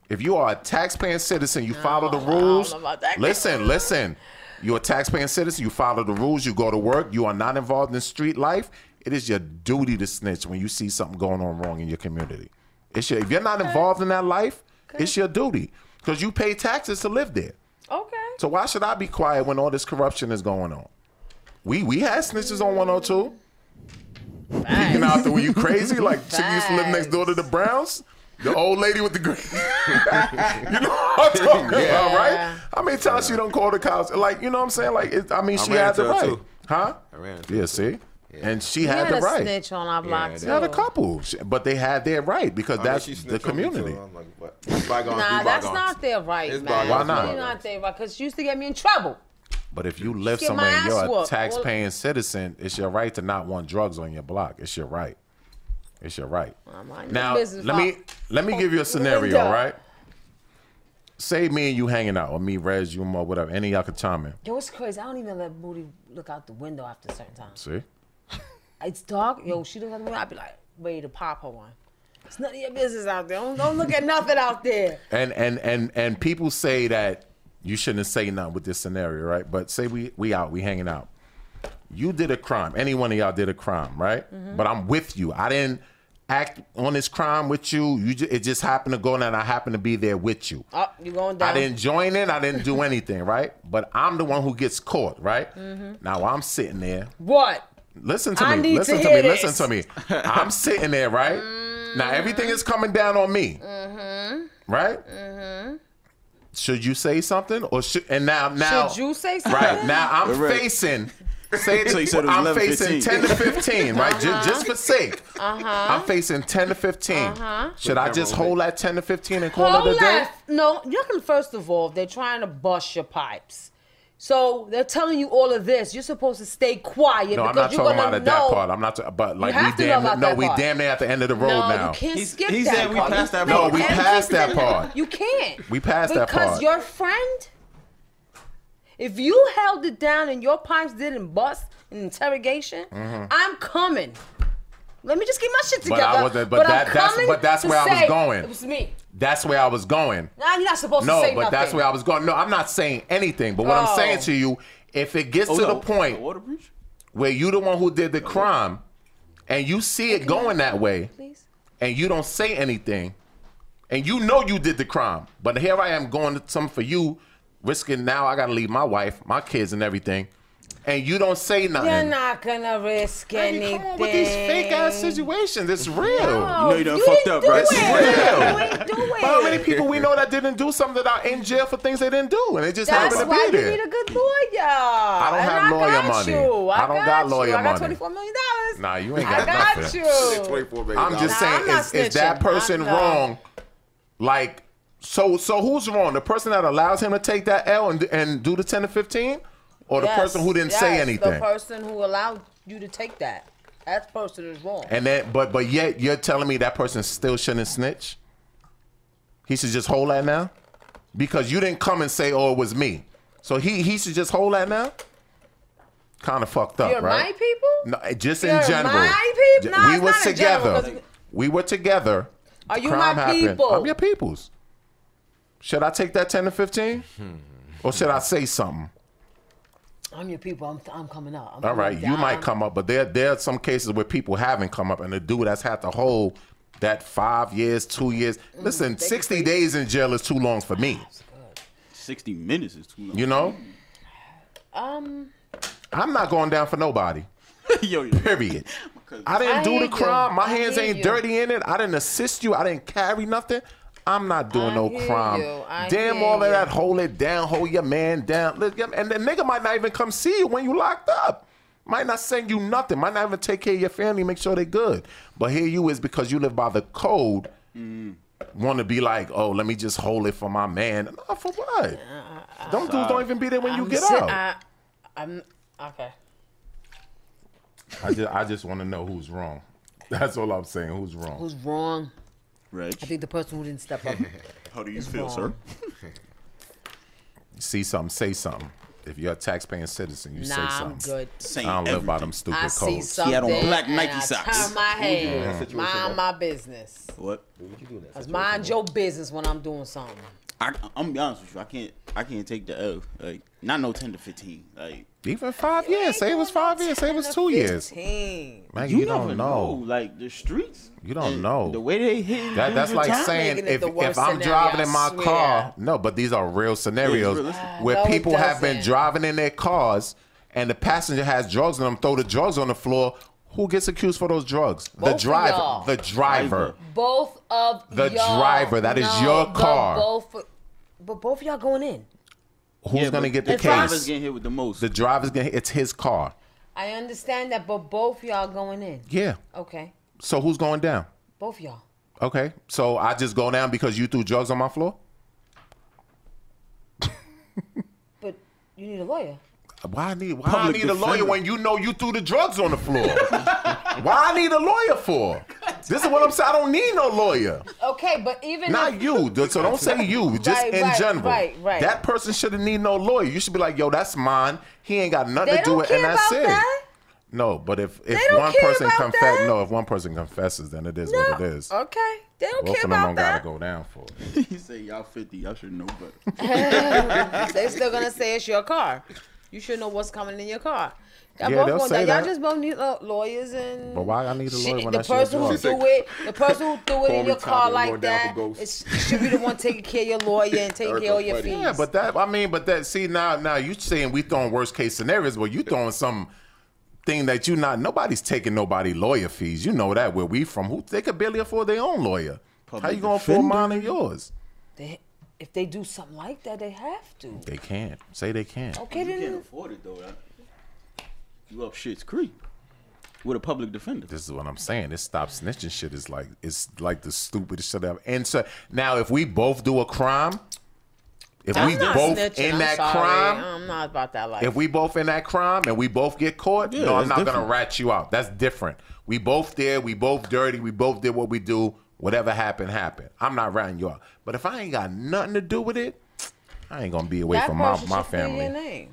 D: If you are a taxpaying citizen, you follow the
C: Oh, I don't know
D: rules.
C: about that.
D: Listen, listen. You're a taxpaying citizen. You follow the rules. You go to work. You are not involved in street life. It is your duty to snitch when you see something going on wrong in your community. It's your, if you're not involved in that life, it's your duty because you pay taxes to live there.
C: Okay.
D: So why should I be quiet when all this corruption is going on? We we had snitches on 102. Peeking out the were you crazy? Like chick used to live next door to the Browns? The old lady with the
F: (laughs)
D: green. you know what I'm talking about,
C: Yeah.
D: right? How many times she don't call the cops? Like, you know what I'm saying? Like, it, I mean, she
F: ran
D: had the
F: into her,
D: right.
F: too.
D: Huh?
F: I ran into
D: Yeah,
F: her,
D: see? And she
C: We
D: had,
C: had
D: the
C: a
D: right.
C: snitch on our block
F: they
C: too.
D: She had a couple, She- but they had their right because that's
F: she
D: the
F: snitched on me, too.
D: community.
F: I'm like, what? Bygones
C: Nah,
F: be
C: that's
F: bygones.
C: not their right,
F: It's
C: man.
F: bygones,
D: Why not?
C: You're not their right because you used to get me in trouble.
D: But if you live
C: Get
D: somewhere
C: my
D: and you're
C: ass
D: a
C: whooped.
D: tax-paying citizen, it's your right to not want drugs on your block. It's your right. It's your right.
C: I'm minding my
D: now,
C: business,
D: let me
C: Pop.
D: let me give you a
C: (laughs)
D: scenario,
C: Linda.
D: right? Say me and you hanging out, or me, Rez, you, or whatever. Any of y'all can chime in.
C: Yo, it's crazy. I don't even let Booty look out the window after a certain time.
D: See?
C: It's dark. Yo, she looks out the window. I'd be like, ready to pop her one. It's none of your business out there. Don't, don't look at nothing out there.
D: And and and and people say that you shouldn't say nothing with this scenario, right? But say we we out, we hanging out. You did a crime. Any one of y'all did a crime, right? But I'm with you. I didn't act on this crime with you. You ju- it just happened to go on, and I happened to be there with you.
H: Uh-huh.
C: Oh, you going down?
D: I didn't join in. I didn't do anything, right? But I'm the one who gets caught, right? Now I'm sitting there.
C: What?
D: Listen to
C: I
D: me.
C: need to
D: listen to, me.
C: hear this. Mm-hmm.
D: Listen to me. I'm sitting there, right? Now everything is coming down on me, right? Should you say something, or should and now now
C: Mm-hmm. Should you say something?
D: right now I'm
E: Right.
D: facing. Say it
E: So you said it was
D: I'm
E: 11,
D: facing
E: 15.
D: 10 to 15, right? Ju- Just, for sake. Uh-huh. I'm facing 10 to 15. Should I just hold that 10 to 15 and call it
C: Uh-huh. Hold
D: a day?
C: that. No, you can. First of all, they're trying to bust your pipes. So they're telling you all of this. You're supposed to stay quiet
D: No, I'm
C: because
D: not
C: you're
D: talking
C: gonna
D: about it,
C: know.
D: that part. I'm not. ta- but like
C: have to
D: we
C: know
D: damn
C: about
D: no,
C: that
D: we
C: part.
D: damn near at the end of the road
C: no,
D: now.
C: you can't
E: He's-
C: skip
E: he
C: that
E: said we
C: part.
E: passed that
C: You
E: part.
D: No, we
C: can't
D: passed that
C: skip
D: part.
C: You can't.
D: We passed that part.
C: Because your friend, if you held it down and your pipes didn't bust in interrogation, I'm coming. Let me just get my shit
D: Mm-hmm. But I
C: together.
D: wasn't- but
C: I'm
D: that- that's-
C: coming
D: but that's
C: to
D: where I was
C: say
D: going.
C: It was me.
D: That's where I was going.
C: Now you're not supposed
D: No,
C: to say
D: but
C: nothing.
D: that's where I was going. No, I'm not saying anything. But what I'm
C: Oh.
D: saying to you, if it gets to the point
E: Water breach?
D: where you the one who did the crime, and you see it going that way,
C: Please.
D: and you don't say anything, and you know you did the crime, but here I am going to something for you, risking now I gotta leave my wife, my kids, and everything, and you don't say nothing.
C: You're not gonna risk
D: I mean,
C: anything.
D: Come on with these fake ass situations. It's real.
C: No,
E: You know you done
C: Oh, you
E: fucked
C: didn't
E: up,
C: do
E: right?
C: It.
D: Yeah.
C: You ain't do it.
D: How many people we know that didn't do something that are in jail for things they didn't do, and they just
C: That's
D: happened to
C: why
D: be
C: you
D: there?
C: need a good lawyer. I
D: don't have lawyer
C: got
D: money.
C: You. I,
D: I don't
C: got,
D: got
C: you.
D: lawyer
C: I got
D: money.
C: twenty-four million dollars.
D: Nah, you ain't
C: I
D: got
C: got
D: nothing.
C: you.
F: $24 million.
D: I'm just
C: Nah, I'm
D: saying,
C: not
D: is, is
C: snitching.
D: that
C: I'm
D: person
C: not.
D: wrong? Like, so so who's wrong? The person that allows him to take that L and and do the ten to fifteen, or the
C: Yes,
D: person who didn't
C: yes,
D: say
C: The
D: anything?
C: person who allowed you to take that. That person is wrong.
D: and then, but but yet you're telling me that person still shouldn't snitch. He should just hold that now, because you didn't come and say, "Oh, it was me." So he he should just hold that now. Kind of fucked up,
C: You're
D: right?
C: my people.
D: No, eh, just in
C: You're
D: general.
C: my people?
D: J-
C: Nah,
D: we
C: it's
D: were
C: not in general,
D: together.
C: 'cause-
D: we were together.
C: Are you
D: Crime
C: my
D: happened.
C: people?
D: I'm your peoples. Should I take that ten to fifteen, or should I say something?
C: I'm your people. I'm, I'm coming up. I'm
D: All
C: coming
D: right,
C: up.
D: you might
C: I'm-
D: come up, but there there are some cases where people haven't come up, and the dude that's had to hold that five years, two years. Listen, sixty days in jail is too long for me.
E: 60 minutes is too long.
D: You know,
C: Um,
D: I'm not going down for nobody.
E: (laughs) yo, yo.
D: (laughs) Period. I didn't
C: I
D: do
C: hear
D: the
C: you.
D: crime. My
C: I
D: hands
C: hear
D: ain't
C: you.
D: dirty in it. I didn't assist you. I didn't carry nothing. I'm not doing
C: I
D: no
C: hear
D: crime.
C: you. I
D: Damn
C: hear
D: all of
C: you.
D: that. Hold it down. Hold your man down. Look, yep, And the nigga might not even come see you when you locked up. Might not send you nothing. Might not even take care of your family. Make sure they good. But here you is because you live by the code. Mm. Want to be like, oh, let me just hold it for my man. Nah, for what? Them dudes don't even be there when you
C: I'm
D: get
C: si-
D: out.
C: I, I'm okay.
D: I just, I just want to know who's wrong. (laughs) That's all I'm saying. Who's wrong?
C: Who's wrong? I
E: Reg,
C: think the person who didn't
D: (laughs)
C: step up.
E: how do you feel, sir?
D: see something, say something. If you're a taxpaying citizen, you say
C: Nah,
D: something.
C: I'm good.
D: I
E: Saying
D: don't live by
E: everything.
D: them stupid
C: I
D: codes.
C: see something.
E: had on black
C: and
E: Nike
C: I
E: socks.
C: Turn my
F: that
C: head.
F: situation,
C: Mind
F: bro?
C: my business.
E: What?
F: What you doing that?
C: Cause
F: situation,
C: mind
F: bro?
C: your business when I'm doing something.
E: I, I'm gonna be honest with you. I can't. I can't take the L. Like not no ten to fifteen. Like
D: Even five years. Say it was five years. Say it was two years.
C: 15.
D: Man,
E: you,
D: you,
E: never
D: don't know.
E: Like the streets.
D: You don't
E: and
D: know.
E: the way they hit.
D: That, that's like saying
C: making it
D: if,
C: the
D: if
C: worst
D: I'm
C: scenario,
D: driving in
C: I
D: my
C: swear.
D: car, no, but these are real scenarios
E: realistic. Ah,
D: where
C: no, it
D: people have been
C: doesn't.
D: driving in their cars and the passenger has drugs in them, throw the drugs on the floor. Who gets accused for those drugs?
C: Both
D: the
C: of y'all.
D: driver. The driver.
C: Both of
D: The
C: y'all.
D: driver, that is
C: No,
D: your
C: the
D: car.
C: Both, but both of y'all going in.
D: Who's gonna get the
E: The driver's
D: case?
E: getting hit with the most.
D: the driver's gonna. It's his car.
C: I understand that, but both of y'all going in.
D: Yeah.
C: Okay,
D: So who's going down?
C: both of y'all.
D: Okay. So I just go down because you threw drugs on my floor.
C: But you need a lawyer.
D: Why I need why I
E: Public
D: need a
E: defender.
D: lawyer when you know you threw the drugs on the floor? (laughs) why I need a lawyer for? This is what I'm saying. I don't need no lawyer.
C: Okay, but even
D: Not
C: if,
D: you. dude. So don't say you. Just
C: Right,
D: in
C: right,
D: general.
C: right, right.
D: That person shouldn't need no lawyer. You should be like, yo, that's mine. He ain't got nothing
C: they
D: to do
C: don't
D: with it,
C: care
D: and that's
C: about
D: it.
C: that.
D: No, but if if
C: don't
D: one
C: care
D: person
C: about
D: confess,
C: that.
D: no, if one person confesses, then it is
C: No.
D: what it is.
C: Okay, they don't
D: Both
C: care
D: of them don't
C: about
D: gotta
C: that.
D: go down for it.
E: (laughs) he say y'all fifty. Y'all should know better.
D: (laughs)
C: They're still gonna say it's your car. You should know what's coming in your car. Y'all
D: Yeah,
C: both
D: they'll
C: gonna
D: say
C: die. Y'all
D: that.
C: just both need uh, lawyers and.
D: But why I need a lawyer
C: Shit,
D: when
C: the
D: that's your
C: person who
D: job?
C: threw it, the person who threw it
F: Call
C: in
F: me
C: your
F: Tommy,
C: car
F: I'm
C: like
F: going down
C: that,
F: for ghosts.
C: it should be the one taking care of your lawyer and taking
F: Erica
C: care of your
F: Freddy.
C: fees.
D: Yeah, but that I mean, but that see now now you saying we throwing worst case scenarios, but you throwing some thing that you not nobody's taking nobody lawyer fees. You know that where we from? Who they could barely afford their own lawyer. How you
E: Public
D: gonna afford
E: defender.
D: mine and yours?
C: They- if they do something like that, they have to.
D: They can't say they can't.
C: Okay,
E: You can't
C: then
E: afford it though. That. You up shit's creek with a public defender.
D: This is what I'm saying. This stop snitching shit is like it's like the stupidest shit ever. And so now if we both do a crime, if we
C: I'm not
D: both
C: snitching.
D: in
C: I'm
D: that
C: sorry.
D: crime,
C: I'm um, not about that life.
D: If we both in that crime and we both get caught,
E: Yeah,
D: no, I'm
E: that's
D: not gonna
E: different.
D: rat you out. That's different. We both there, we both dirty, we both did what we do. Whatever happened, happened. I'm not ratting you out. But if I ain't got nothing to do with it, I ain't gonna be away
C: that
D: from my,
C: person
D: my
C: should clear Your
D: family.
C: name.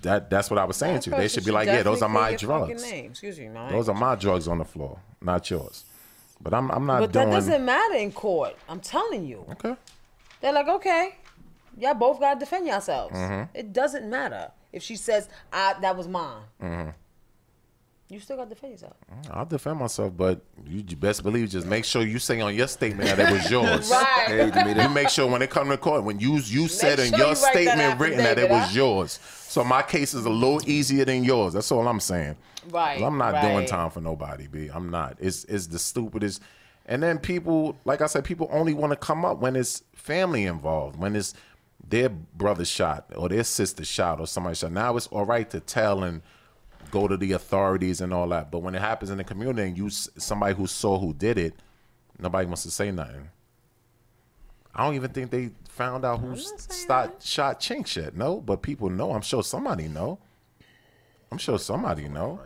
D: That that's what I was saying
C: That
D: to you. They
C: person
D: should be like, yeah, those are
C: definitely
D: my
C: clear your fucking
D: drugs.
C: name. Excuse me, no, I
D: Those are my drugs on the floor, not yours. But I'm I'm not
C: But that
D: doing.
C: doesn't matter in court. I'm telling you.
D: okay.
C: They're like, okay, y'all both gotta defend yourselves.
D: Mm-hmm.
C: It doesn't matter if she says, "I that was mine."
D: Mm-hmm.
C: You still gotta defend yourself.
D: I'll defend myself, but you j- best believe just make sure you say on your statement that
C: (laughs)
D: it was yours.
C: Right.
F: Hey,
D: (laughs)
F: Demeter.
D: You make sure when it come to court, when you you said in
C: sure
D: your
C: you write that
D: statement written that it
C: affidavit,
D: was
C: huh?
D: yours. So my case is a little easier than yours. That's all I'm saying. 'Cause
C: Right,
D: I'm not doing
C: right.
D: time for nobody, B. I'm not. It's it's the stupidest. And then people, like I said, people only want to come up when it's family involved, when it's their brother shot or their sister shot or somebody shot. Now it's all right to tell and go to the authorities and all that. But when it happens in the community and you s- somebody who saw who did it, nobody wants to say nothing. I don't even think they found out who
C: not saying
D: shot shot Chink shit. No, but people know. I'm sure somebody know. I'm sure somebody know.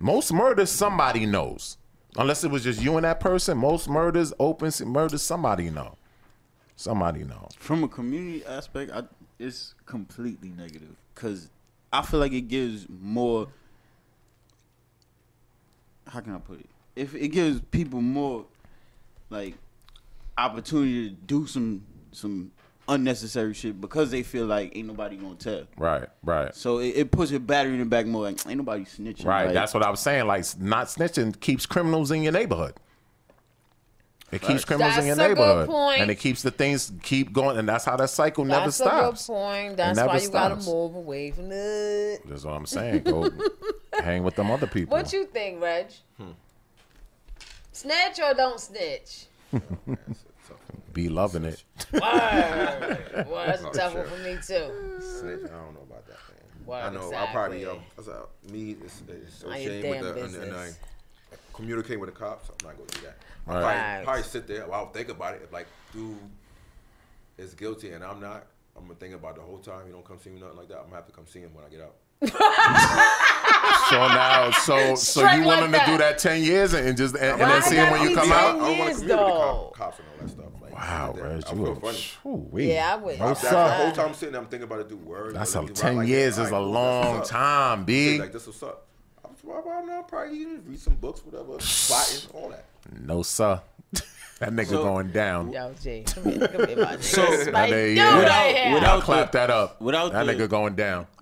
D: Most murders somebody knows. Unless it was just you and that person, most murders, open se- murders, somebody know. Somebody know.
E: from a community aspect, I, it's completely negative because I feel like it gives more. How can I put it? If it gives people more, like, opportunity to do some some unnecessary shit because they feel like ain't nobody gonna tell.
D: Right, right.
E: So it, it puts your battery in the back more. Like, ain't nobody snitching.
D: Right.
E: Like,
D: That's what I was saying. Like s- not snitching keeps criminals in your neighborhood. It keeps criminals in
C: That's
D: your
C: a good
D: neighborhood,
C: point.
D: and it keeps the things keep going, and that's how that cycle never
C: That's
D: stops.
C: a good point. That's
D: never
C: why you gotta
D: stops.
C: move away from the.
D: That's what I'm saying.
C: (laughs)
D: Go hang with them other people.
C: What you think, Reg? Snitch or don't snitch?
D: Be
C: (laughs)
D: loving it.
C: Well, that's a tough one for me too.
F: Snitch, I don't know about that, man.
C: Well,
F: I know. I probably, um,
C: exactly.
F: that's how- me, it's, it's so
C: Mind your
F: shame
C: damn
F: with the, and, and I
C: business.
F: communicate with the cops. I'm not going to do that. I
D: Right.
F: probably,
C: Right.
F: probably sit there. Well, I'll think about it. If, like, dude is guilty and I'm not, I'm going to think about it the whole time. You don't come see me, nothing like that. I'm going to have to come see him when I get out.
D: So now, so so
C: Strike
D: you
C: like
D: willing to
C: that.
D: do that ten years and, and just and, and
C: Why
D: then see him
C: gotta
D: when you
C: be
D: come
F: I
C: ten
D: out?
F: don't want to
C: years,
F: communicate with
C: though.
F: the cop, cops and all that stuff. Like,
D: Wow,
F: Yeah,
D: Reg,
F: I
D: you
F: feel
D: a
F: funny.
D: Ooh-wee.
C: Yeah, I would.
D: No,
C: I'm
F: That's
C: What's
F: the
C: up?
F: whole time I'm sitting there, I'm thinking about it. Do word.
D: That's
F: like,
D: a
F: do I
D: ten
F: like that?
D: years
F: All
D: is
F: right,
D: a
F: cool, that's
D: long
F: what's up.
D: time,
F: Shit
D: b.
F: Like this, what's up? I'm probably, I'm not probably even read some books, whatever, plotting, all that.
D: No sir, (laughs) that nigga
E: So-
D: going down.
C: Yo, Jay. Oh, (laughs) Come here, come here,
D: (laughs)
C: my nigga.
E: So-
D: That
C: Like,
D: nigga,
C: dude,
D: (laughs) yeah.
C: right here.
E: without-
D: Y'all clap that up.
E: without
D: that
E: the-
D: nigga going down.
F: (laughs)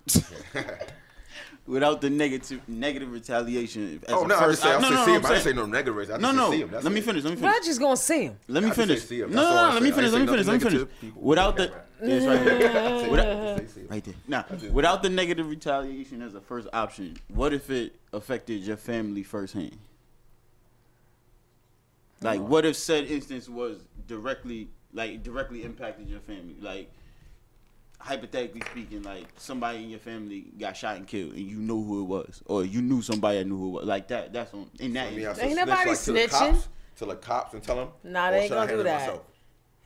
E: without the negative negative retaliation. As
F: Oh
E: a
F: no, I just
E: first,
F: say, I
E: uh,
F: no,
E: no,
F: say
E: no, no,
F: see him. I
E: I'm
F: didn't say
E: saying,
F: no negative race. I just
E: no,
F: said
E: no.
F: see him. That's
E: Let me
F: it.
E: finish. Let me finish.
C: Roger's gonna see him.
E: Let me
F: I just say
E: finish.
F: see
E: No,
F: 'em.
E: no,
F: That's all I
E: no, let me
F: said. I
E: finish. Let me
F: ain't
E: finish.
F: say
E: Let me
F: nothing
E: finish.
F: negative. People
E: Without the
F: wouldn't get that right. Yeah, it's (laughs) right there.
E: Without-
F: I just say see 'em.
E: right there. Now, without the negative retaliation as a first option, what if it affected your family firsthand? Like, what if said instance was directly, like, directly impacted your family? Like, hypothetically speaking, like somebody in your family got shot and killed, and you know who it was, or you knew somebody that knew who it was. Like that. That's on in that.
F: I mean, I
E: instance.
F: said
C: Ain't
F: snitch,
C: nobody
F: like, to the
C: snitching.
F: cops- To the cops and tell them.
C: Nah, they ain't gonna do that.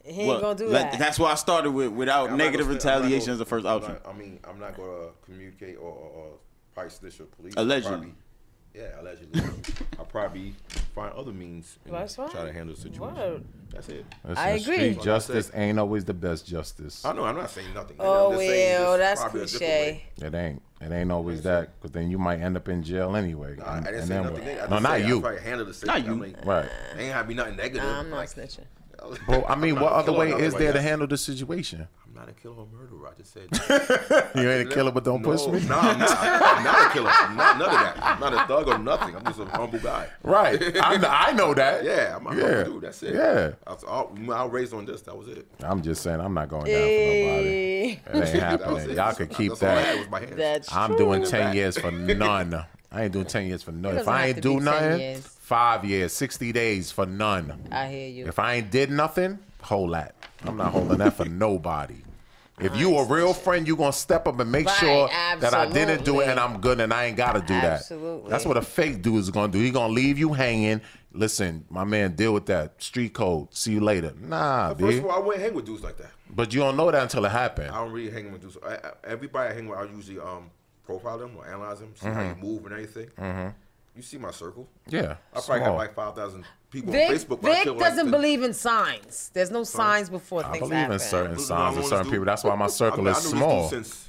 C: He ain't
E: Well,
C: gonna do
E: like,
C: that.
E: That's why I started with without
F: I'm not
E: negative
F: gonna snitch- I'm not
E: retaliation
F: gonna-
E: as the first
F: I'm
E: option.
F: not- I mean, I'm not gonna communicate or, or, or probably snitch or police.
E: Allegedly.
F: Probably- yeah, allegedly. I'll probably find other means and
C: That's right.
F: try to handle the situation.
C: Word.
F: That's it.
C: I
D: Listen,
C: agree.
D: Street justice ain't always the best justice.
F: I know. I'm not saying nothing.
C: oh
F: I'm just saying
C: well,
F: just
C: that's
F: probably a different
C: cliche.
F: way.
D: It ain't. It ain't always that, because then you might end up in jail anyway.
F: I, I
D: and-
F: didn't
D: and
F: say
D: then
F: nothing.
D: what?
F: negative. I
D: No,
F: just
D: not
F: say
D: you.
F: I'll probably handle the situation.
E: Not you.
F: I'm like, (laughs)
D: Right.
F: Ain't gotta be nothing negative.
C: Nah, I'm not
F: like,
C: snitching.
D: (laughs) Well, I mean,
F: I'm
D: what
F: not a
D: other
F: killer,
D: way
F: not
D: is
F: like
D: there to
F: that.
D: handle the
F: (laughs)
D: situation?
F: I'm not a killer or murderer. I just said.
D: (laughs) You ain't a killer, but don't push
F: No,
D: me.
F: No, I'm not. I'm not a
D: (laughs)
F: killer. I'm not none of that. I'm not a thug or nothing. I'm just a humble guy. (laughs)
D: Right. I know, I know that.
F: Yeah, I'm a
D: Yeah.
F: humble dude. That's it.
D: Yeah.
F: I was all, I was raised on this. That was it.
D: I'm just saying, I'm not going down
C: Hey,
D: for nobody. It ain't
F: That was
D: happening.
F: it.
D: Y'all could keep
F: That's all I had
D: that.
F: was my hands.
C: that's
D: I'm
C: true.
D: doing 10 years
F: (laughs)
D: for none. I ain't doing 10 years for none. If
C: doesn't
D: I
C: have
D: ain't
C: to be 10
D: do nothing,
C: years.
D: five years, 60 days for none.
C: I hear you.
D: If I ain't did nothing, hold that. I'm not holding that for nobody. If you a real friend, you gonna step up and make
C: Right,
D: sure that I didn't do
C: absolutely.
D: it and I'm good and I ain't gotta do that.
C: Absolutely.
D: That's what a fake dude is gonna do. He gonna leave you hanging. Listen, my man, deal with that. Street code. See you later. Nah,
F: First
D: dude.
F: of all, I wouldn't hang with dudes like that.
D: But you don't know that until it happened.
F: I don't really hang with dudes. I, I, everybody I hang with, I usually um profile them or analyze them, see how you
D: Mm-hmm.
F: move and everything. You see my circle.
D: Yeah.
F: I probably have
D: small.
F: like five thousand people on
C: Vic,
F: Facebook. but I
C: Vic
F: still like
C: doesn't
F: to-
C: believe in signs. There's no signs before
D: I
C: things
D: believe
C: happen.
D: in certain
F: Those are
D: signs
F: the
D: and
F: ones
D: certain
F: who-
D: people. That's why my circle
F: I- I
D: is
F: knew this dude
D: small.
F: since-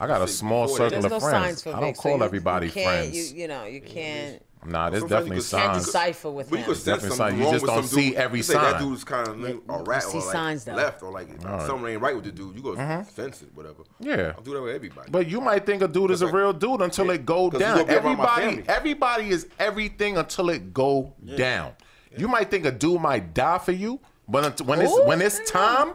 D: I got a
F: since
D: small
F: before
D: circle
F: this.
C: There's
D: of
C: no signs
D: friends.
C: for
D: I
C: Vic,
D: don't
C: so
D: call
C: you-
D: everybody
C: you can't,
D: friends. Mm-hmm.
C: You, you know, you can't.
D: Nah, there's
F: Sometimes you
D: definitely
F: could- Can't
D: signs.
C: decipher with
F: But you
C: him.
F: could sense
D: Definitely
F: something
D: sign. You
F: wrong
D: just
F: with
D: don't
F: some
D: see
F: dude.
D: every
F: You say
D: sign.
F: That dude's kind of a rat
C: see
F: or like
C: signs, though.
F: left or like something ain't right with the dude. You go sense it, whatever.
D: Mm-hmm. Yeah.
F: I'll do that with everybody.
D: But you might think a dude is a
F: Cause I-
D: real dude until it go
F: 'Cause you
D: down.
F: gonna be around my
D: Everybody,
F: family.
D: everybody is everything until it go down. You might think a dude might die for you, but unt- when it's
C: Ooh,
D: when it's
C: damn.
D: time,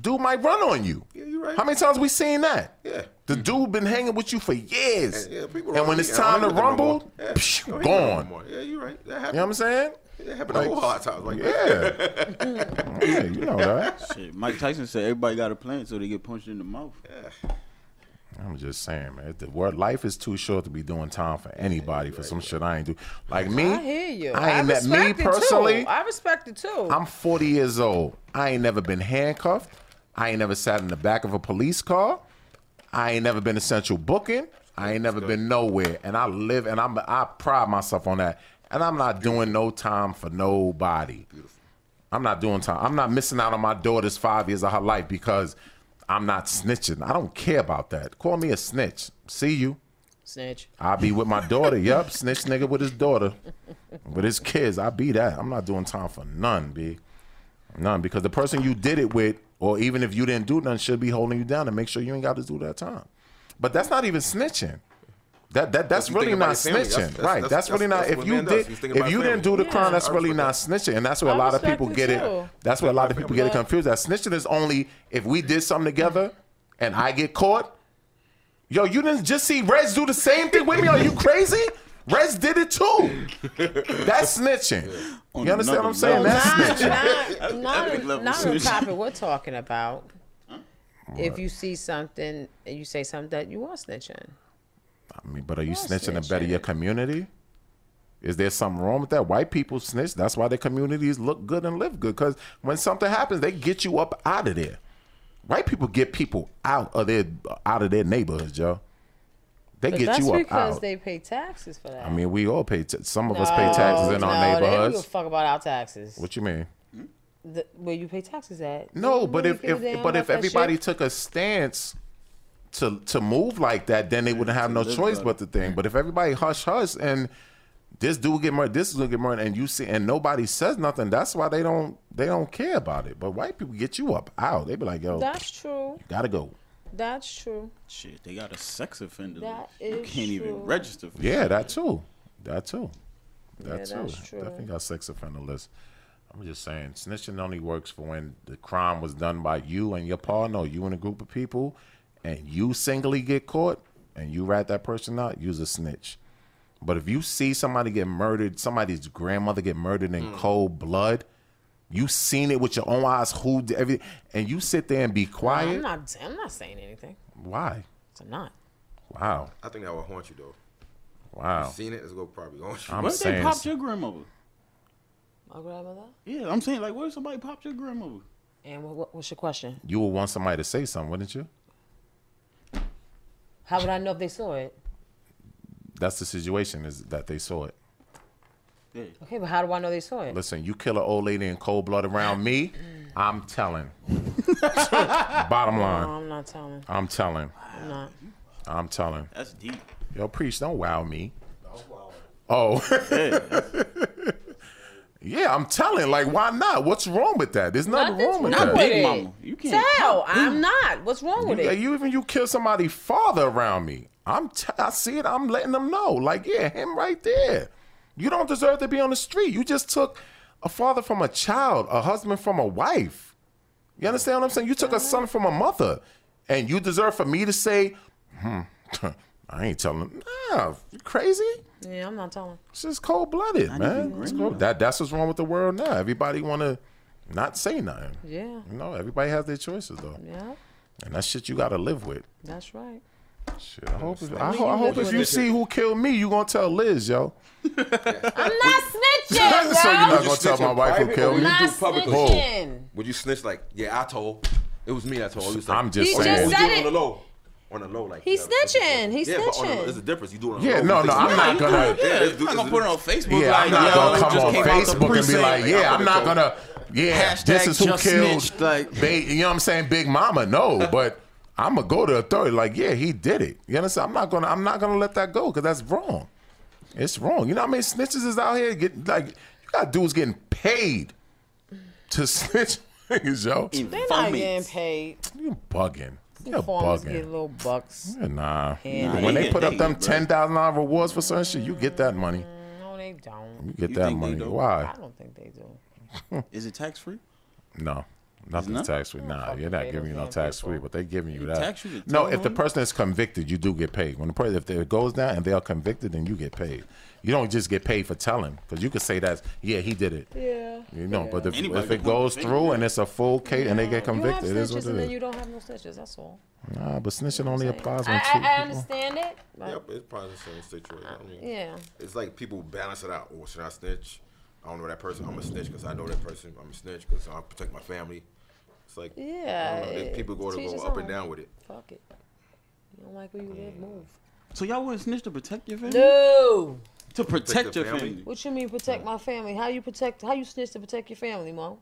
D: dude might run on you.
F: Yeah, you right.
D: How many times we seen that?
F: Yeah.
D: The dude been hanging with you for years,
F: Mm-hmm. yeah, people
D: and
F: run
D: when
F: me.
D: it's
F: I
D: time
F: don't hang
D: to
F: with them no
D: rumble,
F: more. Yeah,
D: psh,
F: I don't hang with them no
D: gone.
F: more. Yeah, you're right. That
D: You know what I'm
F: happened.
D: saying?
F: That happened a whole lot of times. Like
D: Yeah.
F: (laughs)
D: yeah, you know that.
E: Shit, Mike Tyson said everybody got a plan, so they get punched in the mouth.
D: I'm just saying, man. The word life is too short to be doing time for anybody for some shit I ain't do. Like me,
C: I hear you.
D: I ain't that me
C: respect it, too.
D: personally.
C: I respect it too.
D: I'm 40 years old. I ain't never been handcuffed. I ain't never sat in the back of a police car. I ain't never been essential booking. I ain't never been nowhere. And I live and I'm I pride myself on that. And I'm not doing no time for nobody. I'm not doing time. I'm not missing out on my daughter's five years of her life because I'm not snitching. I don't care about that. Call me a snitch. See you.
C: Snitch.
D: I be with my daughter. yup, snitch nigga with his daughter, with his kids. I be that. I'm not doing time for none, b, none because the person you did it with, or even if you didn't do none, should be holding you down and make sure you ain't got to do that time. But that's not even snitching. That that that's
F: you think
D: really
F: about
D: not
F: your
D: snitching,
F: family. That's- that's-
D: right? That's,
F: that's-
D: really not.
F: that's- that's
D: if
F: what
D: you
F: man does.
D: did,
F: He's
D: if
F: thinking about
D: you
F: family.
D: didn't do the
F: Yeah.
D: crime, that's
F: I
D: really
F: respect
D: not
F: that.
D: snitching, and that's where a
C: I
D: lot of
C: respect
D: people
C: it
D: get
C: too.
D: it. That's where a lot of people get it confused. That snitching is only if we did something together, and I get caught. Yo, you didn't just see Rez do the same thing with me? Are you crazy? Rez did
E: (laughs)
D: it too. That's snitching.
E: On
D: You understand
E: another
D: what I'm saying?
E: level.
D: That's
C: not,
D: snitching.
C: not, (laughs) not,
E: Epic
C: a-
E: level
C: not a
E: snitch.
C: topic we're talking about. If you see something and you say something that you are snitching.
D: I mean, but are you
C: That's
D: snitching to better
C: snitching.
D: your community? Is there something wrong with that? White people snitch. That's why their communities look good and live good. Because when something happens, they get you up out of there. White people get people out of their out of their neighborhoods, yo. They
C: But
D: get
C: that's
D: you up
C: because
D: out.
C: they pay taxes for that. Oh,
D: I mean, we all pay. T- some of us pay taxes in
C: no,
D: our
C: They don't give a
D: neighborhoods.
C: fuck about our taxes.
D: What you mean?
C: the, where you pay taxes at.
D: No,
C: Nobody
D: but if,
C: gives
D: if
C: a damn
D: but
C: about
D: if
C: that
D: everybody
C: shit.
D: took a stance to to move like that, then they wouldn't have no
E: live
D: choice
E: by
D: but to thing. But if everybody hush hush and this dude get murdered, this is gonna get murdered, and you see, and nobody says nothing. That's why they don't they don't care about it. But white people get you up out. They be like, yo,
C: that's true.
D: gotta go.
C: That's true.
E: Shit, they got a sex offender.
C: That
E: list. you
C: is
E: can't even
C: true.
E: register for
D: Yeah, that too. That too. That
C: Yeah,
D: too.
C: that's true.
D: Definitely got sex offender list. I'm just saying, snitching only works for when the crime was done by you and your partner, or you and a group of people, and you singly get caught and you rat that person out, use a snitch. But if you see somebody get murdered, somebody's grandmother get murdered
E: Mm.
D: in cold blood, you seen it with your own eyes, who did everything, and you sit there and be
C: I'm
D: quiet.
C: not. I'm not saying anything.
D: Why?
C: I'm not.
D: Wow.
F: I think that will haunt you though.
D: Wow.
F: Seen it? It's gonna probably haunt you.
D: Oh. I'm
E: What if they
D: saying
E: popped your grandmother?
C: My grandmother.
E: Yeah, I'm saying like, what if somebody popped your grandmother?
C: And what, what, what's your question?
D: you would want somebody to say something, wouldn't you?
C: How would I know if they saw it?
D: That's the situation is that they saw it.
E: Yeah.
C: Okay, but how do I know they saw it?
D: Listen, you kill an old lady in cold blood around me, I'm telling. (laughs) Bottom
C: No,
D: line,
C: I'm not telling.
D: I'm telling.
C: I'm not.
D: I'm telling.
E: That's deep.
D: Yo, preach, don't wow me. Oh. (laughs) yeah, I'm telling. Like, why not? What's wrong with that? There's nothing
C: Nothing's
D: wrong with
C: wrong
D: that.
C: with
E: Big
C: it.
E: mama. You can't
C: Tell. I'm not. What's wrong with
D: You,
C: it?
D: you even you kill somebody father around me. I'm t- I see it. I'm letting them know. Like yeah, him right there. You don't deserve to be on the street. You just took a father from a child, a husband from a wife. You understand what I'm saying? You took a
C: Uh-huh.
D: son from a mother, and you deserve for me to say, hmm, (laughs) I ain't telling. Him. Nah, you crazy.
C: Yeah, I'm not telling.
D: It's just cold blooded, man. It's cold- That that's what's wrong with the world now. Everybody want to not say nothing.
C: Yeah.
D: You know, everybody has their choices though,
C: Yeah.
D: and that shit you got to live with.
C: That's right.
D: Shit, I hope, if, I, ho- I
C: you
D: hope
C: live
D: if
C: with
D: you
C: it.
D: see who killed me, you gonna tell Liz, yo.
C: I'm not
D: (laughs) so you're not
C: snitching, yo.
D: gonna tell
F: snitch
D: my
F: in
D: wife who
F: private or
D: killed
F: you
D: me?
C: Not
F: do publicly?
C: snitching.
F: Would you snitch like, yeah, I told. It was me that told. You was like,
D: I'm just
C: He
F: Oh,
C: just
D: saying.
F: you
C: said
F: do it
C: it.
F: on the low. On the low, like
C: He's
F: yeah, that's
C: snitching.
F: different.
C: He's
F: yeah, But on
C: snitching.
F: the, there's a difference. You do it on the
D: yeah,
F: low.
D: no, no, I'm not gonna.
E: Yeah,
F: this
E: I'm
F: dude
E: not
F: is-
E: gonna put it on Facebook.
D: Yeah,
E: like,
D: I'm not
E: yo,
D: gonna
E: it
D: come
E: just
D: on
E: came out the
D: Facebook and be
E: precinct.
D: like, yeah, I'm not
F: Like,
D: gonna. Yeah, this
E: Hashtag
D: is who
E: just
D: killed.
E: snitched, like-
D: ba- you know what I'm saying, Big Mama? No, but I'm gonna go to authority. Like, yeah, he did it. You understand? I'm not gonna. I'm not gonna let that go because that's wrong. It's wrong. You know how many snitches is out here? Get like, you got dudes getting paid to (laughs) snitch, niggas, yo.
E: E
C: They're not
E: Informants.
C: getting paid.
D: You bugging. You're
C: Farmers get
D: bugging.
C: little bucks.
D: Yeah, Nah.
C: Yeah,
D: when
E: they
D: they
E: get
D: put up
E: paid,
D: them
E: bro.
D: ten thousand dollar rewards for certain shit, you get that money.
C: No, they don't.
D: You get
E: You
D: that
E: think they
D: money.
E: don't?
C: I
D: Why?
C: don't think they do.
E: Is it tax free?
D: No. Nothing's
E: not?
D: tax free. Nah, you're not
C: they
D: giving you
C: don't
D: no
C: pay
D: tax
C: people.
D: free, but they giving you
E: tax
D: that.
E: you to
D: No,
E: tell
D: if the
E: them?
D: person is convicted, you do get paid. When the person, if it goes down and they are convicted, then you get paid. You don't just get paid for telling, because you could say that's yeah, he did it.
C: Yeah.
D: You know, but if,
E: Anybody
D: if
E: can
D: it
E: put
D: goes
E: a finger
D: through
E: in.
D: and it's a full case and they get
C: You have
D: convicted, it is
C: snitches
D: what
C: and
D: it
C: then
D: is.
C: you don't have no snitches. That's all.
D: Nah, but snitching only applies when
C: I,
D: two
C: I, I
D: people.
C: understand it. but-
F: Yep, it's probably the same situation. I mean,
C: yeah.
F: It's like people balance it out. Or should I snitch? I don't know that person. I'm a snitch because I know that person. I'm a snitch because I protect my family. It's like I
C: Yeah,
F: don't know. They-
C: it-
F: people go to
C: teach
F: go
C: his
F: up and
C: own.
F: down with it.
C: Fuck it. You don't like where you live, move.
E: So y'all wouldn't snitch to protect your family?
C: No.
E: To protect
F: Protect
E: your
F: your
E: family.
F: family.
C: What you mean protect my family? How you protect? How you snitch to protect your family, Mo?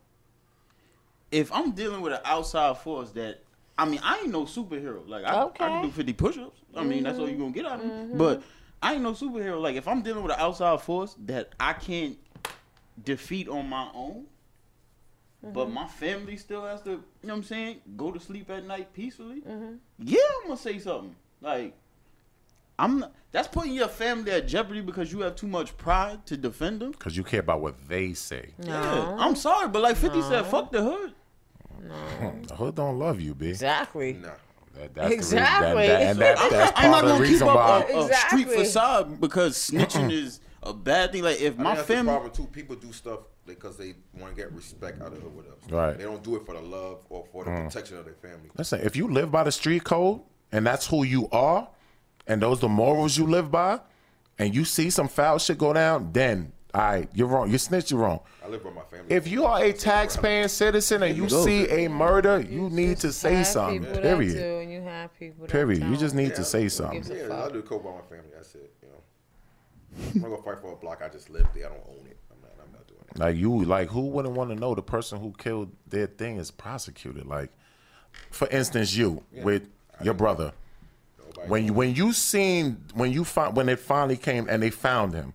E: If I'm dealing with an outside force that, I mean, I ain't no superhero. Like I, I can
C: Okay.
E: do 50 push-ups. I mean, that's all you gonna get out of me. But I ain't no superhero. Like if I'm dealing with an outside force that I can't defeat on my own. But my family still has to, you know what I'm saying, go to sleep at night peacefully. Yeah, I'm gonna say something. Like, I'm not, that's putting your family at jeopardy because you have too much pride to defend them.
D: Because you care about what they say.
E: Yeah, I'm sorry, but like 50 said, fuck the hood.
D: The hood don't love you, B.
C: Exactly.
F: Nah.
D: That, that's The
C: Exactly.
D: reason, that, that, and that,
E: I'm,
D: that's
E: not- I'm
D: part
E: not
D: of the
E: gonna keep
D: reason
E: up
D: why.
E: a, a
C: Oh. Exactly.
E: street facade
D: (clears throat)
E: because snitching is a bad thing. Like if
F: I
E: my
F: think that's the
E: family,
F: problem too. People do stuff because they want to get respect out of it with us.
D: Right. Mm.
F: They don't do it for the love or for the protection of their family.
D: Listen, if you live by the street code and that's who you are, and those the morals you live by, and you see some foul shit go down, then all right, you're wrong. You snitch, you're wrong.
F: I live with my family.
D: If you are a tax-paying citizen and you see a murder, you need to say
C: Have
D: something.
C: people that do,
D: Period.
C: and you have people that
D: Period. You
C: don't.
D: just need to say
F: Yeah,
D: something. (laughs)
F: I do cope by my family. That's it. You know. I'm not gonna fight for a block I just lived there. I don't own it. I'm not. I'm not doing it.
D: Like you, like who wouldn't want to know the person who killed their thing is prosecuted? Like, for instance, you with your brother. When you when you seen when you find when it finally came and they found him,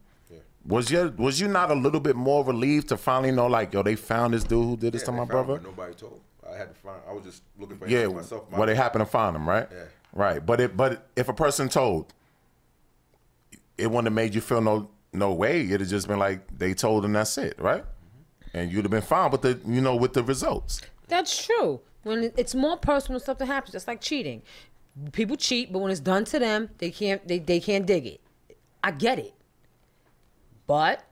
D: was your was you not a little bit more relieved to finally know like yo they found this dude who did this
F: Yeah,
D: to
F: they
D: my
F: found
D: brother?
F: him, but Nobody told. I had to find. I was just looking for
D: Yeah,
F: him myself.
D: well, they happened to find him, right?
F: Yeah.
D: Right, but it but if a person told, it wouldn't have made you feel no no way. It'd have just been like they told and that's it, right?
F: Mm-hmm.
D: And you'd have been fine with the you know with the results.
C: That's true. When it- it's more personal stuff that happens, that's like cheating. People cheat, but when it's done to them, they can't they, they can't dig it. I get it. But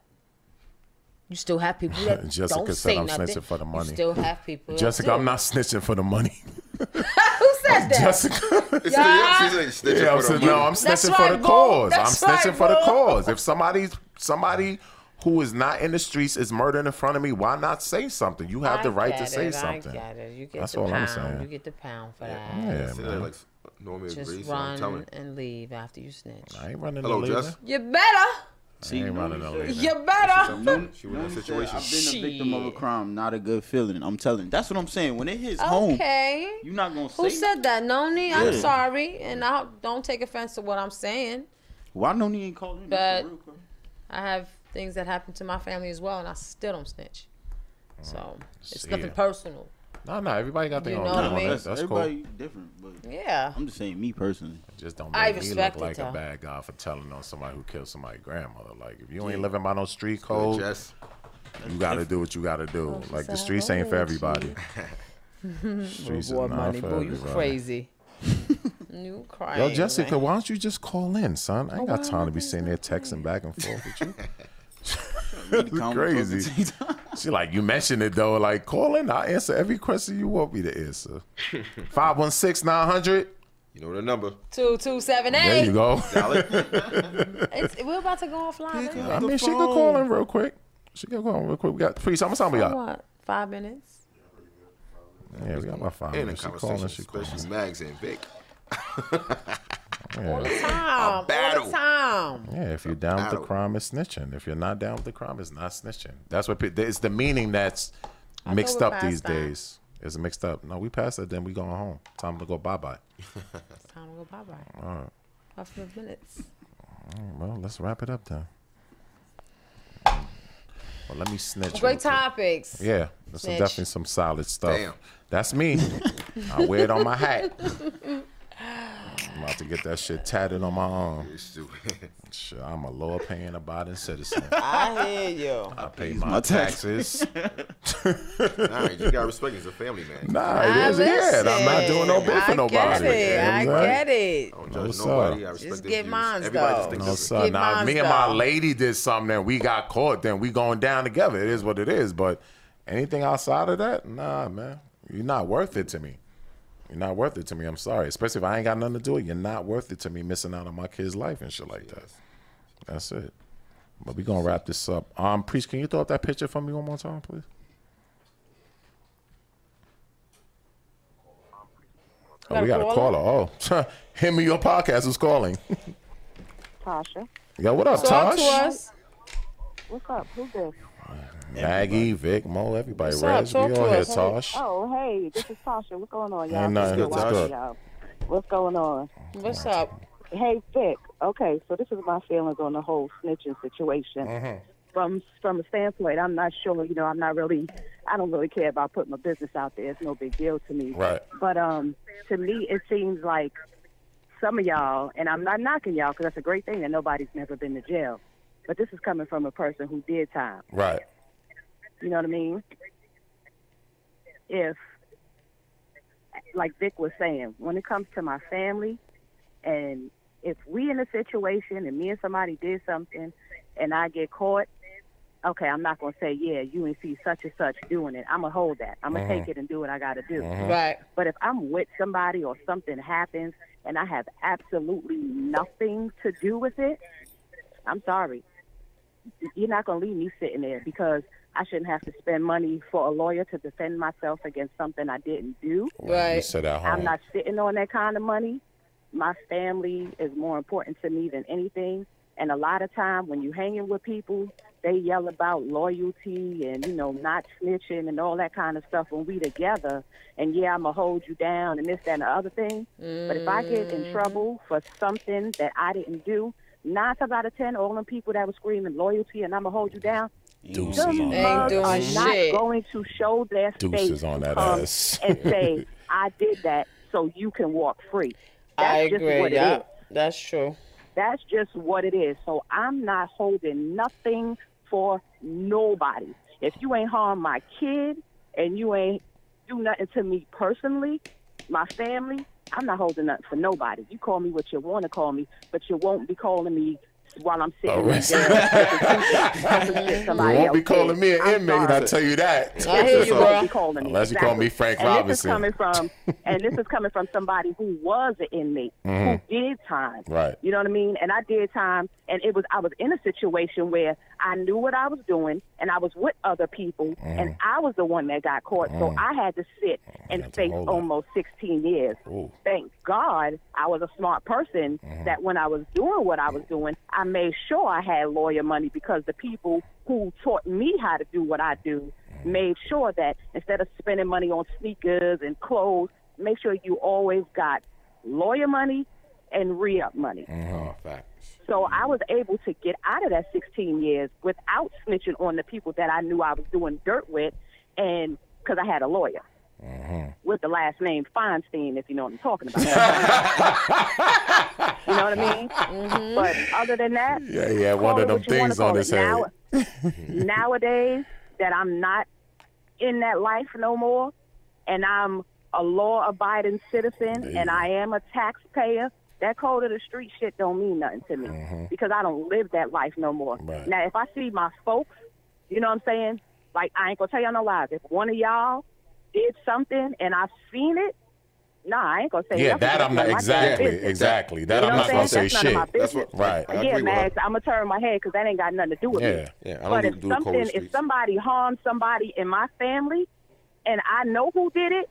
C: you still have people that
D: (laughs) Jessica
C: don't
D: said,
C: say
D: "I'm
C: nothing.
D: snitching for the money."
C: You still have people. that
D: Jessica,
C: do.
D: I'm not (laughs) snitching for the money.
C: Who said that?
D: Jessica,
F: (laughs) It's
C: Yeah.
F: yeah. She's like,
D: yeah, I'm saying, no, I'm
C: That's
D: snitching
C: right,
D: for the
C: boo.
D: cause.
C: That's
D: I'm snitching
C: right,
D: for the
C: boo.
D: cause. If somebody somebody who is not in the streets is murdered in front of me, why not say something? You have
C: I
D: the right
C: get
D: to say
C: it,
D: something.
C: I get it. You get
D: That's
C: the
D: all I'm
C: pound.
D: saying.
C: You get the pound for that.
D: Yeah, man.
F: like normal
C: Just
F: race. I'm telling.
C: run
F: you.
C: and leave after you snitch.
D: I ain't running
F: Hello,
D: no
F: Jess.
C: You better.
E: See,
D: ain't
E: you
D: running
E: know,
D: no leader.
C: You
D: (laughs)
C: better.
E: No,
F: She was in
E: no,
F: a
E: he said,
F: situation.
E: I've been a victim of a
C: Shit.
E: crime, not a good feeling. I'm telling. That's what I'm saying. When it hits home,
C: Okay.
E: you're not gonna
C: Who
E: say.
C: said that? Noni, I'm
E: Yeah.
C: sorry, and I don't take offense to what I'm saying.
E: Why no need ain't calling?
C: But-
E: real quick.
C: I have things that happen to my family as well, and I still don't snitch.
D: Mm.
C: So it's
D: shit.
C: nothing personal.
D: No, no, everybody got their
C: You
D: own.
C: know what I
D: view on
C: mean?
D: that. That's cool.
E: everybody different, but
C: Yeah.
E: I'm just saying, me personally.
D: Just don't
C: I
D: make me
C: respect
D: look
C: it,
D: like a
C: though.
D: bad guy for telling on somebody who killed somebody's grandmother. Like if you ain't living by no street code,
F: Jess.
D: you gotta do what you gotta do.
C: she
D: Like the
C: said,
D: streets
C: "How
D: ain't for
C: old
F: (laughs)
D: everybody. streets is
C: Oh, Boy,
D: not
C: money,
D: for
C: boo, you
D: everybody.
C: crazy. you crazy.
D: Yo, Jessica, why don't you just call in, son? I ain't got time to be sitting there texting back and forth with you. (laughs)
F: (laughs)
E: Calm,
D: crazy.
E: talk at the same time.
D: She like, you mentioned it though. Like, call in. I'll answer every question you want me to
F: (laughs)
D: answer. 516 900.
F: You know the number.
C: Two two seven
D: There
C: eight.
D: you go.
C: It's, we're about to go offline.
D: (laughs) I
C: Anyway.
D: mean, she could call in real quick. She could call in real quick. We got three. How much time we got?
C: What? Five minutes.
D: Yeah, we got about five
F: In a
D: minutes. She calling.
F: conversation,
D: She calling.
F: especially Mags and Vic.
C: Time. All
F: battle.
C: the time.
D: Yeah, if you're down with the
F: battle.
D: crime, it's snitching. If you're not down with the crime, it's not snitching. That's what pe- it's the meaning that's mixed
C: we're
D: up
C: past
D: these
C: that.
D: days. It's mixed up. No, we passed it. Then we going home. Time to go bye bye.
C: It's time to go bye bye. All
D: right.
C: About five minutes.
D: Well, let's wrap it up then. Well, let me snitch. real
C: Great
D: quick.
C: topics.
D: Yeah, that's some-
C: Snitch.
D: definitely some solid stuff.
F: Damn.
D: That's me. I wear it on my hat.
C: (laughs)
D: I'm about to get that shit tatted on my arm.
F: It's stupid. (laughs)
D: Shit, I'm a lower paying abiding citizen.
C: I hear you.
D: I pay my,
E: my taxes.
D: taxes.
F: nah, you gotta respect. it. He's a family man.
D: Nah,
C: I
D: it is. (laughs) Yeah,
C: listen.
D: I'm not doing no bit for
C: I
D: nobody.
C: Get it. I get it.
F: I don't
D: No,
F: judge
D: sir.
F: nobody. I respect
C: Just
F: their
C: get
F: views.
C: mines,
F: Everybody just
C: though.
D: No,
F: think different.
D: sir.
C: Get
D: Now,
C: mine,
D: me and my
C: though.
D: lady did something and we got caught, then we going down together. It is what it is. But anything outside of that, nah, man. You're not worth it to me. You're not worth it to me. I'm sorry. Especially if I ain't got nothing to do with it. You're not worth it to me missing out on my kid's life and shit like that. That's it. But we going to wrap this up. Um, Priest, can you throw up that picture for me one more time, please? Oh, we got a caller. Oh, (laughs) him and your podcast is calling.
H: Tasha.
D: Yo, what up,
C: Talk
D: Tosh?
C: to us.
H: What's up? Who's this?
D: Maggie, Vic, Mo, everybody.
C: What's up?
D: Reg, we
C: Talk
D: all
C: to
D: here,
C: us.
D: Tosh.
H: Oh, hey, this is Tasha. What's going on, y'all?
D: Ain't nothing.
H: Thanks for
D: What's
H: watching,
D: good?
H: y'all. What's going on?
C: What's up?
H: Hey, Vic. Okay, so this is my feelings on the whole snitching situation.
D: Mm-hmm.
H: From from a standpoint, I'm not sure. You know, I'm not really. I don't really care about putting my business out there. It's no big deal to me.
D: Right.
H: But um, to me, it seems like some of y'all, and I'm not knocking y'all because that's a great thing that nobody's never been to jail. But this is coming from a person who did time.
D: Right.
H: You know what I mean? If, like Vic was saying, when it comes to my family, and if we in a situation and me and somebody did something, and I get caught, okay, I'm not gonna say, yeah, you ain't see such and such doing it. I'm gonna hold that. I'm gonna take it and do what I gotta do.
C: Right.
H: But if I'm with somebody or something happens and I have absolutely nothing to do with it, I'm sorry. You're not going to leave me sitting there because I shouldn't have to spend money for a lawyer to defend myself against something I didn't do.
D: You
C: Right.
D: said at home.
H: I'm not sitting on that kind of money. My family is more important to me than anything.
G: And a lot of time when you're hanging with people, they yell about loyalty and you know not snitching and all that kind of stuff. When we together, and yeah, I'ma hold you down and this that and the other thing. But if I get in trouble for something that I didn't do, nine times out of ten, all them people that were screaming loyalty and I'ma hold you down,
D: Deuces
G: them
D: on
G: mugs
H: doing
G: are
H: shit.
G: not going to show their
D: Deuces
G: face
D: on that
G: um,
D: ass. (laughs)
G: and
D: Mm.
G: say I did that so you can walk free. That's
H: I
G: just
H: agree.
G: what it
H: Yeah,
G: is.
H: that's true.
G: That's just what it is. So I'm not holding nothing for nobody. If you ain't harm my kid and you ain't do nothing to me personally, my family, I'm not holding nothing for nobody. You call me what you want to call me, but you won't be calling me while I'm sitting in
D: Arrested.
G: jail.
D: Oh, (laughs) You won't be calling me an inmate. I tell you that.
H: I
D: (laughs)
H: hear you,
G: you won't
H: bro.
G: be calling me.
D: Unless you call me Frank
G: and
D: Robinson.
G: This is coming from, and this is coming from somebody who was an inmate who did time.
D: Right.
G: You know what I mean? And I did time, and it was I was in a situation where I knew what I was doing, and I was with other people, and I was the one that got caught, so I had to sit and
D: That's a
G: face
D: whole lot.
G: almost 16 years.
D: Ooh.
G: Thank God I was a smart person that when I was doing what I was doing, I made sure I had lawyer money because the people who taught me how to do what I do made sure that instead of spending money on sneakers and clothes, make sure you always got lawyer money and re up money.
F: Oh, facts.
G: So I was able to get out of that 16 years without snitching on the people that I knew I was doing dirt with, and because I had a lawyer with the last name Feinstein, if you know what I'm talking about. you know what I mean? But other than that,
D: Yeah, he had one
G: call
D: of
G: it
D: them
G: what Oh, you wanna
D: things on
G: call
D: his
G: it.
D: head.
G: Now- nowadays, that I'm not in that life no more, and I'm a law-abiding citizen, and I am a taxpayer. That code of the street shit don't mean nothing to me because I don't live that life no more.
D: Uh-huh. Right.
G: Now, if I see my folks, you know what I'm saying? Like I ain't gonna tell y'all no lies. If one of y'all did something and I've seen it, nah, I ain't gonna say
D: Yeah,
G: nothing.
D: that
G: That's
D: I'm
G: none
D: not
G: of my
D: exactly,
G: business.
D: exactly. That I'm
G: You know
D: not
G: what I'm
D: gonna
G: saying?
D: say
G: That's none
D: shit.
G: of my
F: That's what.
D: Right.
F: I, I
G: yeah,
F: agree with her.
G: Max, I'm gonna turn my head 'cause that ain't got nothing to do with
D: Yeah,
G: me.
F: yeah, I don't
G: But
F: do-
G: if
F: do cold
G: something, if
F: streets.
G: somebody harmed somebody in my family, and I know who did it,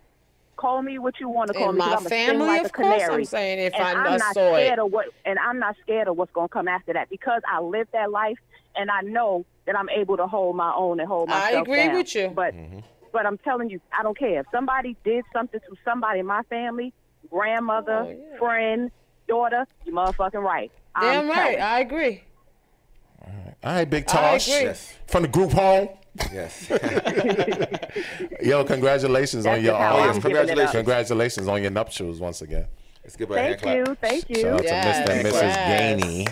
G: call me what you want to call
H: In
G: me. 'cause
H: my
G: I'ma sting
H: family,
G: like a
H: of course,
G: canary.
H: I'm saying if
G: and
H: I-
G: am
H: I
G: not
H: saw it.
G: scared of what, and I'm not scared of what's gonna come after that because I lived that life and I know that I'm able to hold my own and hold myself
H: I agree
G: down.
H: with you.
G: But
D: Mm-hmm.
G: but I'm telling you, I don't care if somebody did something to somebody in my family, grandmother,
H: Oh, yeah.
G: friend, daughter, you motherfucking right.
H: Damn
G: I'm
H: right.
G: telling.
H: I agree.
D: All right, Big
H: I
D: Tosh
H: agree.
D: from the group home.
F: (laughs) Yes.
D: Yo, congratulations on
G: That's
D: your
G: just how
D: um,
G: I'm giving it up.
D: congratulations on your nuptials once again.
F: Let's give her a hand
G: Thank you,
F: clap.
G: thank you.
D: Shout out
H: Yes,
D: to Mr. and Mrs.
H: yes.
D: Gainey.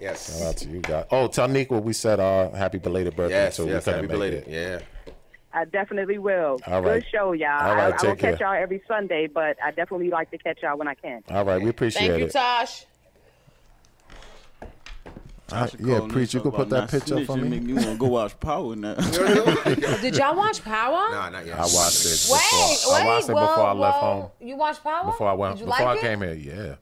F: Yes.
D: Shout out to you guys. Oh, tell Nequa we said uh, happy belated birthday
F: Yes.
D: too. we
F: Yes.
D: couldn't
F: Happy
D: make
F: belated.
D: it.
F: Yeah.
D: (laughs)
F: (laughs)
G: I definitely will.
D: All right.
G: Good show, y'all.
D: All right,
G: I, I
D: take
G: don't catch
D: care.
G: y'all every Sunday, but I definitely like to catch y'all when I can.
D: All right, we appreciate
H: Thank you,
D: it.
H: Tosh.
D: Uh, yeah, preach. You could put that picture up for me.
E: Make me want to go watch Power
C: (laughs)
E: now.
H: Did y'all watch Power?
F: Nah, not yet.
D: I watched it.
H: Wait,
D: before,
H: wait.
D: I watched it
H: well,
D: before I left
H: well,
D: home.
H: You watched Power?
D: Before I went,
H: Oh, Did you
D: before
H: like
D: I
H: it?
D: came here, yeah.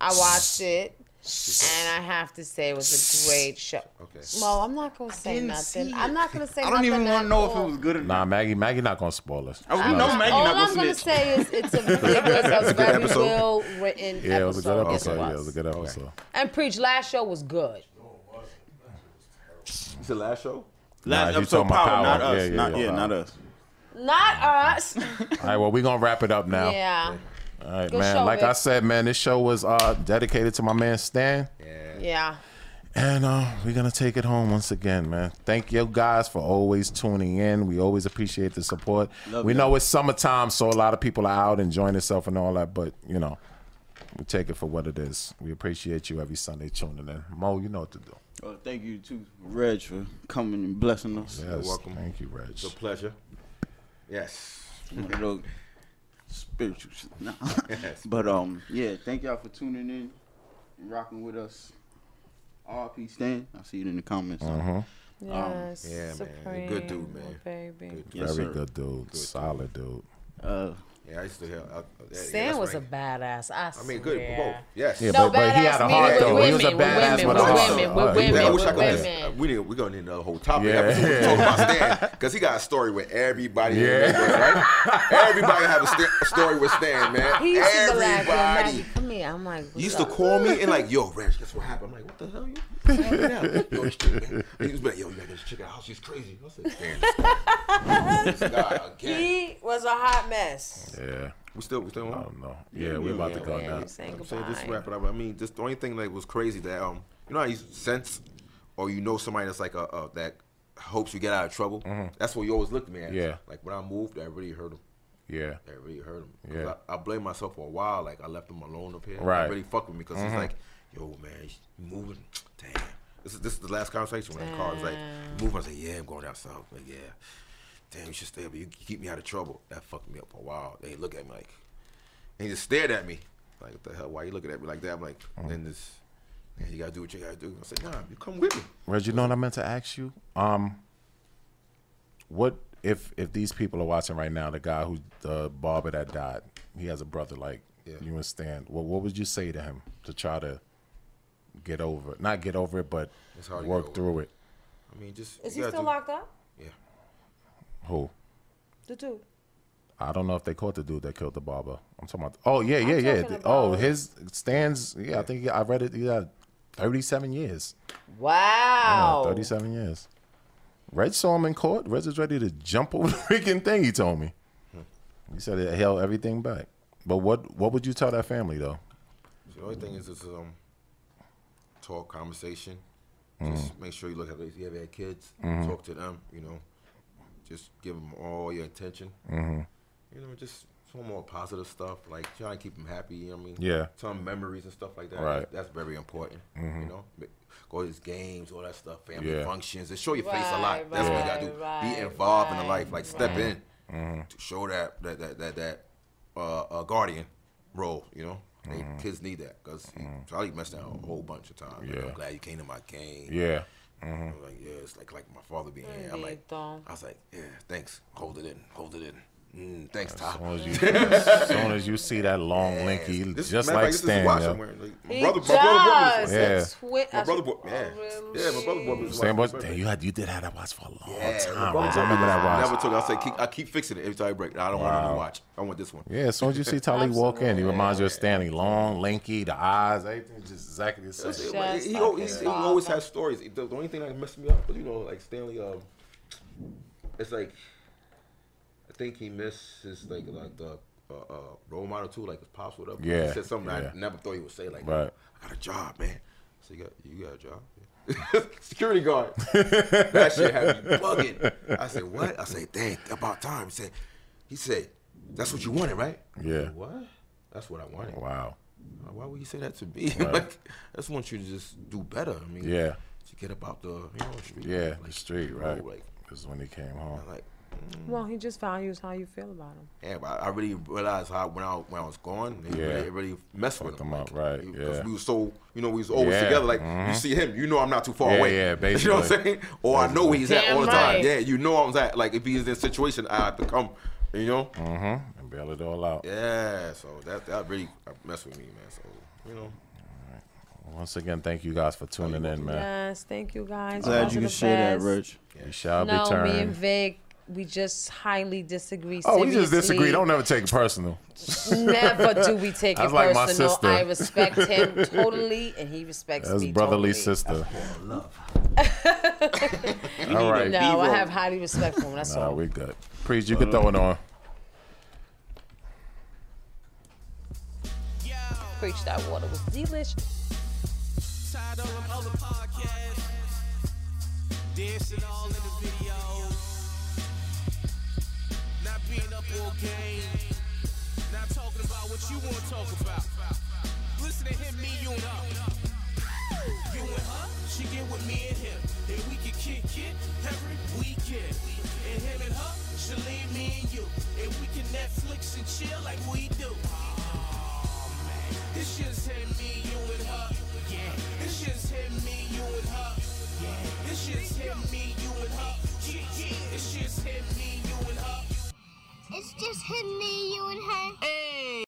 H: I watched it, and I have to say it was a great show.
F: Okay.
H: Mo, Oh, I'm not gonna say
E: (laughs)
H: nothing. I'm not gonna say
E: I
H: nothing.
E: don't even
H: want to
E: know if it was good or not.
D: Nah, Maggie, Maggie not gonna spoil us.
E: I Oh, we
D: Nah,
E: know Maggie
H: All
E: not
H: I'm
E: gonna
H: gonna
E: snitch.
H: say is it's a, it was a very
F: episode.
H: well written episode.
D: yeah, it was a good
H: Yes,
D: episode. Yeah, it
H: was.
D: was a good episode.
H: And preach last show was good.
F: It's the last show.
D: Nah,
E: Last
D: you
E: episode,
D: talking about
E: Power,
D: Power.
E: not us.
D: Yeah, yeah,
E: not,
D: yeah.
E: yeah, not us.
H: Not us.
D: All right, well, we're gonna wrap it up now.
H: yeah,
D: All right,
H: Good
D: man.
H: show,
D: like
H: Vic.
D: I said, man, this show was uh, dedicated to my man Stan,
H: yeah.
D: and uh, we're gonna take it home once again, man. Thank you guys for always tuning in. We always appreciate the support.
E: Love
D: we
E: that.
D: know it's summertime, so a lot of people are out enjoying themselves and all that, but you know, we take it for what it is. We appreciate you every Sunday tuning in. Mo, you know what to do.
E: Well, thank you to Reg for coming and blessing us.
D: Yes,
F: welcome.
D: Thank you, Reg.
F: It's a pleasure. Yes.
E: One of those spiritual shit.
D: (laughs)
E: Nah. but um, yeah, thank y'all for tuning in and rocking with us. RP Stan. I see it in the comments.
D: Uh-huh.
E: Um,
H: Yes,
F: yeah, man. You're a good dude, man.
H: Oh, Baby.
E: Yes,
D: Very
E: sir.
D: good dude. Solid dude.
E: Uh,
F: Yeah, I used to hear. I, I- yeah,
C: Sam
F: that's
C: was
F: right.
C: a badass. I,
F: I mean, good for both.
C: swear.
F: Yes.
D: Yeah,
C: No,
D: but, but he
C: badass
D: had a
C: meaning
D: heart
C: with
D: though. he was a
C: women, with women,
D: badass with a
C: with
D: heart.
C: women,
D: Oh,
C: with
D: he-
F: Man, I
C: women.
F: wish I could.
C: women.
F: Just, we didn't. We gonna need another whole topic.
D: Yeah.
F: episode to talk about
D: (laughs)
F: Stan because he got a story with everybody. in
D: Yeah.
F: the neighborhood, right? Everybody have a, st- a story with Stan,
D: (laughs)
F: man.
C: He used to be like, "Yo, Maggie,
F: everybody.
C: come here." I'm like,
F: He used to
C: "What's up?"
F: call me and like, yo, Ranch, guess what happened? I'm like, what the hell, you? What's happening now? (laughs) yo, this chick, man. He was like, yo, you got this chick out. house. She's crazy. I said, Stan, this guy- (laughs) this guy again.
C: He was a hot mess.
D: Yeah,
F: We still, we still
D: I
F: on.
D: don't know. Yeah, we about to go
C: Yeah,
D: now.
C: saying
F: I'm saying this
C: goodbye.
F: rap, whatever. I mean, just the only thing that was crazy that um, you know, how you sense or you know somebody that's like a, a that hopes you get out of trouble. That's what you always looked at me at.
D: Yeah.
F: Like when I moved, that really hurt him.
D: Yeah,
F: That really hurt him. 'Cause
D: Yeah.
F: I, I blamed myself for a while. Like I left him alone up here.
D: Right. Mm-hmm.
F: It really fucked with me because it's like, yo, man, you moving. Damn. This is this is the last conversation when I called. It's like, you moving. I was like, yeah, I'm going down south. Like, yeah. Damn, you should stay up. You keep me out of trouble. That fucked me up for a while. They look at me like, and he just stared at me. Like, what the hell? Why you looking at me like that? I'm like,
D: Mm-hmm.
F: and then this, yeah, you gotta do what you gotta do. I said, nah, you come with me.
D: Reg, you know what I meant to ask you? Um, what if if these people are watching right now? The guy who the barber that died, he has a brother like
F: Yeah.
D: you and Stan. What what would you say to him to try to get over it? Not get over it, but
F: It's hard to get
D: work
F: over.
D: through it.
F: I mean, just.
C: Is he
F: you gotta
C: still
F: do-
C: locked up?
F: Yeah.
D: Who?
C: The dude.
D: I don't know if they caught the dude that killed the barber. I'm talking about. Oh yeah, yeah, yeah.
C: talking
D: Oh,
C: about-
D: his stands. Yeah, I think I read it. Yeah, 37 years.
C: Wow.
H: Oh.
D: Yeah, 37 years. Reg saw him in court. Reg was ready to jump (laughs) over the freaking thing, he told me. He said it held everything back. But what what would you tell that family, though?
F: The only thing is just um, talk, conversation.
D: Mm-hmm.
F: Just make sure you look at if you ever had kids, talk to them. You know, just give them all your attention.
D: Mm-hmm.
F: You know, just some more positive stuff like try to keep them happy. You know what I mean?
D: Yeah.
F: Tell them memories and stuff like that.
D: Right. Mm-hmm.
F: That's very important. You know, Ma- go to these games, all that stuff, family
D: Yeah.
F: functions, and show your face a lot.
C: Right,
F: That's what you
C: right,
F: gotta do.
C: right,
F: Be involved in the
C: right,
F: life. Like step in,
D: Mm-hmm.
F: to show that that that that, that uh, uh, guardian role. You know, they,
D: Mm-hmm.
F: kids need that because Charlie messed up a whole bunch of times. Like,
D: Yeah.
F: I'm glad you came to my game.
D: Yeah. Mm-hmm.
F: I'm like, yeah, it's like like my father being here. I'm like,
C: Bendito.
F: I was like, yeah, thanks. Hold it in. Hold it in. Mm, thanks, Ty.
D: As soon as
F: (laughs)
D: you, as soon as you see that long link, he
F: This-
D: just
F: matter of
D: like
F: fact, this is the watch I'm
D: Stan.
F: wearing. Like, my
C: He
F: brother, my
C: does.
F: brother bought me this one.
D: Yeah.
C: Swi-
F: My
C: I-
F: brother bought, yeah,
C: Oh,
F: yeah, my brother bought me
C: really?
F: this
D: Stan
F: watch.
D: was, damn, you, had, you did have that watch for a long
F: Yeah, my
D: time. Reg.
F: brother
D: I
F: bought me
D: remember
F: this.
D: that
F: I
D: watch.
F: Never took. it. I said, keep, I keep fixing it every time I break. it. I don't want a new watch. I want this one.
D: Yeah, as soon as you see Tali walk in, he reminds you of Stanley. Long, lanky, the eyes, everything just exactly the
F: That's it.
D: same.
F: Like,
C: Just
F: he,
C: like
F: always,
C: his
F: he always
C: father.
F: has stories. The, the only thing that messed me up was, you know, like Stanley. Um, it's like I think he missed his like like the uh, uh, role model too, like his pops would up.
D: Yeah,
F: he said something
D: yeah.
F: I never thought he would say. Like,
D: Right.
F: I got a job, man. So you got you got a job. (laughs)
D: (laughs)
F: Security guard. that shit had me bugging. I said, what? I said, dang, about time. He said, he said, that's what you wanted, right? I
D: Yeah.
F: said, what? That's what I wanted.
D: Wow.
F: Uh, Why would you say that to me? (laughs) like, I just want you to just do better. I mean,
D: Yeah.
F: to get about the you know street.
D: Yeah,
F: like,
D: the street,
F: you know,
D: right?
F: Like,
D: This is when he came home.
F: I'm like,
C: Well, he just found you is how you feel about him.
F: yeah, but I I really realized how when I when I was gone, it,
D: Yeah.
F: really, it really messed with
D: Fucked
F: him,
D: him up,
F: like,
D: right,
F: Because
D: yeah.
F: we were so, you know, we was always
D: Yeah, mm-hmm.
F: together. Like, you see him, you know, I'm not too far
D: Yeah,
F: away.
D: yeah,
F: (laughs) You know what I'm
D: basically.
F: saying? Or I know where he's at
C: Damn
F: all the
C: right.
F: time. Yeah, you know, I'm at. Like, if he's in this situation, I have to come. You know?
D: Mm. And bail it all out.
F: Yeah. So that that really messed with me, man. So you know,
D: Once again, thank you guys for tuning in, man.
C: Yes, thank you guys. Y'all
E: Glad
C: are the
E: you can share that,
C: best.
E: Rich.
D: We shall
C: No,
D: be
C: me and
D: turned.
C: Vic, we just highly disagree.
D: Oh, we just disagree.
C: seriously.
D: Don't ever take it personal.
C: (laughs) Never do
D: (laughs)
C: we take it
D: That's like my
C: personal.
D: sister.
C: I respect
D: (laughs)
C: him totally, and he respects
D: That's
C: me.
D: brotherly
C: totally.
D: sister.
F: love.
D: All right.
C: No, I have highly respect for him. That's
D: Nah,
C: all.
D: we good. Preach, you can throw it on.
C: Preach that water was delish.
A: Tired of them other podcasts. Dancing all in the videos. Not being up on game. Not talking about what you want to talk about. Listen to him, me, you and her. You and her, she get with me and him. And we can kick it every weekend. And him and her, she leave me and you. And we can Netflix and chill like we do. This shit's hit me, you and her. Yeah. This shit's hit me, you and her. Yeah. This shit's hit me, you and her. Yeah, yeah. This shit's hit me, you and her.
B: It's just him, me, you, and her.